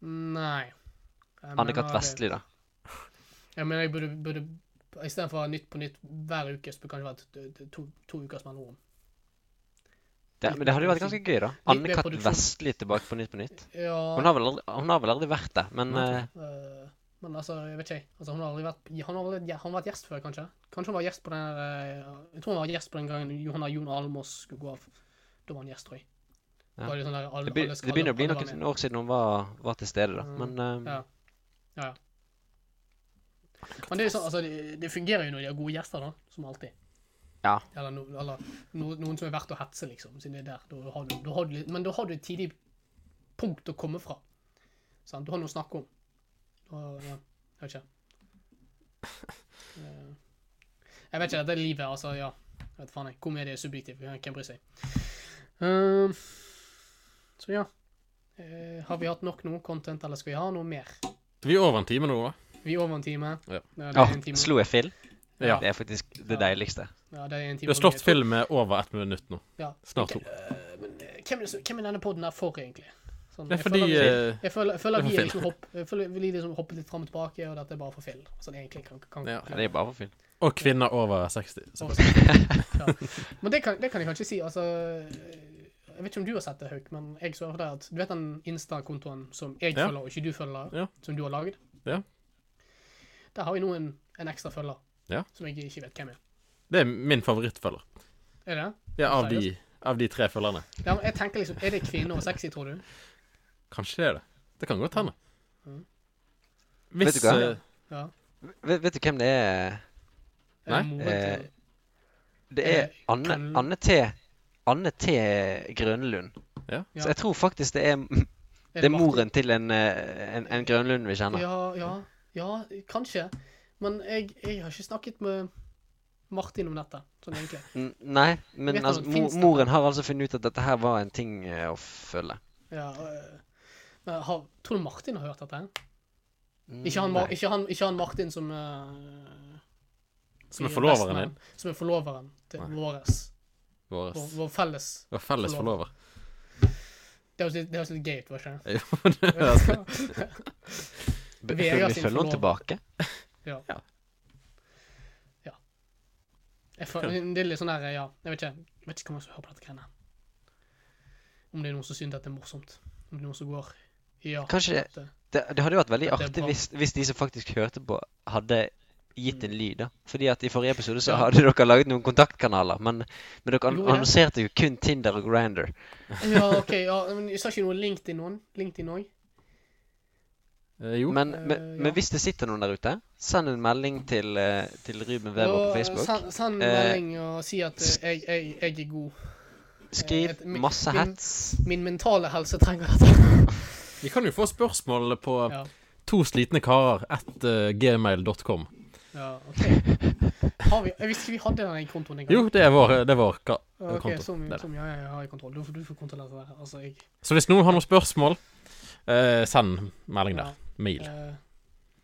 Speaker 1: Nei. Jeg
Speaker 3: Anne-Kat.
Speaker 1: mener det-
Speaker 3: Vestli, da.
Speaker 1: Jeg mener, jeg burde, burde Istedenfor å ha Nytt på nytt hver uke, så burde det kanskje vært t- t- to, to ukers mellomrom.
Speaker 3: Det, men det hadde jo vært ganske gøy, da.
Speaker 1: Litt mer
Speaker 3: Anne-Kat.
Speaker 1: produksjon.
Speaker 3: Vestli tilbake på Nytt på nytt.
Speaker 1: Ja
Speaker 3: Hun har vel aldri, hun har vel aldri vært det, men
Speaker 2: Nei.
Speaker 3: eh,
Speaker 1: eh, Men altså, jeg vet ikke. jeg. Altså, hun har aldri vært Han har aldri ja, han har vært gjest før, kanskje? Kanskje hun var gjest på den der, eh, Jeg tror hun var gjest på den gangen Johanna Jon Almås skulle gå av. Da var han gjest, tror jeg.
Speaker 3: Ja.
Speaker 1: Da er det sånn der, alle,
Speaker 3: det, be,
Speaker 1: alle skal-
Speaker 3: det begynner å bli
Speaker 1: alle var
Speaker 3: noen
Speaker 1: med.
Speaker 3: år siden hun var, var til stede, da.
Speaker 1: Mm.
Speaker 3: Men eh,
Speaker 1: Ja. Ja, ja. Men det, er jo sånn, altså, det, det fungerer jo når de har gode gjester, da. Som alltid.
Speaker 3: Ja.
Speaker 1: Eller, no, eller no, noen som er verdt å hetse, liksom. Siden det er der. Da har du, da har du, litt- men da har du et tidlig punkt å komme fra. Sant? Du har noe å snakke om. Og, ja, jeg vet ikke. Eh, Jeg vet ikke, dette er livet, altså. Ja. Jeg vet faen, jeg. Komedie er subjektiv. Hvem bryr seg? Eh, så ja. Eh, har vi hatt nok noe content, eller skal vi ha noe mer?
Speaker 2: Vi er over en time nå, da.
Speaker 1: Vi er over en time.
Speaker 2: Ja.
Speaker 1: det
Speaker 3: Ja,
Speaker 1: er en time.
Speaker 3: slo jeg Phil?
Speaker 2: Ja.
Speaker 3: Det er faktisk det
Speaker 1: Ja.
Speaker 3: deiligste.
Speaker 1: Ja, det er en time
Speaker 2: Du har
Speaker 1: og
Speaker 2: slått
Speaker 1: nyheter.
Speaker 2: Phil med over ett minutt nå.
Speaker 1: Ja. Ok,
Speaker 2: Snart to.
Speaker 1: eh, men eh, hvem, er det som- hvem er denne podden her for, egentlig? Sånn,
Speaker 2: Det
Speaker 1: jeg
Speaker 2: er fordi
Speaker 1: føler-
Speaker 2: eh,
Speaker 1: Jeg føler, jeg føler at
Speaker 2: det er
Speaker 1: vi
Speaker 2: for
Speaker 1: er liksom hopp, jeg føler vi liksom hoppet litt fram og tilbake, og dette er bare for Phil. Sånn egentlig kan, kan
Speaker 2: Ja,
Speaker 3: Ja, det er bare for Phil.
Speaker 2: Og kvinner over 60. Så.
Speaker 1: Ja. Men det kan, det kan jeg kanskje si, altså Jeg vet ikke om du har sett det, Hauk, men jeg så for deg at Du vet den Insta-kontoen som jeg
Speaker 2: Ja.
Speaker 1: følger, og ikke du følger,
Speaker 2: Ja.
Speaker 1: som du har laget?
Speaker 2: Ja.
Speaker 1: Der har vi nå en, en ekstra følger,
Speaker 2: Ja.
Speaker 1: som jeg ikke vet hvem er.
Speaker 2: Det er min favorittfølger.
Speaker 1: Er det?
Speaker 2: Ja, av de, av de tre følgerne.
Speaker 1: Ja, men jeg tenker liksom, Er det kvinne og sexy, tror du?
Speaker 2: Kanskje det er det. Det kan godt hende.
Speaker 1: Mhm.
Speaker 2: Hvis
Speaker 3: Vet du hva?
Speaker 2: eh,
Speaker 1: Ja.
Speaker 3: Vet, vet du hvem det er?
Speaker 1: Er det
Speaker 2: Nei.
Speaker 1: moren
Speaker 3: Eh,
Speaker 1: til-
Speaker 3: Det er
Speaker 1: Eh,
Speaker 3: Anne,
Speaker 1: kan-
Speaker 3: Anne T. Anne T. Grønlund.
Speaker 2: Ja.
Speaker 3: Så jeg tror faktisk det er,
Speaker 1: er
Speaker 3: det er
Speaker 1: Martin?
Speaker 3: moren til en, eh, en, en Grønlund vi kjenner.
Speaker 1: Ja, ja, ja, kanskje. Men jeg, jeg har ikke snakket med Martin om dette, sånn egentlig.
Speaker 3: N nei, men
Speaker 1: Vet du
Speaker 3: altså,
Speaker 1: hva,
Speaker 3: mo
Speaker 1: finnes det?
Speaker 3: moren har altså funnet ut at dette her var en ting eh, å følge.
Speaker 1: Ja, øh, men har, tror du Martin har hørt dette?
Speaker 3: Mm,
Speaker 1: Ikke han, Mar
Speaker 3: nei.
Speaker 1: ikke han, ikke han Martin som øh,
Speaker 2: Som er
Speaker 1: i
Speaker 2: forloveren
Speaker 1: Vestland,
Speaker 2: din.
Speaker 1: Som er forloveren til
Speaker 2: Nei.
Speaker 1: våres.
Speaker 2: Vår,
Speaker 1: Vår, vår felles.
Speaker 2: vår felles forlover.
Speaker 1: Det høres litt, det høres litt gay ut, var ikke det?
Speaker 2: Jo, det er altså-
Speaker 3: B-
Speaker 1: Vegard
Speaker 3: Følger
Speaker 1: sin
Speaker 3: vi følger hun
Speaker 1: forlover.
Speaker 3: tilbake?
Speaker 1: Ja. ja. Jeg føler, det er litt sånn der, ja, jeg vet ikke, jeg vet ikke hvem som hører på dette greiene. Om det er noen som synes dette er morsomt. Om det er noen som går, ja. eh,
Speaker 3: Kanskje det,
Speaker 1: det-
Speaker 3: det, det hadde jo vært veldig
Speaker 1: Dette er
Speaker 3: artig
Speaker 1: bra.
Speaker 3: hvis, hvis de som faktisk hørte på, hadde gitt en lyd, da. Fordi at i forrige episode så hadde dere laget noen kontaktkanaler, men, men dere an
Speaker 1: Jo, ja.
Speaker 3: annonserte jo kun Tinder og Grander.
Speaker 1: Ja, OK. ja, men Jeg sa ikke noe LinkedIn noen. LinkedIn òg.
Speaker 2: Eh, Jo.
Speaker 3: Men,
Speaker 1: Eh,
Speaker 3: men,
Speaker 1: ja.
Speaker 3: men hvis det sitter noen der ute, send en melding til, eh, til Ruben Weber på Facebook.
Speaker 1: Send, send
Speaker 3: Eh,
Speaker 1: melding og si at eh, jeg, jeg, jeg er god.
Speaker 3: Skriv
Speaker 1: eh, et- mi-
Speaker 3: masse
Speaker 1: min-
Speaker 3: hets.
Speaker 1: Min mentale helse trenger dette.
Speaker 2: Vi kan jo få spørsmål på
Speaker 1: Ja.
Speaker 2: to slitne karer at eh, gmail.com.
Speaker 1: Ja, OK. Har vi, jeg visste ikke vi hadde den i kontoen engang.
Speaker 2: Jo, det er vår, det er vår ka
Speaker 1: Ja, OK,
Speaker 2: konto.
Speaker 1: som,
Speaker 2: Det er det.
Speaker 1: som ja, jeg har i kontroll. Du får, du får kontrollere det der. Altså, jeg
Speaker 2: Så hvis noen har noen spørsmål, eh, send melding
Speaker 1: ja,
Speaker 2: der. Mail.
Speaker 1: eh,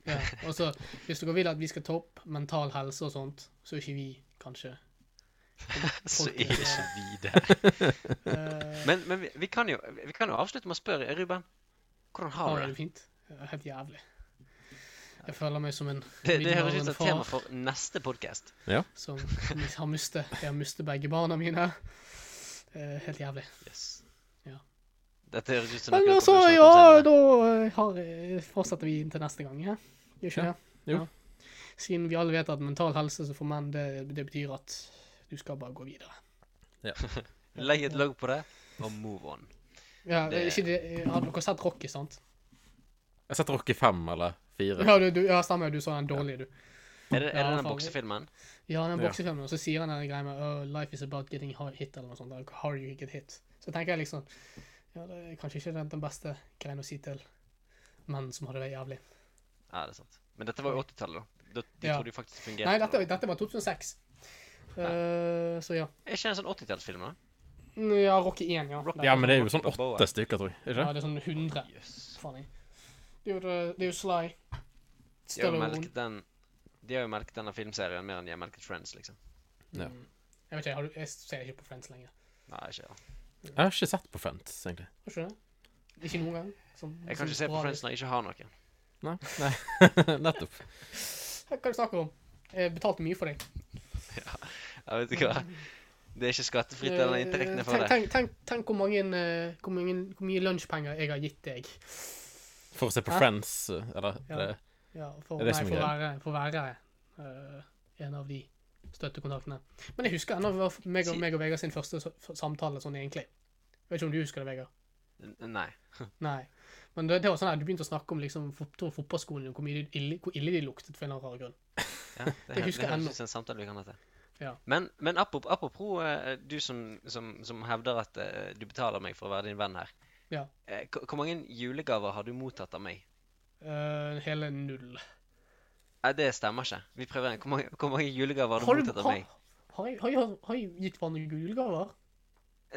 Speaker 1: ja. Og så, hvis dere vil at vi skal ta opp mental helse og sånt, så er ikke vi kanskje
Speaker 3: Så
Speaker 1: folk-
Speaker 3: er det ikke vi der.
Speaker 1: eh,
Speaker 3: Men, men vi, vi, kan jo, vi kan jo avslutte med å spørre eh, Ruben. Hvordan har
Speaker 1: Har
Speaker 3: du
Speaker 1: jeg
Speaker 3: det?
Speaker 1: det fint? Ja, Helt jævlig. Jeg føler meg som en
Speaker 3: Det, det høres ut
Speaker 1: middelaldrende
Speaker 3: som et tema for neste podkast.
Speaker 1: som har mistet Jeg har mistet begge barna mine. Eh, helt jævlig.
Speaker 3: Yes.
Speaker 1: Ja.
Speaker 3: Dette høres ut som
Speaker 1: Men
Speaker 3: noe
Speaker 1: altså,
Speaker 3: dere
Speaker 1: ja,
Speaker 3: kommer til å snakke om senere.
Speaker 1: da eh, har, eh, fortsetter vi til neste gang. Ja? Gjør ikke
Speaker 2: Ja.
Speaker 1: det?
Speaker 2: Jo.
Speaker 1: Siden vi alle vet at mental helse så for menn, det, det betyr at du skal bare gå videre.
Speaker 3: Legg et lag på det, og move on.
Speaker 1: Ja,
Speaker 3: Det-
Speaker 1: ikke det, eh, har dere sett Rocky, sant?
Speaker 2: Jeg setter Rocky 5 eller 4.
Speaker 1: Ja, du, du, ja stemmer. Du så den dårlige, du.
Speaker 3: Er det, er
Speaker 1: Ja,
Speaker 3: det den
Speaker 1: faen.
Speaker 3: boksefilmen?
Speaker 1: Ja, den
Speaker 2: Ja.
Speaker 1: boksefilmen, og så sier han den greia med oh, 'Life is about getting hard hit', eller noe sånt. Eller, How you get hit. Så tenker jeg liksom Ja, det er kanskje ikke den- den beste greien å si til menn som hadde det jævlig.
Speaker 3: Ja, det er sant. Men dette var jo 80-tallet, da. da. De
Speaker 1: Ja.
Speaker 3: trodde jo faktisk det fungerte.
Speaker 1: Nei, dette,
Speaker 3: nå.
Speaker 1: dette var 2006. Eh, så ja.
Speaker 3: Er ikke det en sånn 80-tallsfilm, da?
Speaker 1: Mm, Ja, Rocky 1, ja.
Speaker 3: Rocky-
Speaker 1: Nei,
Speaker 2: Ja, men det er jo sånn
Speaker 3: Rocky Balboa.
Speaker 2: åtte stykker, tror jeg. Ikke?
Speaker 1: Ja, det er sånn 100.
Speaker 3: Jøss.
Speaker 1: Faen, jeg. Det er jo, eh, det- det er jo Sly.
Speaker 3: De har jo
Speaker 1: Stallone.
Speaker 3: melket den De har jo melket denne filmserien mer enn de har melket Friends, liksom.
Speaker 2: Ja.
Speaker 1: Mm. Jeg vet ikke, jeg, har, jeg ser ikke på Friends lenger.
Speaker 3: Nei, ikke ja.
Speaker 2: Jeg har ikke sett på Friends, egentlig.
Speaker 1: Har ikke det? Ikke noen gang. Sånn,
Speaker 3: Jeg kan
Speaker 1: sånn
Speaker 3: ikke se på
Speaker 1: sporadisk.
Speaker 3: Friends når jeg ikke har noen.
Speaker 2: Nei. Nei. Nettopp.
Speaker 1: Hva er det du snakker om? Jeg betalte mye for deg.
Speaker 3: Ja, vet du hva? Det er ikke skattefritt, den inntekten jeg
Speaker 1: Eh,
Speaker 3: får
Speaker 1: tenk,
Speaker 3: der.
Speaker 1: tenk, tenk, tenk hvor, mange, eh, hvor, mange, hvor mye lunsjpenger jeg har gitt deg.
Speaker 2: For å se på
Speaker 1: Hæ?
Speaker 2: Friends, eh, eller
Speaker 1: Ja.
Speaker 2: det,
Speaker 1: Ja, for,
Speaker 2: Er
Speaker 1: nei,
Speaker 2: det som
Speaker 1: for å
Speaker 2: greier?
Speaker 1: være, for å være eh, en av de støttekontaktene. Men jeg husker ennå det var meg og,
Speaker 3: Si-
Speaker 1: meg og Vegard sin første s- samtale sånn egentlig. Jeg vet ikke om du husker det, Vegard.
Speaker 3: N- Nei.
Speaker 1: Nei. Men det, det var sånn at du begynte å snakke om liksom, fot- tror fotballskolen din, hvor, mye de ille, hvor ille de luktet for en eller annen rar grunn.
Speaker 3: Ja, det, det
Speaker 1: husker
Speaker 3: høres
Speaker 1: ennå.
Speaker 3: ut som en samtale vi kan ha til.
Speaker 1: Ja.
Speaker 3: Men, men apropos, apropos eh, du som, som, som hevder at eh, du betaler meg for å være din venn her.
Speaker 1: Ja.
Speaker 3: Eh, k- Hvor mange julegaver har du mottatt av meg?
Speaker 1: Eh, hele null.
Speaker 3: Nei, det stemmer ikke. Vi prøver igjen. Hvor mange, hvor mange julegaver har du mottatt av
Speaker 1: har,
Speaker 3: meg?
Speaker 1: har, jeg- har, jeg- har jeg gitt hverandre julegaver?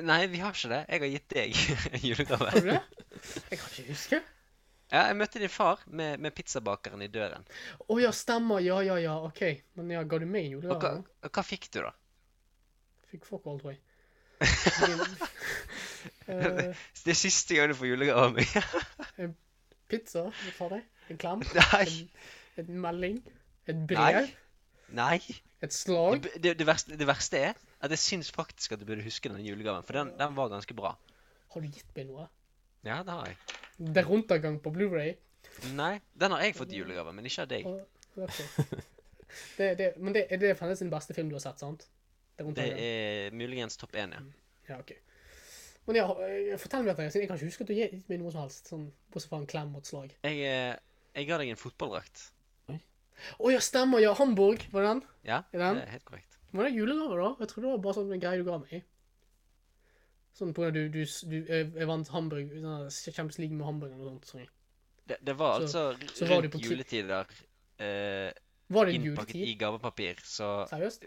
Speaker 3: Nei, vi har ikke det. Jeg har gitt deg en julegave.
Speaker 1: Har du det? Jeg kan ikke huske.
Speaker 3: Ja, jeg møtte din far med, med pizzabakeren i døren.
Speaker 1: Å ja, stemmer. Ja, ja, ja. OK. Men ja, ga du meg en
Speaker 3: Og hva,
Speaker 1: julegave?
Speaker 3: og hva fikk du, da?
Speaker 1: Fikk fuck all, tror jeg. Eh,
Speaker 3: Det er siste gang du får julegave av meg.
Speaker 1: pizza fra deg. En klem.
Speaker 3: Nei!
Speaker 1: En, en melding. Et brev.
Speaker 3: Nei. Nei.
Speaker 1: Et slag.
Speaker 3: Det, det, det, verste, det verste er at jeg syns faktisk at du burde huske den julegaven, for den, den var ganske bra.
Speaker 1: Har du gitt meg noe?
Speaker 3: Ja, det har jeg.
Speaker 1: Det er rundtagang på Blu-ray.
Speaker 3: Nei, den har jeg fått i julegave, men ikke av deg.
Speaker 1: Og- ok. Det, det, men det, er det fremdeles den beste film du har sett, sant? Det er
Speaker 3: Det
Speaker 1: rundtagang.
Speaker 3: er muligens topp én, ja.
Speaker 1: Ja, ok. Men ja, eh, fortell meg dette, siden jeg kan ikke huske at du har gitt meg noe som helst. Sånn, bortsett fra en klem og et slag.
Speaker 3: Jeg, eh, jeg ga deg en fotballdrakt.
Speaker 1: Å ja, stemmer, ja. Hamburg, var det den?
Speaker 3: Ja,
Speaker 1: Er
Speaker 3: det
Speaker 1: den?
Speaker 3: er helt korrekt.
Speaker 1: Var det julegave, da? Jeg trodde det var bare sånn en greie du ga meg. Sånn på grunn av du, du, du jeg, jeg vant Hamburg, sånn der Champions League med Hamburg eller noe sånt. sånn. Sorry.
Speaker 3: Det, det var altså
Speaker 1: Så- så var du
Speaker 3: rundt
Speaker 1: på tur-
Speaker 3: juletider eh,
Speaker 1: Var det
Speaker 3: innpakket i
Speaker 1: juletid?
Speaker 3: gavepapir, så
Speaker 1: Seriøst?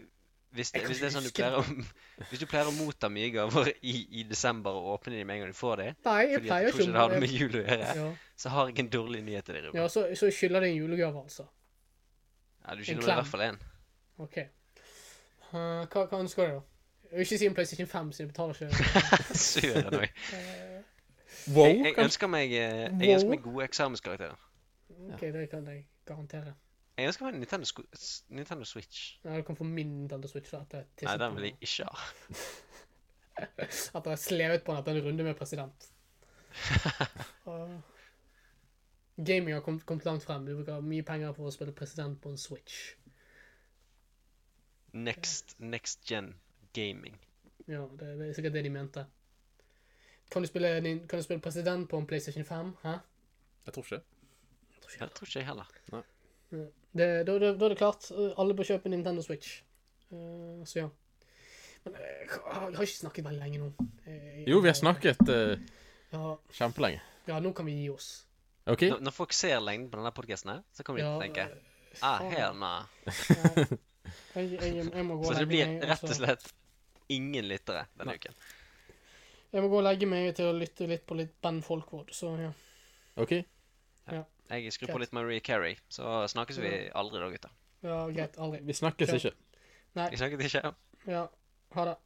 Speaker 3: Hvis det,
Speaker 1: Jeg kan
Speaker 3: hvis
Speaker 1: ikke
Speaker 3: det er sånn du
Speaker 1: huske det.
Speaker 3: pleier å, hvis du pleier å motta mye gaver i, i desember og åpne dem med en gang du får dem,
Speaker 1: Nei, jeg
Speaker 3: fordi at
Speaker 1: pleier
Speaker 3: du tror
Speaker 1: ikke
Speaker 3: ikke det har noe med jul å gjøre,
Speaker 1: Ja,
Speaker 3: så har jeg en dårlig nyhet til deg, Ruben.
Speaker 1: ja så, så skylder det en julegave, altså.
Speaker 3: Ja, du
Speaker 1: en
Speaker 3: skylder meg i
Speaker 1: klem.
Speaker 3: hvert fall én.
Speaker 1: OK. Eh, hva, hva ønsker du, da? Jeg vil ikke si en PlayStation 5, så jeg betaler ikke.
Speaker 3: Søren òg.
Speaker 1: Eh,
Speaker 2: Wow,
Speaker 3: Jeg, jeg,
Speaker 2: kanskje?
Speaker 3: ønsker meg, eh, jeg ønsker
Speaker 1: Wow.
Speaker 3: meg gode eksamenskarakterer.
Speaker 1: OK, det kan jeg garantere.
Speaker 3: Jeg ønsker meg en Nintendo, Squ- s- Nintendo Switch.
Speaker 1: Nei, du kan få min Nintendo Switch da, etter
Speaker 3: Nei, den vil jeg ikke ha.
Speaker 1: Etter jeg slevet på den etter en runde med president. Og Gaming har kommet kommet langt frem. Vi bruker mye penger på å spille president på en Switch.
Speaker 3: Next, next gen gaming.
Speaker 1: Ja, det, det er sikkert det de mente. Kan du spille, din- kan du spille president på en PlayStation 5? Hæ?
Speaker 2: Jeg tror ikke.
Speaker 1: Jeg tror ikke
Speaker 3: Jeg tror ikke jeg heller.
Speaker 1: Det, da, da, da er det klart. eh, Alle bør kjøpe Nintendo Switch. Eh, så ja. Men eh, jeg har jeg har ikke snakket veldig lenge nå. Eh, jeg-
Speaker 2: Jo, vi har snakket eh,
Speaker 1: Ja,
Speaker 2: kjempelenge.
Speaker 1: ja, nå kan vi gi oss.
Speaker 2: OK?
Speaker 3: Når, når folk ser lengden på denne podcasten her, så kommer de
Speaker 1: Ja,
Speaker 3: til å tenke
Speaker 1: eh,
Speaker 3: ah,
Speaker 1: faen.
Speaker 3: hell nah.
Speaker 1: Nei. Jeg, jeg, jeg må gå og
Speaker 3: Så det
Speaker 1: legge
Speaker 3: blir
Speaker 1: meg, altså.
Speaker 3: rett og
Speaker 1: så-
Speaker 3: slett ingen lyttere denne uken.
Speaker 1: Jeg må gå og legge meg til å lytte litt på litt Ben Folkvord, så ja.
Speaker 2: OK?
Speaker 3: Jeg skrur på
Speaker 1: Greit.
Speaker 3: litt Marie Carey, så snakkes vi aldri da, gutter.
Speaker 1: Ja, greit. Aldri.
Speaker 2: Vi snakkes
Speaker 1: Ja.
Speaker 2: ikke.
Speaker 1: Nei.
Speaker 3: Vi snakket ikke.
Speaker 1: Ja. Ha det.